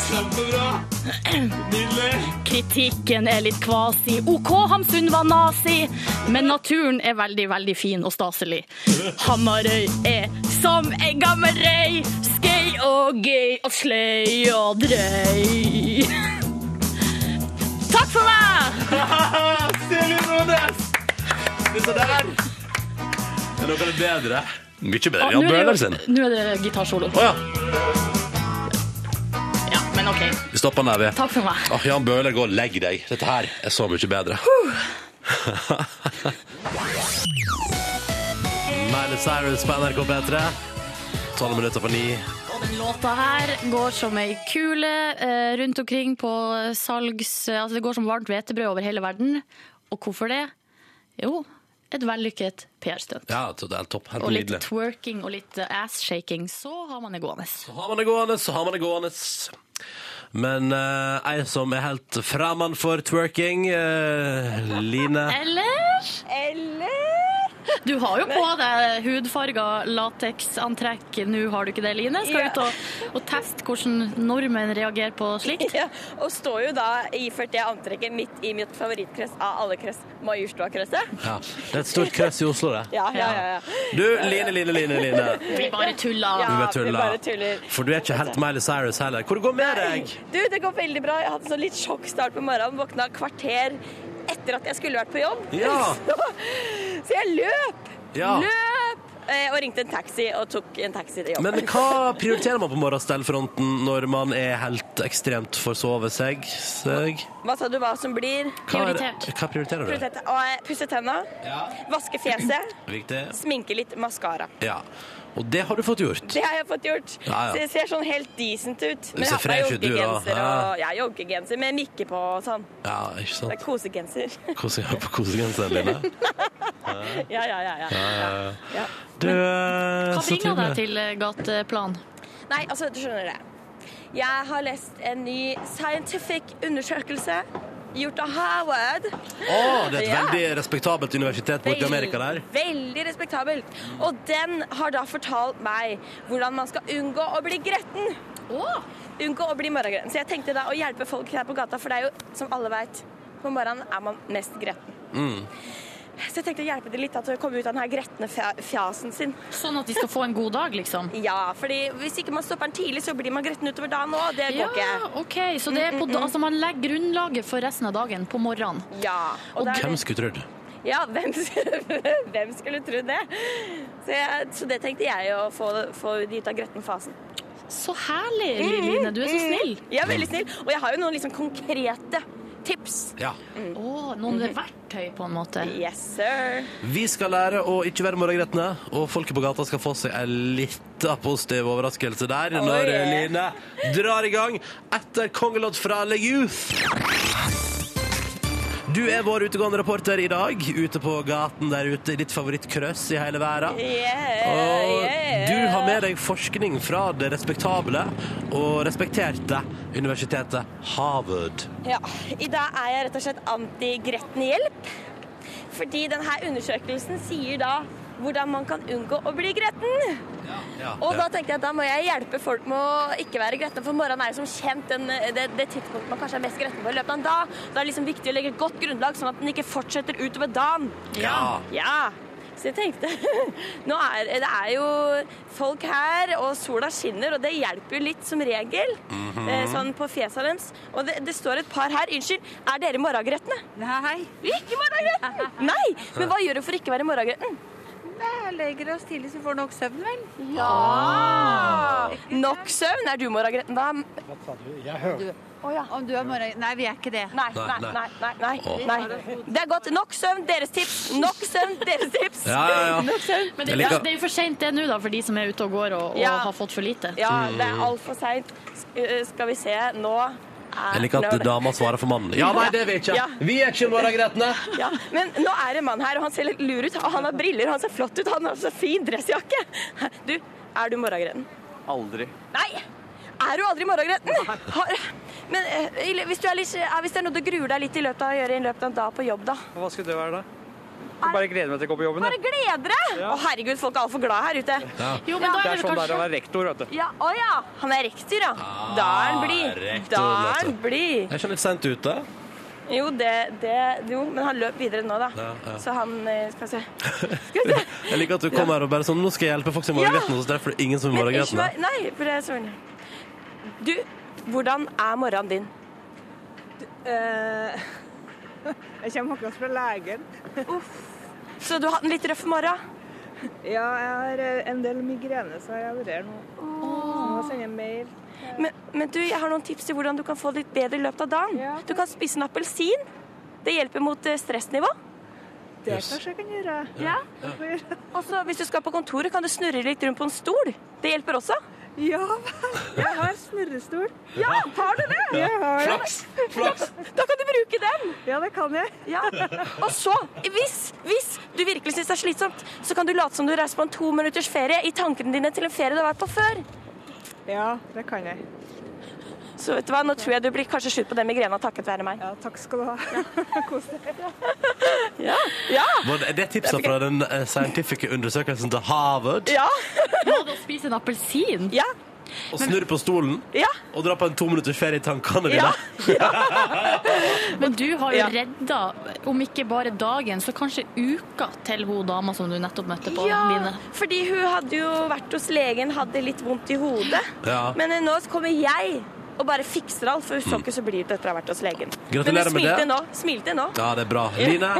S3: Kritikken er litt kvasi. OK, Hamsun var nazi, men naturen er veldig, veldig fin og staselig. Hamarøy er som ei gammel røy, skøy og gøy og sløy og drøy. Takk for meg!
S2: Silje Nordnes! Dette der Er noe av det bedre? Mye bedre
S3: Ah,
S2: enn Jan
S3: nå er det jo-
S2: Bøhler sin.
S3: Nå er det gitarsolo.
S2: Å ja.
S3: Ja, men OK.
S2: Vi stopper den der, vi.
S3: Takk for meg.
S2: Åh, Jan Bøhler, gå og legg deg. Dette her er så mye bedre. Miley Cyrus på NRK P3. Tolv minutter på ni.
S3: Og den låta her går som ei kule eh, rundt omkring på salgs... Altså det går som varmt hvetebrød over hele verden. Og hvorfor det? Jo, et vellykket PR-stunt.
S2: Ja, det er topp. Helt
S3: Og litt
S2: nydelig.
S3: twerking og litt eh, ass-shaking. Så har man det gående.
S2: Så har man det gående, så har man det gående. Men eh, ei som er helt fremmed for twerking, eh, Line
S3: Eller Du har jo på deg hudfarga lateksantrekk. Nå har du ikke det, Line. Skal
S17: Ja.
S3: ut og, og teste hvordan nordmenn reagerer på slikt.
S17: Ja, og står jo da iført det antrekket midt i mitt favorittkrøss av alle krøss, Majorstua-krøsset.
S2: Ja, det er et stort krøss i Oslo, det.
S17: Ja, ja, ja, ja.
S2: Du, Line, Line, Line. Line.
S3: Vi bare tuller.
S2: Du bare
S17: Ja, vi bare
S2: tuller.
S17: tuller.
S2: For du er ikke helt Miley Cyrus heller. Hvor det går med deg?
S17: Du, det går veldig bra. Jeg hadde sånn litt sjokkstart på morgenen. Våkna kvarter etter at jeg skulle vært på jobb.
S2: Ja.
S17: Så, så jeg løp!
S2: Ja.
S17: Løp! eh, Og ringte en taxi og tok en taxi til jobb.
S2: Men hva prioriterer man på morgenstellfronten når man er helt ekstremt forsovet seg? seg?
S17: Hva sa du hva som blir?
S2: Hva, er- hva prioriterer du?
S17: Prioritert. Og jeg pusser eh, tenna, vaske fjeset,
S2: Viktig.
S17: sminke litt maskara.
S2: Ja. Og det har du fått gjort.
S17: Det har jeg fått gjort.
S2: Ja, ja.
S17: Så jeg ser sånn helt decent ut.
S2: Du
S17: Men jeg
S2: ser
S17: har på meg
S2: fresh ut, du, da.
S17: joggegenser
S2: Ja.
S17: og ja, joggegenser med mikke på og sånn.
S2: Ja, ikke
S17: Det
S2: sant?
S17: er kosegenser.
S2: Kose, på kosegenseren din?
S17: ja, ja, ja, ja.
S2: Ja.
S17: ja.
S2: Du, eh,
S3: Hva
S2: så
S3: bringer deg
S2: trivelig.
S3: til gateplan?
S17: Nei, altså, du skjønner det. Jeg har lest en ny scientific undersøkelse gjort av Howard.
S2: Å, det er et veldig respektabelt universitet borte i Amerika der.
S17: Veldig respektabelt. Og den har da fortalt meg hvordan man skal unngå å bli gretten. Unngå å bli morgengretten. Så jeg tenkte da å hjelpe folk her på gata, for det er jo, som alle veit, på morgenen er man mest gretten.
S2: Mm.
S17: Så jeg tenkte å hjelpe dem litt da, til å komme ut av den her gretne fja- fjasen sin. Sånn at de skal få en god dag, liksom? Ja, fordi hvis ikke man stopper den tidlig, så blir man gretten utover dagen òg. Det går
S3: Ja,
S17: ikke.
S3: OK. Så det er på,
S17: Mm, mm, mm.
S3: altså, man legger grunnlaget for resten av dagen på morgenen.
S17: Ja. Og det er-
S2: Hvem skulle trodd?
S17: Ja, hvem, hvem skulle tro det? Så, jeg, så det tenkte jeg å få, få de ut av gretten fasen.
S3: Så herlig,
S17: Mm,
S3: Line. Du er så snill.
S17: Ja, veldig snill. Og jeg har jo noen liksom konkrete tips.
S2: Ja.
S3: Mm.
S17: mm.
S3: noen verktøy, på en måte.
S17: Yes, sir.
S2: Vi skal lære å ikke være morgengretne, og folket på gata skal få seg en liten positiv overraskelse der
S18: Oh,
S2: når
S18: yeah.
S2: Line drar i gang etter kongelodd fra Le Youth. Du er vår utegående reporter i dag, ute på gaten der ute i ditt favorittkrøss i hele verden. og du har med deg forskning fra det respektable og respekterte universitetet Harvard.
S17: Ja, I dag er jeg rett og slett anti-gretten-hjelp. Fordi denne undersøkelsen sier da hvordan man kan unngå å bli gretten. Og da tenkte jeg at da må jeg hjelpe folk med å ikke være gretne, for morgenen er jo som kjent den, det, det tidspunktet man kanskje er mest gretten på i løpet av en dag. Da er det liksom viktig å legge et godt grunnlag, sånn at den ikke fortsetter utover dagen.
S18: Ja.
S17: Ja. Så jeg tenkte Nå er det er jo folk her, og sola skinner, og det hjelper jo litt som regel.
S18: Mhm.
S17: eh, Sånn på fjesa deres. Og det, det står et par her. Unnskyld, er dere morgengretne? Nei. Ikke morgengretne? Nei! Men hva gjør du for ikke å være morgengretten?
S19: Legger oss tidlig, så får nok søvn, vel?
S17: Ja!
S2: Ah.
S17: Nok søvn. Er du morgengretten da?
S19: Jeg hører. Om du er morgen... Nei, vi er ikke det.
S17: Nei, nei, nei. nei, nei, nei. Det er godt. Nok søvn, deres tips. Nok søvn, deres tips.
S2: Ja, ja, ja.
S17: Nok søvn.
S3: Men det, er
S2: Jeg liker-
S3: jo- det er jo for seint det nå, da, for de som er ute og går og, og
S17: Ja.
S3: har fått for lite.
S17: Ja, det
S2: Mm.
S17: er altfor seint. eh, Skal vi se, nå er
S2: Jeg liker at
S17: Nå-
S2: dama svarer for mannen. Ja, nei, det er vi ikke.
S17: Ja.
S2: Vi er ikke morgengretne.
S17: Ja, men nå er det en mann her, og han ser litt lur ut. Og han har briller, og han ser flott ut. Han har så fin dressjakke. Du, er du morgengretten?
S20: Aldri.
S17: Nei! Er du aldri morgengretten? Har- Men eh, i- hvis, du er litt, eh, hvis det er noe du gruer deg litt i løpet av å gjøre i løpet av en dag på jobb, da?
S20: Hva skulle det være, da? Jeg bare gleder meg til å gå på jobben.
S17: Bare gleder deg! Å herregud, folk er altfor glade her ute. Jo, men da
S20: det
S17: er
S20: er
S17: det
S20: sånn det er
S17: kanskje- Ah,
S20: å være rektor, vet du.
S17: Ja, å ja! Han er rektor, ja. Da er han blid.
S2: rektor,
S17: Da er han
S2: vet
S17: blid.
S2: Jeg er ikke litt sent ute.
S17: Jo, det, det Jo, men han løp videre nå, da.
S2: Ja, ja.
S17: Så han eh, Skal vi se.
S2: Jeg liker at du kommer her og bare sånn Nå skal jeg hjelpe folk som er morgengretne, og så treffer du ingen som er
S17: Men ikke
S2: morgengretne.
S17: vær- Nei, for det er søren. Du, hvordan er morgenen din? eh,
S19: Jeg kommer akkurat fra legen.
S17: Så du har hatt en litt røff morgen?
S19: Ja, jeg har eh, en del migrene, så jeg vurderer nå. Så må jeg sende en mail.
S17: Men, men du, jeg har noen tips til hvordan du kan få det litt bedre i løpet av dagen. Du kan spise en appelsin. Det hjelper mot eh, stressnivå.
S19: Det kanskje jeg kan gjøre.
S17: Ja.
S19: Det får jeg gjøre.
S17: Og så hvis du skal på kontoret, kan du snurre litt rundt på en stol. Det hjelper også.
S19: Ja vel. Jeg har snurrestol.
S17: Ja, har du det?
S19: Jeg har det.
S17: Da kan du bruke den.
S19: Ja, det kan jeg.
S17: Ja. Og så, hvis, hvis du virkelig syns det er slitsomt, så kan du late som du reiser på en to minutters ferie i tankene dine til en ferie du har vært på før.
S19: Ja, det kan jeg.
S17: Så vet du hva, nå tror jeg du blir kanskje slutt på den migrena takket være meg. Ja, takk skal du ha.
S19: Kos deg.
S17: Ja. ja.
S2: Var det- Er det tipsa fra den eh, scientific undersøkelsen til Harvard?
S17: Ja.
S3: Må du spise en appelsin?
S17: Ja.
S2: Og snurre på stolen?
S17: Ja.
S2: Og dra på en to minutters ferie i tankene dine?
S3: Ja. Men du har jo
S17: Ja.
S3: redda, om ikke bare dagen, så kanskje uka til hun dama som du nettopp møtte på
S17: Ja,
S3: Line.
S17: fordi hun hadde jo vært hos legen, hadde litt vondt i hodet.
S2: Ja.
S17: Men eh, nå kommer jeg og bare fikser alt, for hun så ikke så blir det etter å ha vært hos legen.
S2: Gratulerer
S17: Men hun
S2: med det.
S17: smilte nå. Smilte nå.
S2: Ja, det er bra. Line,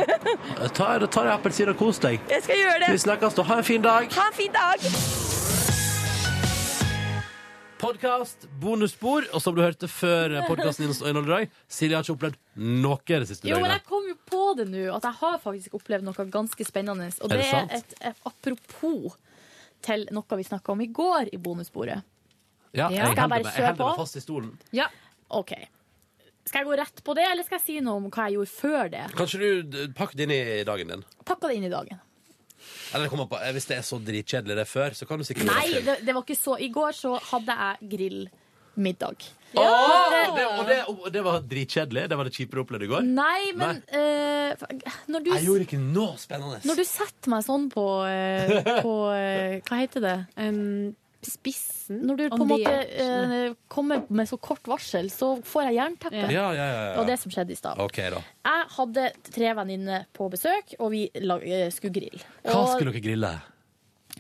S2: eh, ta ta deg en appelsin og kos deg.
S17: Jeg skal gjøre det.
S2: Vi snakkes, da. altså, Ha en fin dag.
S17: Ha en fin dag.
S21: Podkast, bonusspor, og som du hørte før eh, podkasten inneholder i dag, Silje har ikke opplevd noe det siste
S3: Jo, men jeg
S21: døgnet.
S3: kom jo på det nå, at jeg har faktisk opplevd noe ganske spennende. Og
S21: Er
S3: det
S21: det
S3: er
S21: sant?
S3: et, et apropos til noe vi snakka om i går i bonusbordet.
S21: Ja,
S3: Skal jeg
S21: holder
S3: bare
S21: meg-
S3: kjøre
S21: holder meg
S3: på?
S21: fast i stolen.
S3: Ja. OK. Skal jeg gå rett på det, eller skal jeg si noe om hva jeg gjorde før det?
S21: Kanskje du d- pakker det inn i dagen din?
S3: Pakka det inn i dagen.
S21: Eller kom opp, på- eh, hvis det er så dritkjedelig det før, så kan du sikkert
S3: Nei, det, det var ikke så. I går så hadde jeg grill. middag.
S21: Åh, det, og, det, og det var dritkjedelig. Det var det kjipere jeg opplevde i går.
S3: Nei, men eh, når, du,
S21: Jeg gjorde ikke noe spennende.
S3: når du setter meg sånn på, eh, på eh, Hva heter det?
S22: spissen?
S3: Når du på en måte eh, kommer med så kort varsel, så får jeg jernteppe.
S21: Ja, ja, ja, ja.
S3: Det var det som skjedde i stad.
S21: OK, da.
S3: Jeg hadde tre venninner på besøk, og vi la- eh, skulle grille.
S21: Hva
S3: Og
S21: skulle dere grille?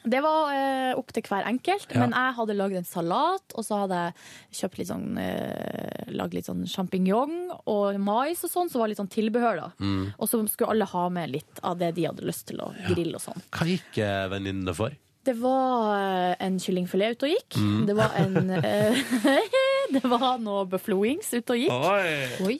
S3: Det var eh, opp til hver enkelt,
S21: Ja.
S3: men jeg hadde lagd en salat, og så hadde jeg kjøpt litt sånn eh, Lagd litt sånn sjampinjong og mais og sånn, så var det litt sånn tilbehør, da.
S21: Mm.
S3: Og så skulle alle ha med litt av det de hadde lyst til å grille og sånn.
S21: Hva gikk eh, venninnene for?
S3: Det var eh, en kyllingfilet ute og gikk.
S21: Mm.
S3: Det var en eh, Det var noe buffalo wings ute og gikk.
S21: Oi.
S3: Oi.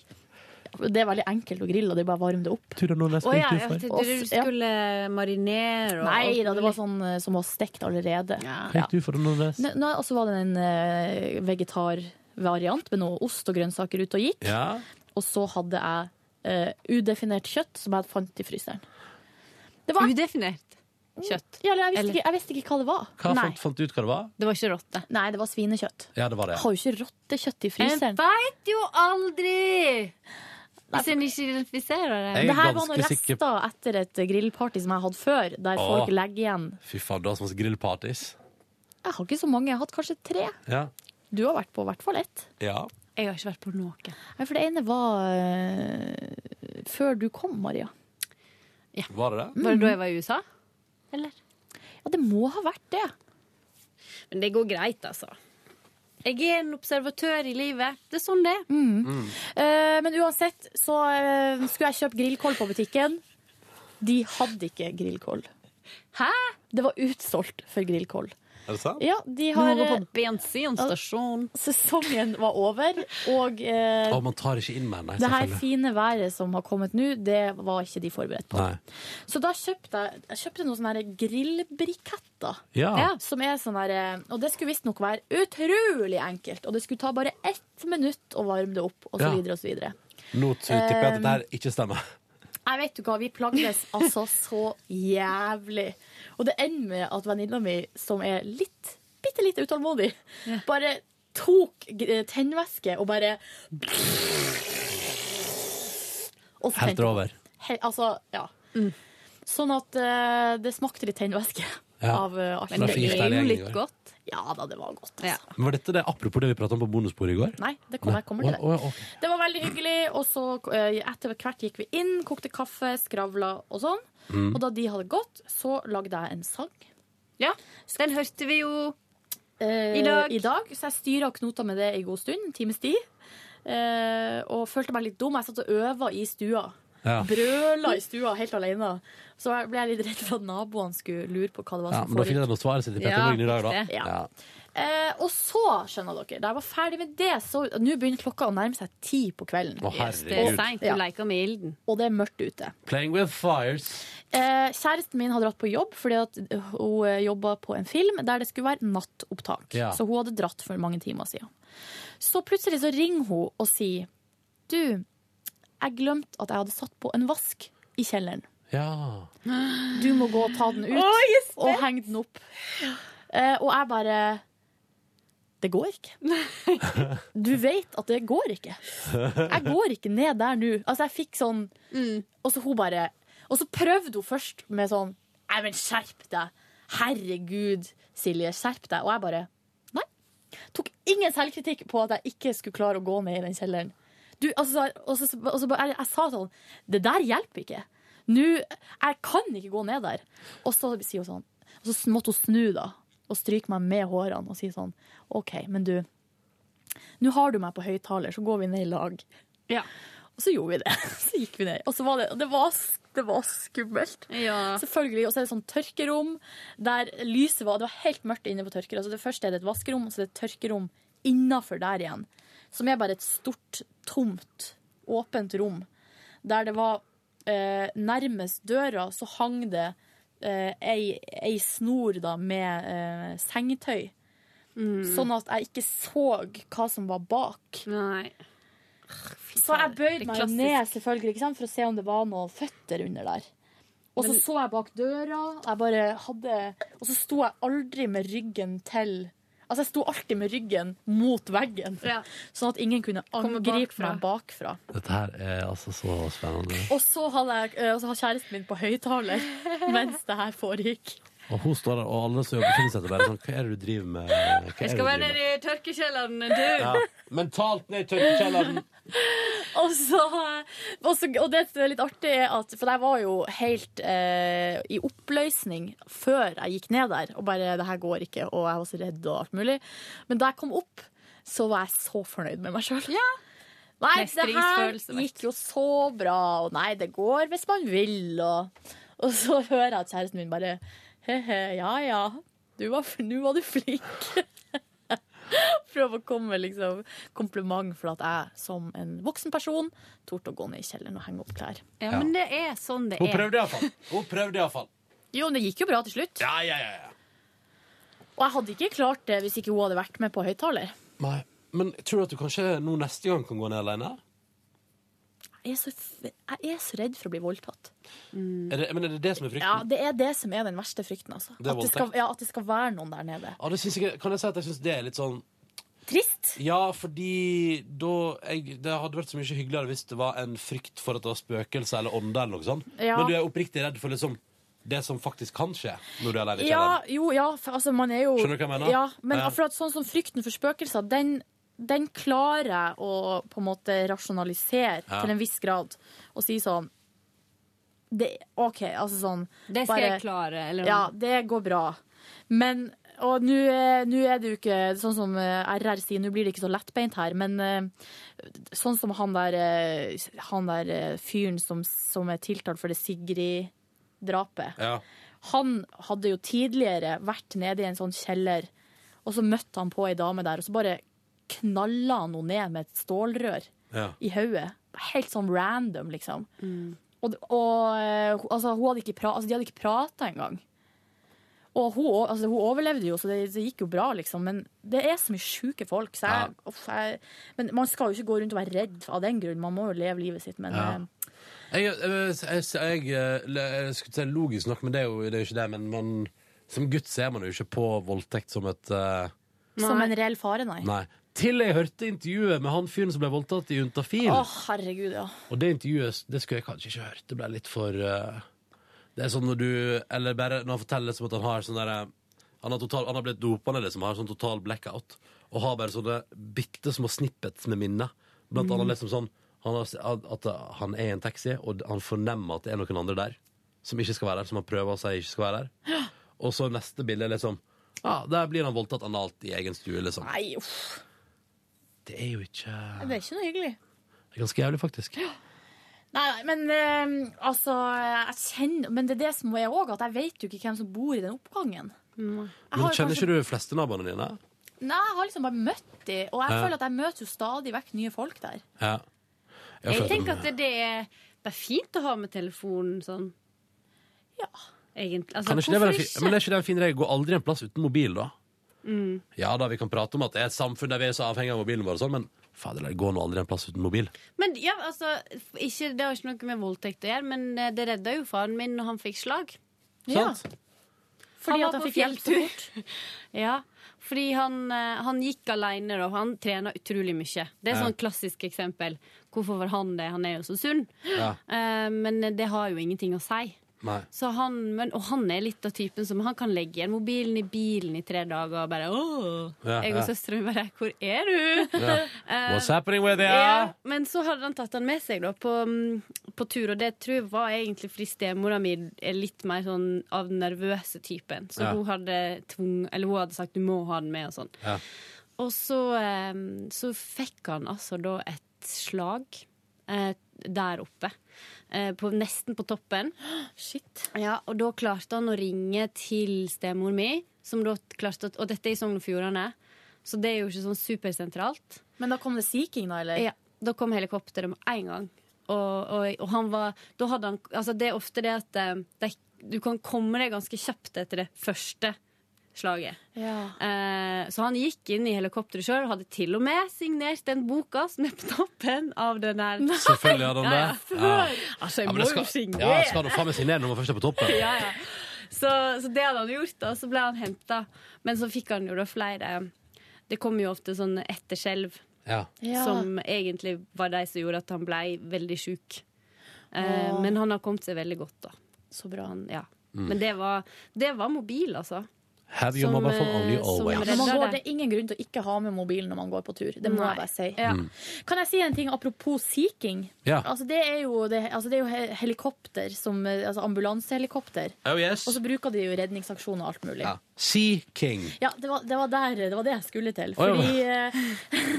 S3: Det er veldig enkelt å grille, og det er bare å varme det opp.
S21: Tror du noen
S22: Å ja, jeg tenkte du skulle marinere og
S3: Nei da, det var sånn eh, som var stekt allerede.
S21: Hva gikk du for, Nordnes?
S3: Nå- nå- Og så var det en eh, vegetarvariant med noe ost og grønnsaker ute og gikk.
S21: Ja.
S3: Og så hadde jeg eh, udefinert kjøtt som jeg fant i fryseren.
S22: udefinert kjøtt.
S3: Ja, eller jeg,
S22: Eller-
S3: visste ikke, jeg visste ikke hva det var.
S21: Hva
S3: Nei.
S21: fant, fant du ut hva det var?
S22: Det var ikke rotte.
S3: Nei, det var svinekjøtt.
S21: Ja, det var det.
S3: Jeg har jo ikke rottekjøtt i fryseren.
S22: veit jo aldri! Hvis en ikke identifiserer
S21: Jeg er
S3: Det her var
S21: ganske
S3: noen
S21: sikker-
S3: rester etter et grillparty som jeg hadde før, der
S21: Åh.
S3: folk legger igjen.
S21: Fy faen, du har så masse grillpartys.
S3: Jeg har ikke så mange, jeg har hatt kanskje tre.
S21: Ja.
S3: Du har vært på i hvert fall ett.
S21: ja.
S22: Jeg har ikke vært på noe.
S3: Nei, for det ene var eh, før du kom, Maria.
S21: Var det
S3: Mm.
S21: det?
S22: Var det da jeg var i USA?
S3: Eller? Ja, det må ha vært det.
S22: Men det går greit, altså. Jeg er en observatør i livet. Det er sånn det er.
S3: Eh, men uansett så eh, skulle jeg kjøpe grillkål på butikken. De hadde ikke grillkål.
S22: Hæ?
S3: Det var utsolgt for grillkål.
S21: Er det sant?
S3: Ja, de har
S22: Noe på
S3: bensinstasjon. Sesongen var over, og eh,
S21: Å, man tar ikke inn mer, nei,
S3: det her
S21: selvfølgelig.
S3: fine været som har kommet nå, det var ikke de forberedt på.
S21: Nei.
S3: Så da kjøpte jeg, jeg kjøpte noen sånne her grillbriketter.
S21: Ja.
S3: Som er sånn her, eh, og det skulle visstnok være utrolig enkelt. Og det skulle ta bare ett minutt å varme det opp, og så
S21: Ja.
S3: videre og så videre.
S21: Nå t- tipper jeg at
S3: Um,
S21: dette her ikke stemmer.
S3: Jeg vet du hva, vi plagdes altså så jævlig. Og det ender med at venninna mi, som er litt, bitte litt utålmodig, bare tok g- eh, tennvæske og bare Og så
S21: Helt
S3: tente-
S21: over.
S3: He, altså, ja. Sånn at eh, det smakte litt tennvæske
S21: Ja.
S3: av eh, alt.
S21: Men det ble jo litt
S22: godt.
S3: Ja da, det var godt. Altså.
S21: Men Var dette det apropos det vi pratet om på bonusbordet i går?
S3: Nei, det kommer, jeg kommer til det.
S21: Å, å, ja, ok.
S3: Det var veldig hyggelig, og så eh, etter hvert gikk vi inn, kokte kaffe, skravla og sånn.
S21: Mm.
S3: Og da de hadde gått, så lagde jeg en sang.
S22: Ja, den hørte vi jo i
S3: eh,
S22: dag.
S3: I dag så jeg styra og knota med det i god stund, en times tid. Eh, og følte meg litt dum. Jeg satt og øva i stua.
S21: Ja.
S3: Brøla i stua helt alene. Så jeg ble jeg litt redd for at naboene skulle lure på hva det var
S21: Ja,
S3: som
S21: men da finner
S3: foregikk.
S21: jeg noe svaret sitt i Petter
S3: Ja,
S21: Morgen i dag, da.
S3: riktig. Ja. Eh, og så, skjønner dere, da jeg var ferdig med det, så Nå begynner klokka å nærme seg ti på kvelden.
S21: Å, herregud.
S22: Det er seint, du
S3: Ja.
S22: leker med ilden.
S3: Og det er mørkt ute.
S21: Playing with fires.
S3: Eh, kjæresten min hadde dratt på jobb fordi at øh, hun eh, jobba på en film der det skulle være nattopptak.
S5: Ja.
S3: Så hun hadde dratt for mange timer siden. Så plutselig så ringer hun og sier Du, jeg glemte at jeg hadde satt på en vask i kjelleren.
S21: Ja.
S3: Du må gå og ta den ut
S21: Å, jeg er spent.
S3: og henge den opp. Eh, og jeg bare Det går ikke. Du vet at det går ikke. Jeg går ikke ned der nå. Altså, jeg fikk sånn
S21: Mm.
S3: Og så hun bare Og så prøvde hun først med sånn Nei, men skjerp deg. Herregud, Silje, skjerp deg. Og jeg bare Nei. Tok ingen selvkritikk på at jeg ikke skulle klare å gå ned i den kjelleren. Du, altså, så- og så, og så, bare- jeg, jeg sa sånn Det der hjelper ikke. Nå Jeg kan ikke gå ned der. Og så sier hun sånn Og så måtte hun snu, da. Og stryke meg med hårene og si sånn OK, men du. Nå har du meg på høyttaler, så går vi ned i lag. Og så gjorde vi det. Så gikk vi ned. Og så var det, og det, var, det var skummelt. Selvfølgelig. Og så er det sånn tørkerom der lyset var Det var helt mørkt inne på tørkerommet. Altså det første er det et vaskerom, og så er det et tørkerom innafor der igjen. Som er bare et stort, tomt, åpent rom. Der det var eh, Nærmest døra så hang det eh, ei, ei snor da med eh, sengetøy. Sånn at jeg ikke så hva som var bak. Så jeg
S22: Det
S3: bøyde
S22: er
S3: meg jo
S22: klassisk.
S3: ned selvfølgelig ikke sant? for å se om det var noen føtter under der. Og så
S22: Men-
S3: så jeg bak døra, jeg bare hadde, og så sto jeg aldri med ryggen til Altså, jeg sto alltid med ryggen mot veggen, sånn at ingen kunne angripe meg bakfra.
S2: Dette her er altså så spennende.
S3: Og så hadde jeg, eh, og så hadde kjæresten min på høyttaler mens det her foregikk.
S2: Og hun står der, og alle som jobber i seg bare sånn Hva er det du driver med? Hva er det
S4: Jeg
S2: du
S4: skal være
S2: driver med?
S4: nede i tørkekjelleren en tur.
S2: Ja. Mentalt ned i tørkekjelleren.
S3: Og, så, og, så, og det som er litt artig, er at For jeg var jo helt eh, i oppløsning før jeg gikk ned der. Og bare 'det her går ikke', og jeg var så redd og alt mulig. Men da jeg kom opp, så var jeg så fornøyd med meg sjøl. Nei, det her
S4: Mestringsfølelse, vet
S3: gikk jo så bra, og nei, det går hvis man vil, og Og så hører jeg at kjæresten min bare he-he, ja ja, du var, nå var du flink. Prøv å komme med liksom, kompliment for at jeg som en voksen person torde å gå ned i kjelleren og henge opp klær.
S4: Ja, men det er sånn det
S2: Hun
S4: er.
S2: prøvde iallfall. Hun prøvde iallfall.
S3: Jo, men det gikk jo bra til slutt.
S2: Ja, ja, ja. ja.
S3: Og jeg hadde ikke klart det hvis ikke hun hadde vært med på høyttaler.
S2: Nei. Men tror du at du kanskje nå neste gang kan gå ned alene?
S3: Jeg, er så f- jeg er så redd for å bli voldtatt.
S2: Er det, men er det det som er
S3: Ja,
S2: frykten?
S3: det er det som er den verste frykten, altså.
S2: Det er
S3: at, det skal,
S2: voldtekt.
S3: ja, at det skal være noen der nede.
S2: Ja, det synes jeg, kan jeg si at jeg syns det er litt sånn
S3: Trist?
S2: Ja, fordi da jeg, Det hadde vært så mye hyggeligere hvis det var en frykt for at det var spøkelser eller ånder eller noe sånt.
S3: Ja.
S2: Men du er oppriktig redd for liksom det som faktisk kan skje når du er alene i
S3: Ja,
S2: kjelleren.
S3: jo, ja, for altså, man er jo
S2: Skjønner du hva jeg mener?
S3: Ja, men
S2: Ja.
S3: akkurat sånn som frykten for spøkelser, den, den klarer jeg å på en måte rasjonalisere
S4: Ja.
S3: til en viss grad. Og si sånn det, OK, altså sånn
S4: Det skal jeg klare, eller-
S3: Ja, det går bra. Men og nå eh, nå er det jo ikke sånn som eh, RR sier, nå blir det ikke så lettbeint her, men eh, sånn som han der, eh, han der eh, fyren som, som er tiltalt for det Sigrid-drapet.
S2: Ja.
S3: Han hadde jo tidligere vært nede i en sånn kjeller, og så møtte han på ei dame der, og så bare knalla han henne ned med et stålrør
S2: Ja.
S3: i hodet. Helt sånn random, liksom. Og, og eh, altså, hun hadde ikke pra, altså, de hadde ikke prata engang. Og hun, o- altså, hun overlevde jo, så det, det gikk jo bra, liksom. Men det er så mye sjuke folk. Så jeg, uff, jeg, men man skal jo ikke gå rundt og være redd av den grunn. Man må jo leve livet sitt. Men
S2: Ja.
S3: eh,
S2: Jeg, jeg, jeg, jeg, eh, jeg skulle si logisk nok, men det er jo det er jo ikke det. Men man, som gutt ser man jo ikke på voldtekt som et eh,
S3: som en reell fare, nei.
S2: Nei. Til jeg hørte intervjuet med han fyren som ble voldtatt i Juntafil.
S3: Å, herregud, ja.
S2: Og det intervjuet det skulle jeg kanskje ikke hørt. Det ble litt for eh, Det er sånn når du Eller bare når han forteller liksom at han har sånn derre han, har total- han har blitt dopa ned, liksom. Har sånn total blackout. Og har bare sånne bitte små snippets med minner. Blant
S23: Mm.
S2: annet liksom sånn han har, at han er i en taxi, og han fornemmer at det er noen andre der som ikke skal være der, som han prøver å si ikke skal være der. Og så neste bilde er liksom Ja, der blir han voldtatt analt i egen stue, liksom.
S3: Nei, uff.
S2: Det er jo ikke
S3: Det er ikke noe hyggelig.
S2: Det er ganske jævlig, faktisk.
S3: Nei, nei, men eh, altså jeg kjenner, Men det er det som er òg, at jeg vet jo ikke hvem som bor i den oppgangen. Jeg
S2: Men
S3: har jo
S2: kjenner
S3: kanskje-
S2: ikke du fleste naboene dine?
S3: Nei, jeg har liksom bare møtt de, og jeg
S2: Ja.
S3: føler at jeg møter jo stadig vekk nye folk der.
S2: Ja.
S4: Jeg tenker at det er, det er fint å ha med telefonen sånn. Ja. Egentlig. Altså,
S2: Kan ikke det
S4: hvorfor
S2: være en fin, men er ikke det en fin regel? Gå aldri en plass uten mobil, da.
S4: Mm.
S2: Ja da, vi kan prate om at det er et samfunn der vi er så avhengig av mobilen vår, og sånn, men fader, det går nå aldri en plass uten mobil.
S4: Men ja, altså, ikke, Det har ikke noe med voldtekt å gjøre, men eh, det redda jo faren min når han fikk slag.
S2: Ja. Sant?
S3: Fordi
S4: var
S3: at han
S4: på
S3: fikk hjelp så
S4: fjelltur. ja, fordi han, eh, han gikk alene, og han trena utrolig mye. Det er
S2: Ja.
S4: sånn klassisk eksempel. Hvorfor var han det? Han er jo så sunn.
S2: Ja.
S4: Eh, men det har jo ingenting å si.
S2: Nei.
S4: Så han, men, og han er litt av typen som han kan legge igjen mobilen i bilen i tre dager og bare Åh,
S2: Ja,
S4: Jeg og
S2: ja.
S4: søstera mi bare Hvor er du?
S2: Ja.
S4: Eh,
S2: What's happening with you?
S4: ja, men så hadde han tatt han med seg da, på, mm, på tur, og det tror jeg var egentlig fordi stemora mi er litt mer sånn av den nervøse typen. Så
S2: Ja.
S4: hun, hadde tvung, eller hun hadde sagt du må ha den med og sånn.
S2: Ja.
S4: Og så, eh, så fikk han altså da et slag eh, der oppe. Eh, på, nesten på toppen.
S3: Shit.
S4: Ja, og da klarte han å ringe til stemor mi, som da klarte å Og dette er i Sogn og Fjordane, så det er jo ikke sånn supersentralt.
S3: Men da kom det Sea King, da? eller?
S4: Ja, da kom helikopteret med en gang. Og, og, og han var Da hadde han Altså, det er ofte det at eh, de, du kan komme deg ganske kjapt etter det første slaget.
S3: Ja.
S4: Eh, så han gikk inn i helikopteret sjøl og hadde til og med signert den boka som er på toppen av den der.
S2: Selvfølgelig hadde han det.
S4: Ja, ja. Altså, jeg
S2: Ja, men
S4: må
S2: det
S4: jo
S2: skal,
S4: signere.
S2: ja, skal du faen meg signere når man først er på toppen?
S4: Ja, ja. Så, så det hadde han gjort, da. Så ble han henta. Men så fikk han jo da flere Det kom jo ofte sånne etterskjelv
S21: Ja. Ja.
S4: som egentlig var de som gjorde at han ble veldig sjuk. Eh,
S17: Åh.
S4: men han har kommet seg veldig godt, da. Så bra. Han, ja.
S21: Mm.
S4: Men det var, det var mobil, altså.
S21: Have your
S4: Som,
S21: mobile phone on you
S4: eh, som
S21: always.
S4: redder
S3: Man går,
S4: deg.
S3: det er ingen grunn til å ikke ha med mobilen når man går på tur. Det må
S4: Nei.
S3: jeg bare si.
S4: Ja.
S2: Mm.
S3: Kan jeg si en ting apropos Sea King?
S2: Ja.
S3: Altså, det, er jo, det, altså, det er jo he- helikopter, som, eh, altså ambulansehelikopter.
S2: Oh, yes.
S3: Og så bruker de jo i redningsaksjon og alt mulig. Ja,
S2: Sea King.
S3: det, var, det var der Det var det jeg skulle til.
S2: Å, ja.
S3: Fordi eh,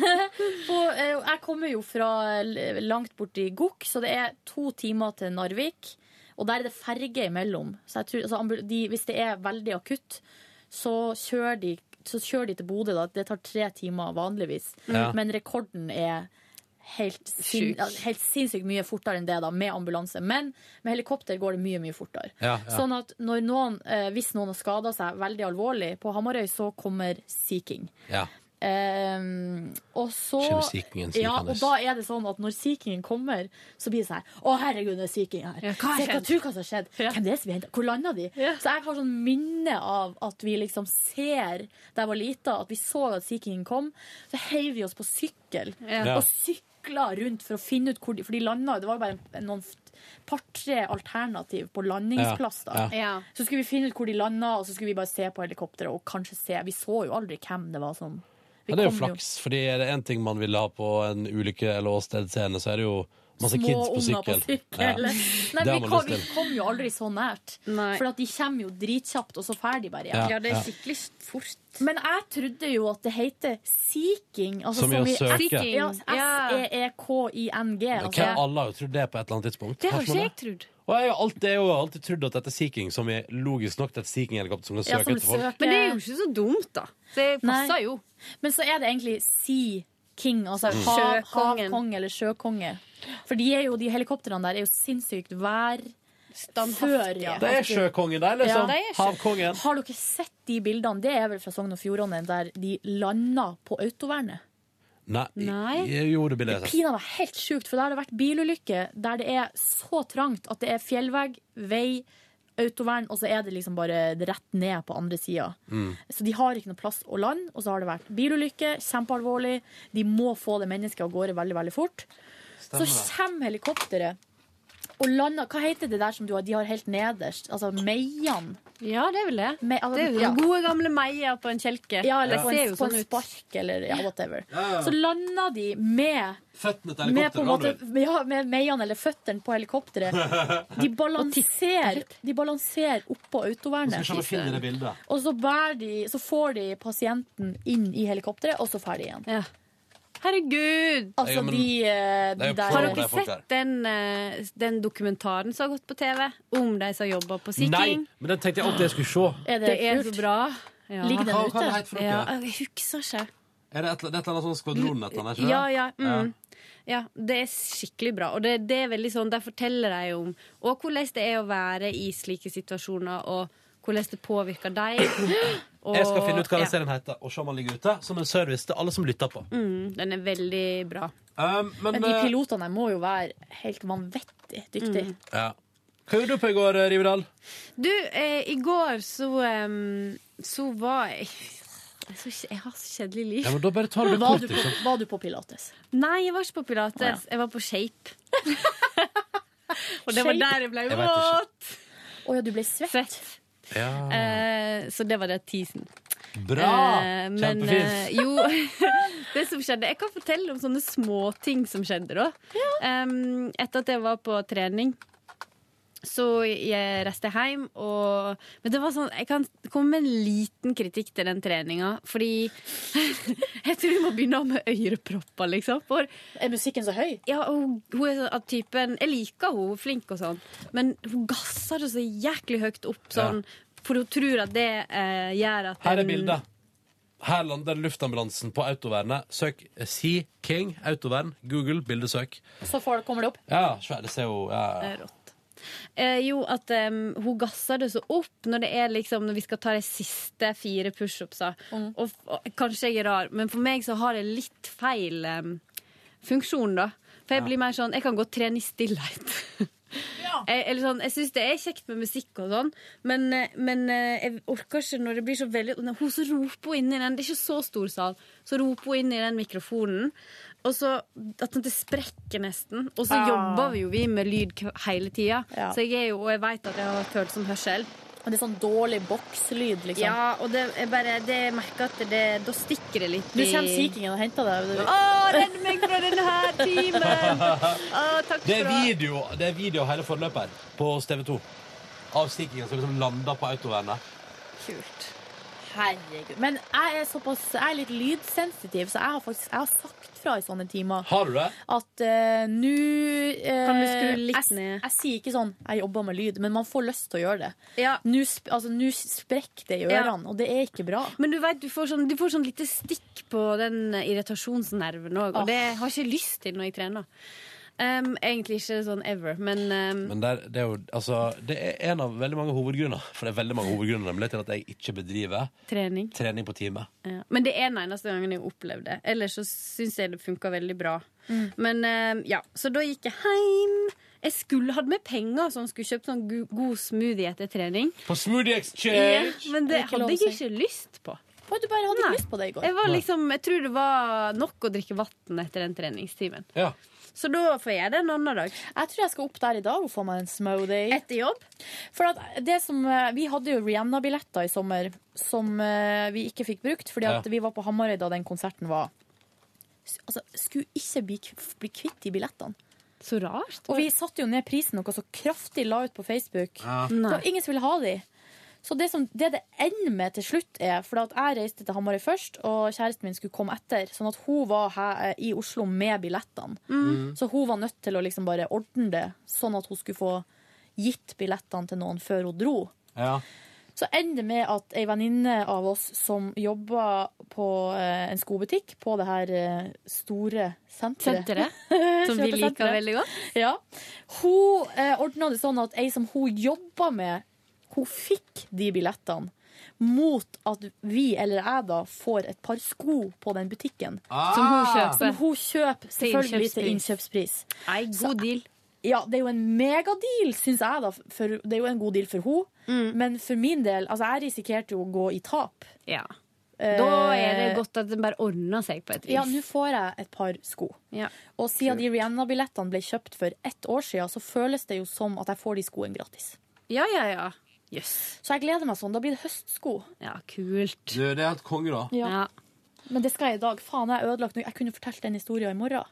S3: for, eh, Jeg kommer jo fra l- langt borti Gokk, så det er to timer til Narvik. Og der er det ferge imellom. Så jeg tror, altså, ambul- de, hvis det er veldig akutt, så kjører de, så kjører de til Bodø. da. Det tar tre timer vanligvis.
S17: Ja.
S3: Men rekorden er helt, sin,
S17: Sjuk.
S3: ja, helt sinnssykt mye fortere enn det, da, med ambulanse. Men med helikopter går det mye, mye fortere.
S17: Ja, ja.
S3: Sånn at når noen, eh, hvis noen har skada seg veldig alvorlig på Hamarøy, så kommer Sea King.
S21: Ja.
S3: Ehm, og så
S21: Kommer Sea Kingen
S3: ja,
S21: snikende.
S3: og da er det sånn at når Sea Kingen kommer, så blir det sånn her Å, herregud, det er Sea King her.
S17: Ja, hva har
S3: Se,
S17: skjedd?»
S3: tro hva som har skjedd? Hvem det er som vi hentet? Hvor landa de? Så jeg har sånn minne av at vi liksom ser da jeg var lita, at vi så at Sea Kingen kom. Så heiv vi oss på sykkel
S17: Ja.
S3: og sykla rundt for å finne ut hvor de For de landa, det var jo bare en- noen par-tre alternativ på landingsplass, da.
S17: Ja. Ja.
S3: Så skulle vi finne ut hvor de landa, og så skulle vi bare se på helikopteret og kanskje se Vi så jo aldri hvem det var som vi
S21: Ja, det er jo
S3: kom
S21: flaks, fordi er det én ting man ville ha på en ulykke- eller åstedscene, så er det jo masse Altså,
S3: Små
S21: kids på
S3: unger
S21: sykkel. Det har
S3: Nei, men vi,
S21: man
S3: kom,
S21: lyst
S3: vi
S21: til.
S3: kom jo aldri så nært. For at de kommer jo dritkjapt, og så ferdig bare
S21: Ja, Ja, det er ja.
S3: skikkelig fort. Men jeg trodde jo at det heter seeking. Altså
S21: Som i å
S3: i
S21: søke.
S3: S- E
S21: Seeking,
S3: Ja,
S4: ja.
S21: Men
S3: S-e-e-k-i-n-g. Altså.
S21: Hvem alle har jo trodd det på et eller annet tidspunkt?
S3: Det har ikke
S21: man
S3: jeg trodd.
S21: Og jeg har jo alltid, jeg har jo alltid trodd at dette er Sea King, som er logisk nok til et Sea King-helikopter
S3: E
S21: som kan søke etter folk.
S4: Men det er jo ikke så dumt, da. Det passer
S3: Nei.
S4: jo.
S3: Men så er det egentlig sea king, altså
S4: Mm.
S3: hav,
S4: Sjøkongen.
S3: havkonge eller sjøkonge. For de, er jo, de helikoptrene der er jo sinnssykt vær... Før, ja.
S21: Det er sjøkongen der, liksom.
S3: Ja, det er sjø-
S21: Havkongen.
S3: Har dere sett de bildene? Det er vel fra Sogn og Fjordane, der de landa på autovernet.
S21: Nei,
S3: Nei.
S21: jeg gjorde det bildet.
S3: Pina var helt sjukt, for da har det vært bilulykker der det er så trangt at det er fjellvegg, vei, autovern, og så er det liksom bare rett ned på andre sida.
S17: Mm.
S3: Så de har ikke noe plass å lande, og så har det vært bilulykke, kjempealvorlig. De må få det mennesket av gårde veldig, veldig fort.
S17: Stemmer
S3: så
S17: det.
S3: kommer helikopteret og lander Hva heter det der som du har, de har helt nederst? Altså meian?
S4: Ja, det er vel det.
S3: Me, altså,
S4: Det er jo
S3: ja.
S4: sånne gode gamle meier på en kjelke.
S3: Ja, eller
S4: Det
S3: på,
S4: ser
S3: en,
S4: jo
S3: på
S4: sånn
S3: en
S4: ut.
S3: spark, eller ja, whatever.
S21: Ja, ja.
S3: Så landa de med
S21: Føttene til
S3: med, på en måte,
S21: helikopteret.
S3: ja, med meiene eller føttene på helikopteret. De balanserer, de balanserer oppå autovernet.
S21: bildet.
S3: Og så, bærer de, så får de pasienten inn i helikopteret, og så ferdig igjen.
S4: Herregud!
S3: Altså,
S4: Ja, men-
S3: de, eh,
S4: Har
S3: de der
S4: dere sett den, eh, den dokumentaren som har gått på TV om de som jobber på Sea
S21: Nei,
S4: King?
S21: men den tenkte jeg alltid jeg skulle se.
S4: det, er så bra. Ja.
S21: Ligger den Hva- hva ute? er det het for noe?
S4: Ja, jeg husker ikke.
S21: Er det et, det er et eller annet sånn skvadron et eller annet? ikke det?
S4: Ja, ja, mm. ja. Det er skikkelig bra. Og det, det er veldig sånn, Der forteller de om og hvordan det er å være i slike situasjoner, og hvordan det påvirker deg. Og-
S21: Jeg skal finne ut hva den
S4: ja.
S21: serien heter, og se om den ligger ute, som en service til alle som lytter på.
S4: Mm, den er veldig bra.
S21: Um, men,
S3: Men de
S21: eh,
S3: pilotene må jo være helt vanvittig
S4: Mm.
S3: dyktige.
S21: ja. Hva gjorde du på i går, eh, Rivedal?
S4: Du, eh, i går så em, Så var jeg jeg, er så, kj- jeg har så kjedelig liv.
S21: Ja, men da bare tar du det
S3: var,
S21: kort,
S3: du på,
S21: liksom.
S3: var du på pilates?
S4: Nei, jeg var ikke på pilates.
S3: Å, ja.
S4: Jeg var på shape. Og det var
S3: Shape?
S4: der jeg ble
S21: Jeg vet ikke.
S4: våt!
S3: Å ja, du ble svett?
S21: Ja.
S4: Eh, så det var det tisen.
S21: Bra!
S4: Eh, men
S21: Kjempefint.
S4: eh, jo, det som skjedde Jeg kan fortelle om sånne småting som skjedde da. Em, etter at jeg var på trening, så jeg reiste jeg hjem og Men det var sånn Jeg kan komme med en liten kritikk til den treninga, fordi Jeg tror jeg må begynne med ørepropper, liksom. For,
S3: er musikken så høy?
S4: Ja, og hun, hun er sånn av typen Jeg liker hun, hun er flink og sånn, men hun gasser det så jæklig høyt opp sånn. For hun tror at det eh, gjør at
S3: um,
S21: Her er
S4: den-
S21: bildet. Her lander luftambulansen på autovernet. Søk Sea King autovern. Google bildesøk.
S3: Så får, kommer det opp.
S21: Ja, svær, det ser jo ja.
S4: Det er rått. Eh, jo, at em, hun gasser det så opp når det er liksom Når vi skal ta de siste fire pushups. Mm. Og, f- og kanskje jeg er rar, men for meg så har det litt feil em, funksjon, da. For jeg blir mer sånn Jeg kan godt trene i stillhet. Jeg, eller sånn, jeg syns det er kjekt med musikk og sånn, men, eh, men eh, jeg orker ikke når det blir så veldig Nei, Hun som roper inn i den Det er ikke så stor sal. Så roper hun inn i den mikrofonen, og så at den det sprekker nesten. Og så
S3: Ah.
S4: jobber vi jo vi med lyd k- hele tida,
S3: Ja.
S4: så jeg er jo, og jeg veit at jeg har følsom hørsel.
S3: Og det er sånn dårlig bokslyd, liksom.
S4: Ja, og det, jeg bare, det jeg merker at det, da stikker det Ah! litt
S3: Nå kommer Sea Kingen og henter deg.
S4: Å, redd meg fra denne her timen! Å, takk
S21: Det er
S4: for det.
S21: video, det er video av hele forløpet her på hos TV 2. Av Sea Kingen som liksom landa på autovernet.
S3: Kult. Herregud. Men jeg er, såpass, jeg er litt lydsensitiv, så jeg har faktisk jeg har sagt fra i sånne timer.
S21: Har du det?
S3: At eh, nå eh,
S4: Kan du skru litt
S3: jeg,
S4: ned?
S3: Jeg sier ikke sånn 'jeg jobber med lyd', men man får lyst til å gjøre det.
S4: Ja.
S3: Nå sp altså, nå sprekker det i
S4: Ja.
S3: ørene, og det er ikke bra.
S4: Men du vet, du får sånn, du får sånn lite stikk på den irritasjonsnerven òg,
S3: Åh.
S4: og det har jeg ikke lyst til når jeg trener. Um, egentlig ikke sånn ever, men, um,
S21: Men der, det er jo altså, Det er en av veldig mange hovedgrunner For det er veldig mange hovedgrunner nemlig til at jeg ikke bedriver
S4: trening.
S21: trening på time.
S4: Ja. Men det er den eneste gangen jeg opplevde det. Ellers så syns jeg det funka veldig bra. Men eh, ja, Så da gikk jeg hjem. Jeg skulle hatt med penger, så jeg skulle kjøpt sånn gu- god smoothie etter trening.
S21: På Smoothie
S4: Ja,
S21: Exchange!
S4: men det
S3: Ikke lov
S4: hadde
S3: å
S4: jeg
S3: si.
S4: ikke lyst på.
S3: Oi, du bare hadde ikke lyst på det i går.
S4: Jeg, var liksom, jeg tror det var nok å drikke vann etter den treningstimen.
S21: Ja.
S4: Så da får jeg det en annen dag.
S3: Jeg tror jeg skal opp der i dag og få meg en smoothie.
S4: Etter jobb?
S3: For at det som, eh, vi hadde jo Rihanna-billetter i sommer som eh, vi ikke fikk brukt, fordi at
S4: Ja.
S3: vi var på Hamarøy da den konserten var. S- Altså, skulle ikke bli, k- bli kvitt de billettene.
S4: Så rart.
S3: Og vi satte jo ned prisen noe så kraftig la ut på Facebook.
S4: Ja.
S3: Det
S4: Nei.
S3: var ingen som ville ha de. Så det som, det, det ender med til slutt er, for at jeg reiste til Hamarøy først, og kjæresten min skulle komme etter, sånn at hun var her eh, i Oslo med billettene.
S4: Mm.
S3: Så hun var nødt til å liksom bare ordne det, sånn at hun skulle få gitt billettene til noen før hun dro.
S21: Ja.
S3: Så ender det med at ei venninne av oss som jobber på eh, en skobutikk på det her eh, store senteret
S4: Senteret, som vi liker veldig godt.
S3: Ja. Hun eh, ordna det sånn at ei som hun jobba med, hun fikk de billettene. Mot at vi, eller jeg da, får et par sko på den butikken.
S4: Ah! Som hun kjøper.
S3: Som hun kjøper selvfølgelig til innkjøpspris.
S4: Nei, god deal.
S3: Ja, det er jo en megadeal, syns jeg, da. For, det er jo en god deal for henne. Men for min del, altså jeg risikerte jo å gå i tap.
S4: Ja. Da er det godt at den bare ordner seg på et vis.
S3: Ja, nå får jeg et par sko.
S4: Ja.
S3: Og siden de Rihanna-billettene ble kjøpt for ett år siden, så føles det jo som at jeg får de skoene gratis.
S4: Ja, ja, ja.
S3: Så jeg gleder meg sånn. Da blir det høstsko.
S4: Ja, kult.
S21: Du, det er helt konge, da.
S3: Ja. Men det skal jeg i dag. Faen, jeg har ødelagt noe. Jeg kunne fortalt den historien i morgen.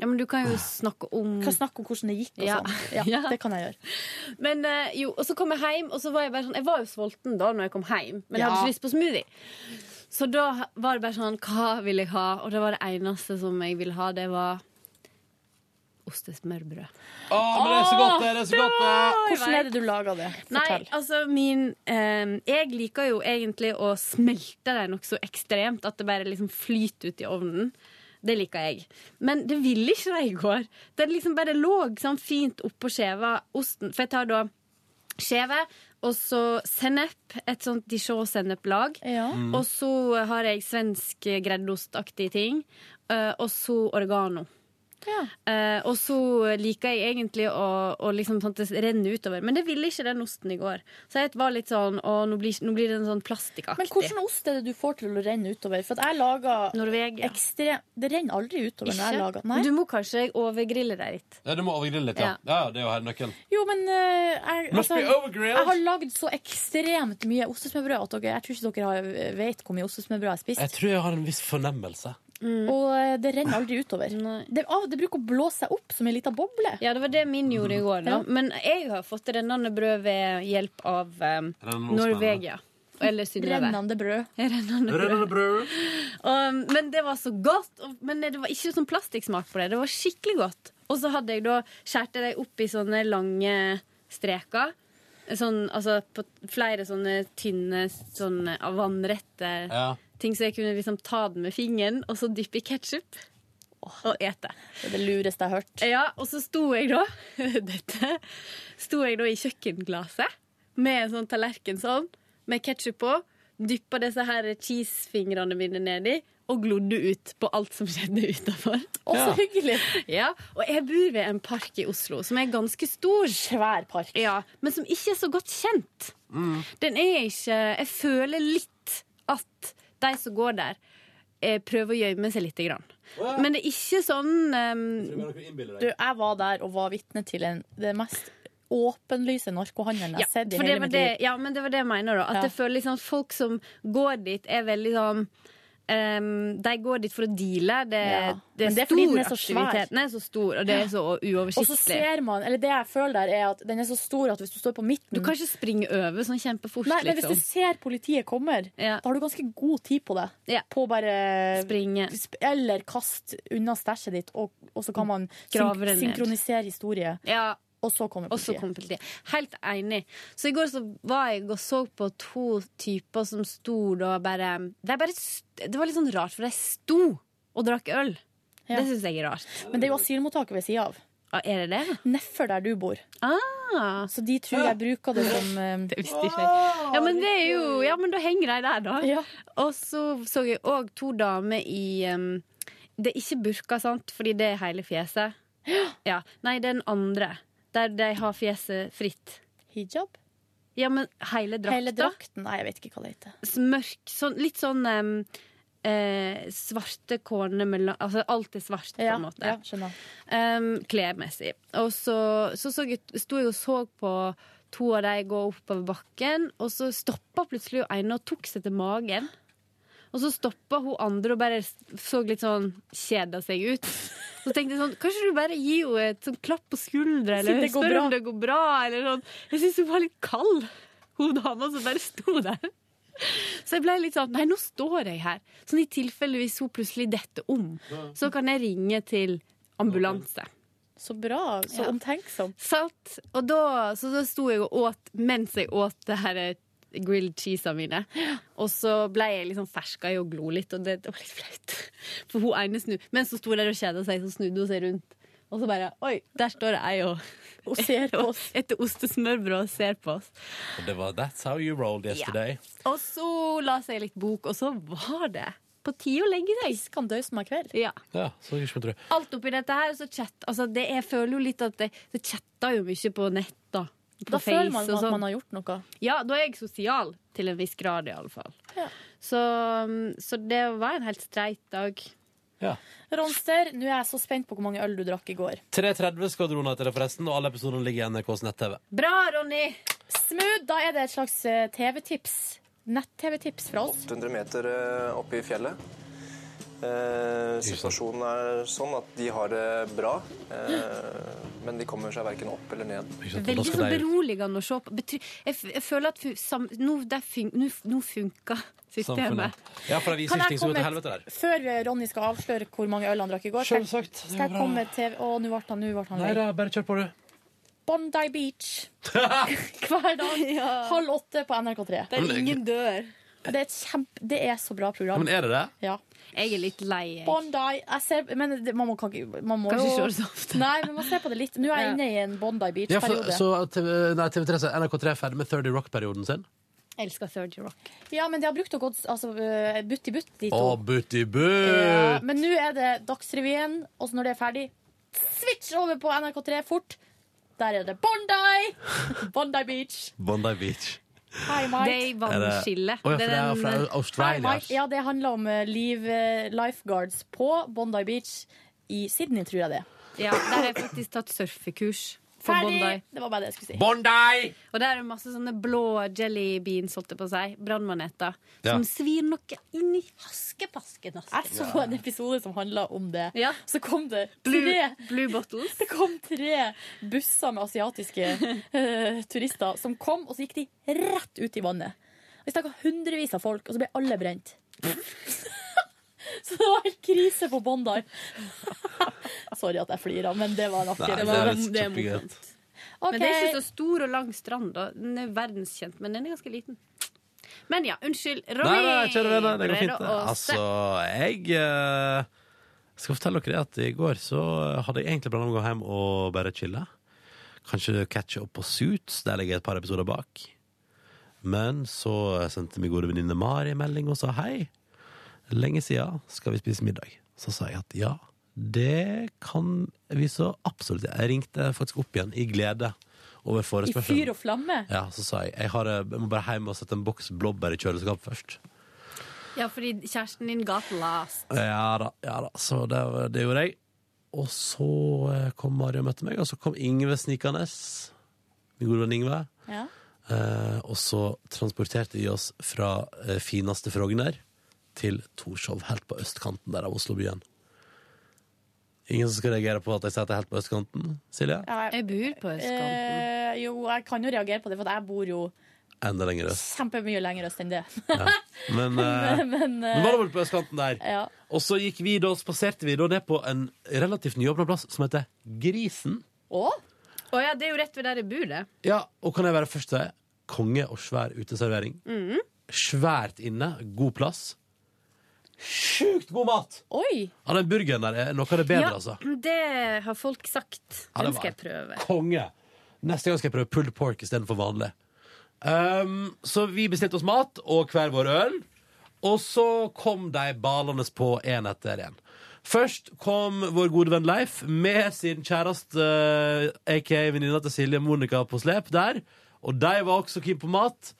S4: Ja, men du kan jo snakke om
S3: Kan snakke om hvordan det gikk og
S4: Mm. Ja.
S3: sånn. Ja,
S4: Ja.
S3: det kan jeg gjøre.
S4: Men eh, jo, og så kom jeg hjem, og så var jeg bare sånn Jeg var jo sulten da når jeg kom hjem, men jeg
S3: Ja.
S4: hadde ikke lyst på smoothie. Så da var det bare sånn Hva vil jeg ha? Og det var det eneste som jeg ville ha, det var ostesmørbrød.
S21: Å, Ah, men det er så godt, det! det er så godt det.
S3: Hvordan er det du lager det? Fortell.
S4: Nei, altså min eh, Jeg liker jo egentlig å smelte det nokså ekstremt. At det bare liksom flyter ut i ovnen. Det liker jeg. Men det ville ikke det i går. Det liksom bare lå sånn fint oppå skjeva osten. For jeg tar da skjeve, og så sennep. Et sånt dijon-senneplag.
S3: Mm.
S4: Og så har jeg svensk greddostaktige ting. eh, og så oregano. Eh, og så liker jeg egentlig å, å liksom sånn at det renner utover, men det ville ikke den osten i går. Så jeg var litt sånn Å, nå blir, nå blir den sånn plastikkaktig.
S3: Men hvordan ost er det du får til å renne utover? For at jeg lager
S4: Norvegia.
S3: ekstrem Det renner aldri utover når jeg lager. Nei.
S4: Du må kanskje overgrille deg litt.
S21: Ja, du må overgrille litt, ja. ja. ja, Det sånn- er jo her nøkkelen.
S3: Jo, men eh, jeg,
S21: Must be overgrilled.
S3: jeg har lagd så ekstremt mye ostesmørbrød at dere, jeg tror ikke dere har- vet hvor mye ostesmørbrød jeg har spist.
S21: Jeg tror jeg har en viss fornemmelse.
S3: Og eh, det renner aldri utover. det, av, det bruker å blåse seg opp som en liten boble.
S4: Ja, det var det min gjorde i går. Da.
S3: Ja.
S4: Men jeg har fått rennende brød ved hjelp av um,
S3: Rennende ost,
S4: Norvegia. Eller Synnøve.
S3: Rennende brød.
S4: Rennende brød.
S3: Rennende
S4: Um, men det var så godt. og- Men det var ikke sånn plastikksmak på det. Det var skikkelig godt. Og så hadde jeg da skjærte jeg dem opp i sånne lange streker. Sånn, altså på flere sånne tynne, sånne vannrette
S21: Ja.
S4: ting, så jeg kunne liksom ta den med fingeren og så dyppe i ketsjup og ete.
S3: Det er det lureste jeg har hørt.
S4: Ja, og så sto jeg da Dette Sto jeg da i kjøkkenglasset Med en sånn tallerken sånn Med ketchup på Dyppet disse her cheesefingrene mine nedi og glodde ut på alt som skjedde utafor.
S3: Å, så hyggelig!
S4: Ja, Og jeg bor ved en park i Oslo som er ganske stor. Svær park. Ja, Men som ikke er så godt kjent. Den er ikke Jeg føler litt at de som går der, eh, prøver å gjemme seg lite grann. Men det er ikke sånn ehm,
S5: Du,
S3: Du, jeg var der og var vitne til en, det mest åpenlyse narkohandelen jeg
S4: ja,
S3: har sett i
S4: for det
S3: hele
S4: var
S3: mitt
S4: det,
S3: liv.
S4: ja, men det var det jeg mener, da. At
S3: Ja.
S4: jeg føler liksom at folk som går dit, er veldig sånn ehm, de går dit for å deale. Det,
S3: Ja.
S4: det
S3: Men
S4: er,
S3: det er fordi
S4: stor
S3: den er så svær.
S4: aktivitet. Den er så stor, og det er så
S3: Og så
S4: uoversiktlig.
S3: ser man, eller det jeg føler der, er at den er så stor at hvis du står på midten
S4: Du kan ikke springe over sånn kjempefort.
S3: Nei, men hvis
S4: liksom.
S3: du ser politiet kommer, da har du ganske god tid på det. På å bare
S4: Springe.
S3: Eller kaste unna stæsjet ditt, og, og så kan man
S4: Grave
S3: syn
S4: det ned.
S3: synkronisere historie.
S4: Ja.
S3: Og så kommer
S4: Og så
S3: politiet.
S4: kom politiet. Helt enig. Så i går så var jeg og så på to typer som sto da bare de bare st Det var litt sånn rart, for de sto og drakk øl.
S3: Ja.
S4: Det syns jeg er rart.
S3: Men det er jo asylmottaket ved sida av.
S4: Er det det?
S3: Nedfor der du bor. Så de tror jeg bruker det som eh,
S4: Ah. Det visste ikke jeg. Ja, men det er jo Ja, men da henger de der, da. Og så så jeg òg to damer i um, Det er ikke burka, sant, fordi det er hele fjeset. Ja. Nei, det er den andre. Der de har fjeset fritt.
S3: eh, Hijab?
S4: Ja, men hele drakta.
S3: Hele drakten? Nei, jeg vet ikke hva det heter.
S4: Mørk, sånn, litt sånn um, eh, svarte kårene mellom Altså alt er svart, på en måte.
S3: Ja, skjønner.
S4: Um, klesmessig. Og så, så, så jeg, sto jeg og så på to av de gå oppover bakken, og så stoppa plutselig hun ene og tok seg til magen. Og så stoppa hun andre og bare så litt sånn kjeda seg ut. Så tenkte jeg sånn, kanskje du bare gir henne et sånn klapp på skuldra,
S3: Si
S4: eller
S3: det går
S4: spør
S3: bra.
S4: om det går bra, eller sånn. Jeg syns hun var litt kald, hun dama som bare sto der. Så jeg ble litt sånn Nei, nå står jeg her. Sånn i tilfelle hvis hun plutselig detter om, så kan jeg ringe til ambulanse.
S3: Så bra. Så
S4: Ja.
S3: omtenksom.
S4: Sant. Og da, så da sto jeg og åt mens jeg åt det her eh, grilled cheesa mine. Og så ble jeg liksom ferska i å glo litt, og det, det var litt flaut. For hun ene snu Mens hun sto der og kjeda seg, så snudde hun seg rundt. Og så bare Oi, der står jeg og
S3: Og ser på oss.
S4: Etter ostesmørbrød og ser på oss.
S21: Og det var That's How You Rolled Yesterday.
S4: Og så leste jeg litt bok, og så var det på tide å legge seg.
S3: Skandøs meg kveld.
S4: Ja.
S21: Ja, så ikke skulle tro.
S4: Alt oppi dette her, så chat altså det, Jeg føler jo litt at det, det chatter jo mye på nett, da. På
S3: Da føler man
S4: og
S3: at
S4: sånn.
S3: man har gjort noe.
S4: Ja, da er jeg sosial. Til en viss grad, iallfall.
S3: Ja.
S4: Så, um, så det var en helt streit dag.
S21: Ja.
S3: Ronster, nå er jeg så spent på hvor mange øl du drakk i går.
S21: 3.30 skal dronen etter det, forresten, og alle episodene ligger i NRKs nett-TV.
S4: Bra, Ronny!
S3: Smooth, da er det et slags eh, TV-tips. Nett-TV-tips fra oss.
S24: 800 meter eh, oppe i fjellet. Eh, situasjonen er sånn at de har det bra, eh, men de kommer seg verken opp eller ned.
S4: Veldig
S3: sånn
S4: så beroligende å se på. Bety jeg, f jeg føler at fu- sam nå, det fun nå, f- nå funka systemet.
S21: Ja, for det viser ikke ting som går til
S3: komme
S21: helvete der.
S3: Før eh, Ronny skal avsløre hvor mange øl han drakk i går, skal-
S21: Selvsagt, det er
S3: skal jeg
S21: bra.
S3: komme med TV Å, nå ble han, nå ble han
S21: Nei
S3: lei.
S21: da, bare kjør på, du.
S3: Bondi Beach. Hver dag halv åtte på NRK3.
S21: Der ingen
S4: dør.
S3: Det er, et kjempe, det er så bra program.
S21: Men er det det?
S3: Ja.
S4: Jeg er litt lei, jeg.
S3: Bondi jeg ser, Men det, man må, kan, ikke- man må
S4: Kan ikke
S3: jo
S4: se det så
S3: Nei, men man ser på det litt. Nå er jeg inne i en Bondi
S21: Ja, for,
S3: Beach-periode.
S21: så TV, nei, TV3, så NRK3 er ferdig med 30 Rock-perioden sin.
S4: Jeg elsker 30 Rock.
S3: Ja, men de har brukt og gått altså, eh, butt i butt,
S21: Å,
S3: de to.
S21: butti
S3: Ja,
S21: butt!
S3: men nå er det Dagsrevyen, og så når det er ferdig, switch over på NRK3 fort. Der er det Bondi! Bondi Beach.
S21: Bondi Beach.
S3: Hi, Mike.
S4: Det er vannskille.
S21: Å ja, for det er fra Australia.
S3: Hi, Mike. Ja, det handler om eh, liv, eh, lifeguards på Bondi Beach i Sydney, tror jeg det.
S4: eh, Ja, der har jeg faktisk tatt surfekurs. på
S3: Ferdig!
S4: Bondi.
S3: Det var bare det jeg skulle si.
S21: Bondi!
S4: Og der er det masse sånne blå jelly beans, holdt jeg på å si. Brannmaneter.
S3: Ja.
S4: Som svir noe inn i haskepasken.
S3: Jeg
S4: Altså.
S3: så en episode som handla om det. Så kom det
S4: Blue,
S3: tre
S4: blue bottles.
S3: Det kom tre busser med asiatiske eh, turister som kom, og så gikk de rett ut i vannet. Og Vi snakka hundrevis av folk, og så ble alle brent. så det var helt krise på Bondi. Sorry at jeg flirer, men det var en artig
S4: Nei, det er litt Det er kjempegøy.
S3: Ok.
S4: Men det er ikke så stor og lang strand. Da. Den er verdenskjent, men den er ganske liten. Men ja, unnskyld. Ronny!
S21: Nei, nei, kjære venner, det går fint.
S4: Brede Aase.
S21: Altså, jeg eh, skal fortelle dere at i går så hadde jeg egentlig planer om å gå hjem og bare chille. Kanskje catche opp på Suits, der ligger jeg et par episoder bak. Men så sendte min gode venninne Mari melding og sa hei.
S2: lenge siden skal vi spise middag. Så sa jeg at ja, det kan vi så absolutt. Jeg ringte faktisk opp igjen i glede over
S3: I
S2: forespørselen.
S3: fyr og flamme.
S2: Ja, så sa jeg jeg, har, eh, jeg må bare hjem og sette en boks blåbær i kjøleskapet først.
S4: Ja, fordi kjæresten din got last.
S2: Ja da, ja da. Så det, det gjorde jeg. Og så eh, kom Mari og møtte meg, og så kom Ingve snikende. Min gode venn Ingve.
S3: Ja.
S2: Eh, og så transporterte vi oss fra eh, fineste Frogner til Torshov, helt på østkanten der av Oslobyen. Ingen som skal reagere på at jeg sier at jeg er helt på østkanten? Silje?
S4: Jeg bor på østkanten.
S3: Eh, jo, jeg kan jo reagere på det, for at jeg bor jo
S2: Enda lenger øst.
S3: kjempemye lenger øst enn det.
S2: Men, eh,
S3: Men- men, eh,
S2: nå var det vel på østkanten der.
S3: Ja.
S2: Og så gikk vi da, spaserte vi da ned på en relativt nyåpna plass som heter Grisen.
S3: Å?
S4: Å ja, det er jo rett ved der jeg bor, det.
S2: Ja, og kan jeg være først til Konge og svær uteservering.
S4: Mm.
S2: Svært inne, god plass. Sjukt god mat!
S3: Oi!
S2: Ja, Den burgeren der er noe av det bedre,
S4: ja,
S2: altså.
S4: Det har folk sagt.
S2: Ja, det
S4: Den
S2: var-
S4: skal jeg prøve.
S2: Konge. Neste gang skal jeg prøve pulled pork istedenfor vanlig. Ehm, så vi bestilte oss mat og hver vår øl. Og så kom de balende på én etter én. Først kom vår gode venn Leif med sin kjæreste, eh, aka venninna til Silje Monica, på slep der. Og de var også keen på mat.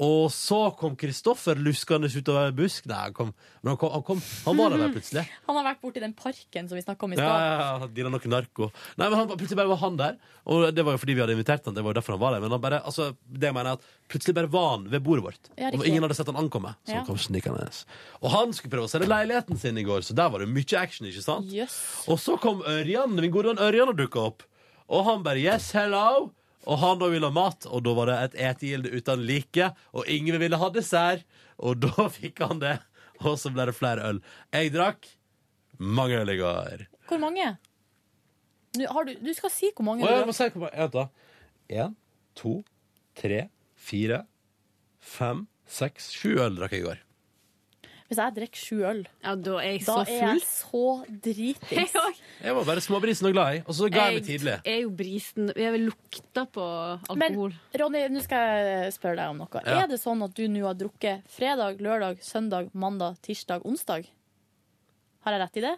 S2: Og så kom Kristoffer luskende utover en busk. Nei, han kom, men han, kom, han, kom, han var der bare plutselig.
S3: Han har vært borti den parken som vi snakka om i
S2: Ja,
S3: stad.
S2: ja, ja, dealer noe narko. Nei, men han, plutselig bare var han der. Og det var jo fordi vi hadde invitert han, det var jo derfor han var der. Men han bare, altså, det mener jeg at plutselig bare var han ved bordet vårt.
S25: Ja, riktig.
S2: og ingen hadde sett han ankomme. Så
S25: Ja.
S2: han kom snikende. Og han skulle prøve å selge leiligheten sin i går, så der var det mye action, ikke sant? Og så kom Ørjan, min gode venn Ørjan, og dukka opp. Og han bare 'yes, hello'. Og han da ville ha mat, og da var det et etegilde uten like. Og Ingve ville ha dessert, og da fikk han det. Og så ble det flere øl. Jeg drakk mange øl i går.
S3: Hvor mange? Nå, har du, du skal si hvor mange.
S2: Å, ja,
S3: du-
S2: jeg må se hvor mange- Vent, da. Én, to, tre, fire, fem, seks, sju øl drakk jeg i går.
S3: Hvis jeg drikker sju øl,
S4: da er jeg
S3: da
S4: så
S3: er jeg
S4: full.
S3: så dritings.
S2: Jeg var bare småbrisen og glad i, og så ga jeg meg tidlig.
S4: er jo brisen Jeg vil lukte på alkohol.
S3: Ronny, nå skal jeg spørre deg om noe.
S4: Ja.
S3: Er det sånn at du nå har drukket fredag, lørdag, søndag, mandag, tirsdag, onsdag? Har jeg rett i det?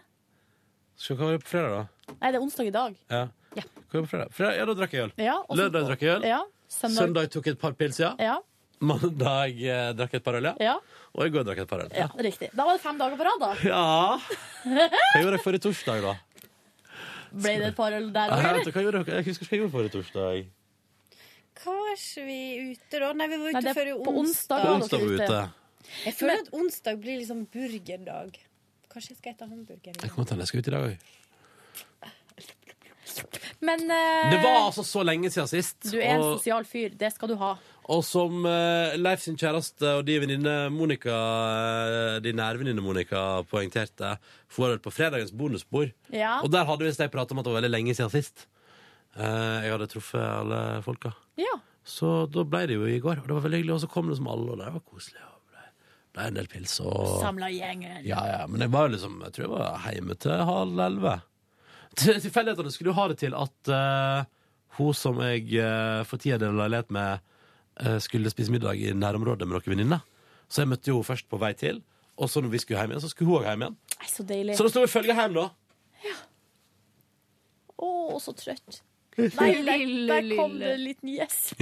S2: Skal vi hva var det på fredag,
S3: Nei, det er onsdag i dag.
S2: da? Ja.
S3: Ja.
S2: Hva var det på fredag? fredag? Ja, da drakk jeg øl.
S3: Ja, og så-
S2: Lørdag drakk jeg øl.
S3: Ja, søndag.
S2: søndag. tok jeg et par pils, ja.
S3: Ja,
S2: Mandag eh, drakk jeg et par øl, ja.
S3: Ja.
S2: Og i går drakk jeg et par øl.
S3: ja, riktig. Da var det fem dager på rad, da.
S2: Ja. Hva gjorde jeg forrige torsdag, da?
S3: Ble det et par øl der òg,
S2: Jeg,
S3: eller?
S2: vet, du, hva gjorde, jeg- jeg husker hva jeg gjorde forrige torsdag.
S26: Hva var ikke vi ute da? Nei, vi var
S3: Nei,
S26: ute
S3: det er
S26: før i
S3: på onsdag.
S26: onsdag.
S2: På onsdag var vi ute.
S26: Jeg føler at onsdag blir liksom burgerdag. Kanskje jeg skal spise hamburger
S2: Jeg kommer til at jeg skal ut i dag òg.
S3: Men eh,
S2: Det var altså så lenge siden sist.
S3: du er en
S2: og-
S3: sosial fyr. Det skal du ha.
S2: Og som eh, Leif sin kjæreste og de venninne Monica, eh, de nærvenninne Monica poengterte, får på fredagens bonusbord.
S3: Ja.
S2: Og der hadde visst jeg pratet om at det var veldig lenge siden sist. Eh, jeg hadde truffet alle folka.
S3: Ja.
S2: Så da ble det jo i går, og det var veldig hyggelig. Og så kom det som alle, og det var koselig. Og det ble en del pils. Og...
S3: Samla gjengen.
S2: Ja, ja, men jeg var jo liksom Jeg tror jeg var hjemme til halv elleve. Til- Tilfeldighetene skulle jo ha det til at eh, hun som jeg eh, for tida deler leilighet med, eh, skulle spise middag i nærområdet med noen venninner. Så jeg møtte jo hun først på vei til, og så når vi skulle hjem igjen, så skulle hun òg hjem igjen.
S3: Nei, så deilig.
S2: Så da sto vi og følge hjem, da.
S3: Å, så trøtt. Nei, der, der kom det en liten gjesp.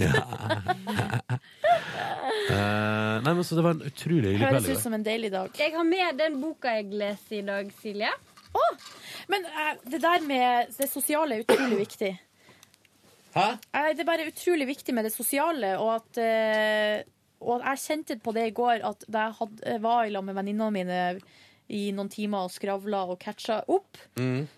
S2: Eh, nei, men Så det var en utrolig hyggelig kveld. i går.
S3: en deilig dag.
S4: Jeg har med den boka jeg leser i dag, Silje.
S3: Men eh, det der med det sosiale er utrolig viktig.
S2: Hæ?
S3: Eh, Det er bare utrolig viktig med det sosiale, og at eh, og jeg kjente på det i går, at da jeg hadde, eh, var i lag med venninnene mine i noen timer og skravla og catcha opp,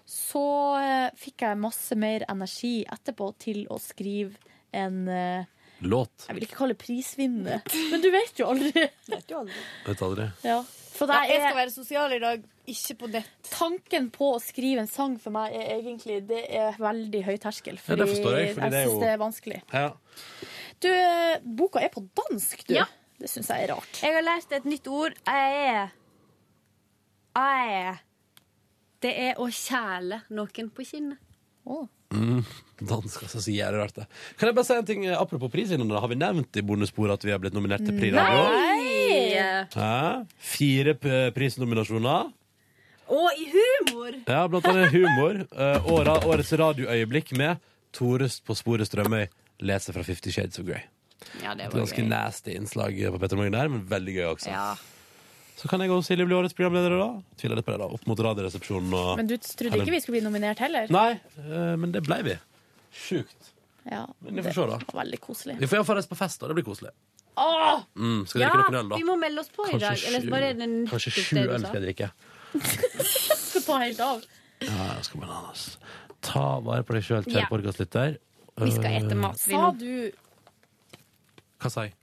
S3: så eh, fikk jeg masse mer energi etterpå til å skrive en eh,
S2: Låt.
S3: Jeg vil ikke kalle det prisvinnende, men du vet jo aldri.
S26: Vet du aldri.
S2: Vet aldri.
S3: Ja. For det
S26: Nei, jeg skal
S3: er,
S26: være sosial i dag, ikke på nett.
S3: tanken på å skrive en sang for meg er egentlig det er veldig høy terskel.
S2: Ja,
S3: Fordi
S2: det forstår jeg,
S3: jeg,
S2: fordi det er
S3: syns
S2: jo-
S3: det er vanskelig.
S2: Ja.
S3: Du, eh, boka er på dansk, du. Det syns jeg er rart.
S4: Jeg har lært et nytt ord. E. Æ. Æ. E. Det er å kjæle noen på kinnet.
S2: Mm. Dansk, altså, så jævlig rart det. Kan jeg bare si en ting eh, apropos prisvinnerne? Har vi nevnt i bonussporet at vi har blitt nominert til Pri Radio?
S4: Nei! mye.
S2: Hæ? Fire p- prisnominasjoner.
S4: Og i humor!
S2: Ja, blant annet humor. eh, og ra- årets radioøyeblikk med Torest på sporet Strømøy leser fra Fifty Shades of Grey.
S4: Ja, det
S2: Et
S4: var
S2: ganske
S4: gøy.
S2: nasty innslag på Petter Morgen der, men veldig gøy også.
S4: Ja.
S2: Så kan jeg og Silje bli årets programledere, da. Tviler litt på det, da. Opp mot Radioresepsjonen og
S3: Men du trodde ikke vi skulle bli nominert heller?
S2: Nei, eh, men det ble vi. Sjukt.
S3: Ja,
S2: Men vi får se, da.
S3: Veldig koselig.
S2: Vi får iallfall reise på fest, da. Det blir koselig.
S4: Åh!
S2: Mm, skal
S4: ja,
S2: dere drikke noen øl, da?
S4: vi må melde oss på i dag. Eller
S2: sju-
S4: var det den
S2: kanskje
S4: nettopp
S2: sju
S4: det du
S2: øl
S4: sa?
S2: skal jeg drikke.
S3: Skal ta helt av.
S2: Ja, jeg skal bananas. Ta vare på deg sjøl,
S3: Ja.
S2: kjære podkastlytter.
S4: Vi skal
S2: Eh,
S4: ete mat.
S3: Sa du
S2: Hva sa jeg?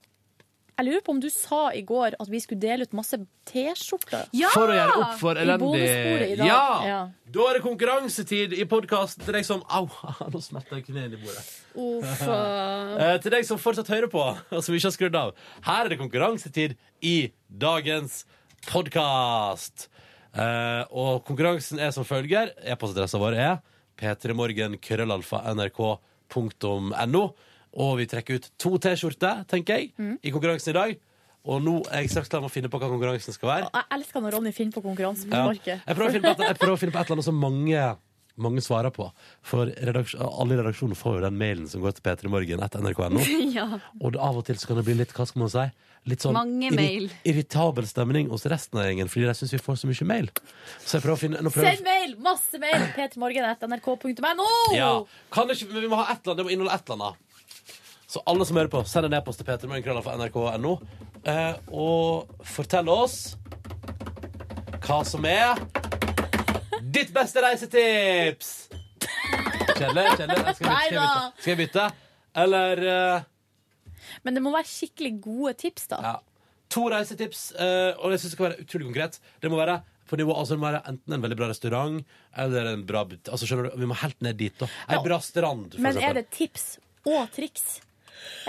S3: Jeg lurer på om du sa i går at vi skulle dele ut masse T-skjorter?
S2: For å gjøre opp for
S3: I bonusbordet
S2: elendig
S3: i dag.
S2: Ja! Da er det konkurransetid i podkast til deg som Au, nå smetter jeg kneet i bordet.
S4: Uffa.
S2: Eh, til deg som fortsatt hører på, og som ikke har skrudd av. Her er det konkurransetid i dagens podkast. og konkurransen er som følger. E-postadressa vår er p3morgen.krøllalfa.nrk.no. Og vi trekker ut to T-skjorter, tenker jeg, i konkurransen i dag. Og nå er jeg straks klar med å finne på hva konkurransen skal være.
S3: Jeg elsker når Ronny finner på
S2: Ja.
S3: konkurransemarkedet.
S2: Jeg prøver å finne på et, jeg prøver å finne på et eller annet som mange, mange svarer på. For redaks- alle i redaksjonen får jo den mailen som går til p3morgen etter nrk.no.
S4: ja.
S2: Og det- av og til så kan det bli litt, hva skal man si, litt sånn
S4: Mange
S2: irri-
S4: mail.
S2: irritabel stemning hos resten av gjengen, fordi de syns vi får så mye mail. Så jeg prøver å finne nå prøver,
S3: Send mail! Masse mail! p3morgen.nrk.no!
S2: ja. kan det ikke, men Vi må ha et eller annet, det må inneholde et eller annet. Så alle som hører på, send en e-post til p3morgen.nrk.no, eh, og fortell oss hva som er ditt beste reisetips! Kjedelig? kjedelig. Skal, jeg bytte- skal jeg bytte?
S3: Neida.
S2: Skal jeg bytte? Eller eh,
S3: Men det må være skikkelig gode tips, da.
S2: Ja. To reisetips, eh, og jeg synes det skal være utrolig konkret. Det må være på nivå, altså det må være enten en veldig bra restaurant eller en bra but- altså skjønner du, Vi må helt ned dit. da Ei
S3: Ja.
S2: bra strand, for
S3: Men er
S2: eksempel.
S3: det tips og triks?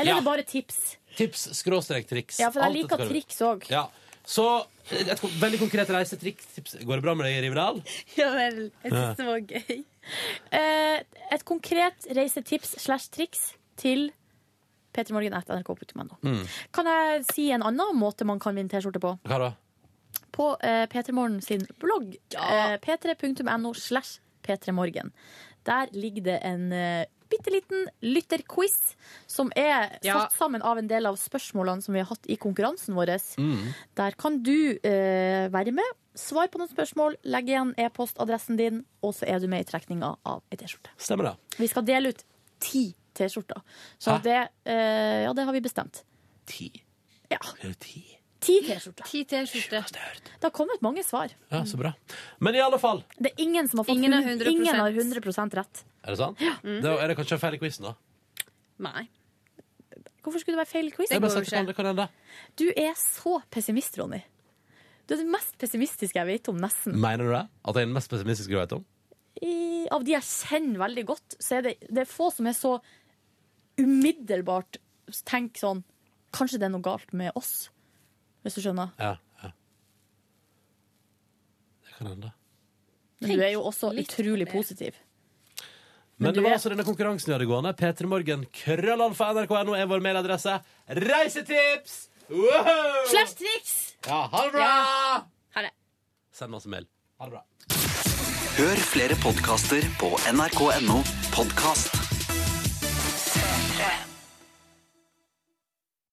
S3: Eller
S2: Ja.
S3: er det bare tips?
S2: Tips skråstrek triks.
S3: Ja, for jeg
S2: Alt dette
S3: liker
S2: kan du-
S3: triks òg.
S2: Ja. Så eh, et kon- veldig konkret reisetriks. Går det bra med deg, Rivedal?
S4: Ja vel. Jeg
S2: Ja.
S4: syns det var gøy.
S3: Eh, et konkret reisetips slash triks til p3morgen.nrk.no.
S2: Mm.
S3: Kan jeg si en annen måte man kan vinne T-skjorte på?
S2: Hva da?
S3: På eh, P3morgen sin blogg. Eh, p3.no slash p3morgen. Der ligger det en eh, bitte liten lytterquiz som er
S4: Ja.
S3: satt sammen av en del av spørsmålene som vi har hatt i konkurransen vår. Der kan du eh, være med, svare på noen spørsmål, legge igjen e-postadressen din, og så er du med i trekninga av ei T-skjorte.
S2: Stemmer det.
S3: Vi skal dele ut ti T-skjorter. Så
S2: Hæ?
S3: det, eh, ja, det har vi bestemt.
S2: Ti?
S3: Ja.
S2: Er det ti?
S3: Ti T-skjorter.
S4: Ti T-skjorter.
S3: Det har kommet mange svar.
S2: Ja, så bra. Men i alle fall,
S3: Det er ingen som har fått
S4: Ingen har
S3: hund-
S4: 100%.
S3: ingen har 100 rett.
S2: er det sant? Da er det kanskje en feil i quizen, da.
S4: Nei.
S3: Hvorfor skulle det være feil quiz?
S2: Det Jeg bare går jo setter på ikke. det,
S3: Du er så pessimist, Ronny. Du er den mest pessimistiske jeg vet om, nesten.
S2: Mener du det? At jeg er den mest pessimistiske du vet om?
S3: I, av de jeg kjenner veldig godt, så er det, det er få som er så umiddelbart tenker sånn Kanskje det er noe galt med oss, hvis du skjønner.
S2: Ja, ja. Det kan hende.
S3: Men du er jo også utrolig positiv.
S2: Men, det var altså denne konkurransen vi hadde gående. P3 Morgen, krøllalfa nrk.no er vår mailadresse. Reisetips! Wow!
S3: Slash triks!
S2: Ja, ha det bra!
S3: Ja.
S4: Ha det.
S2: Send masse mail. Ha det bra.
S13: Hør flere podkaster på nrk.no podkast.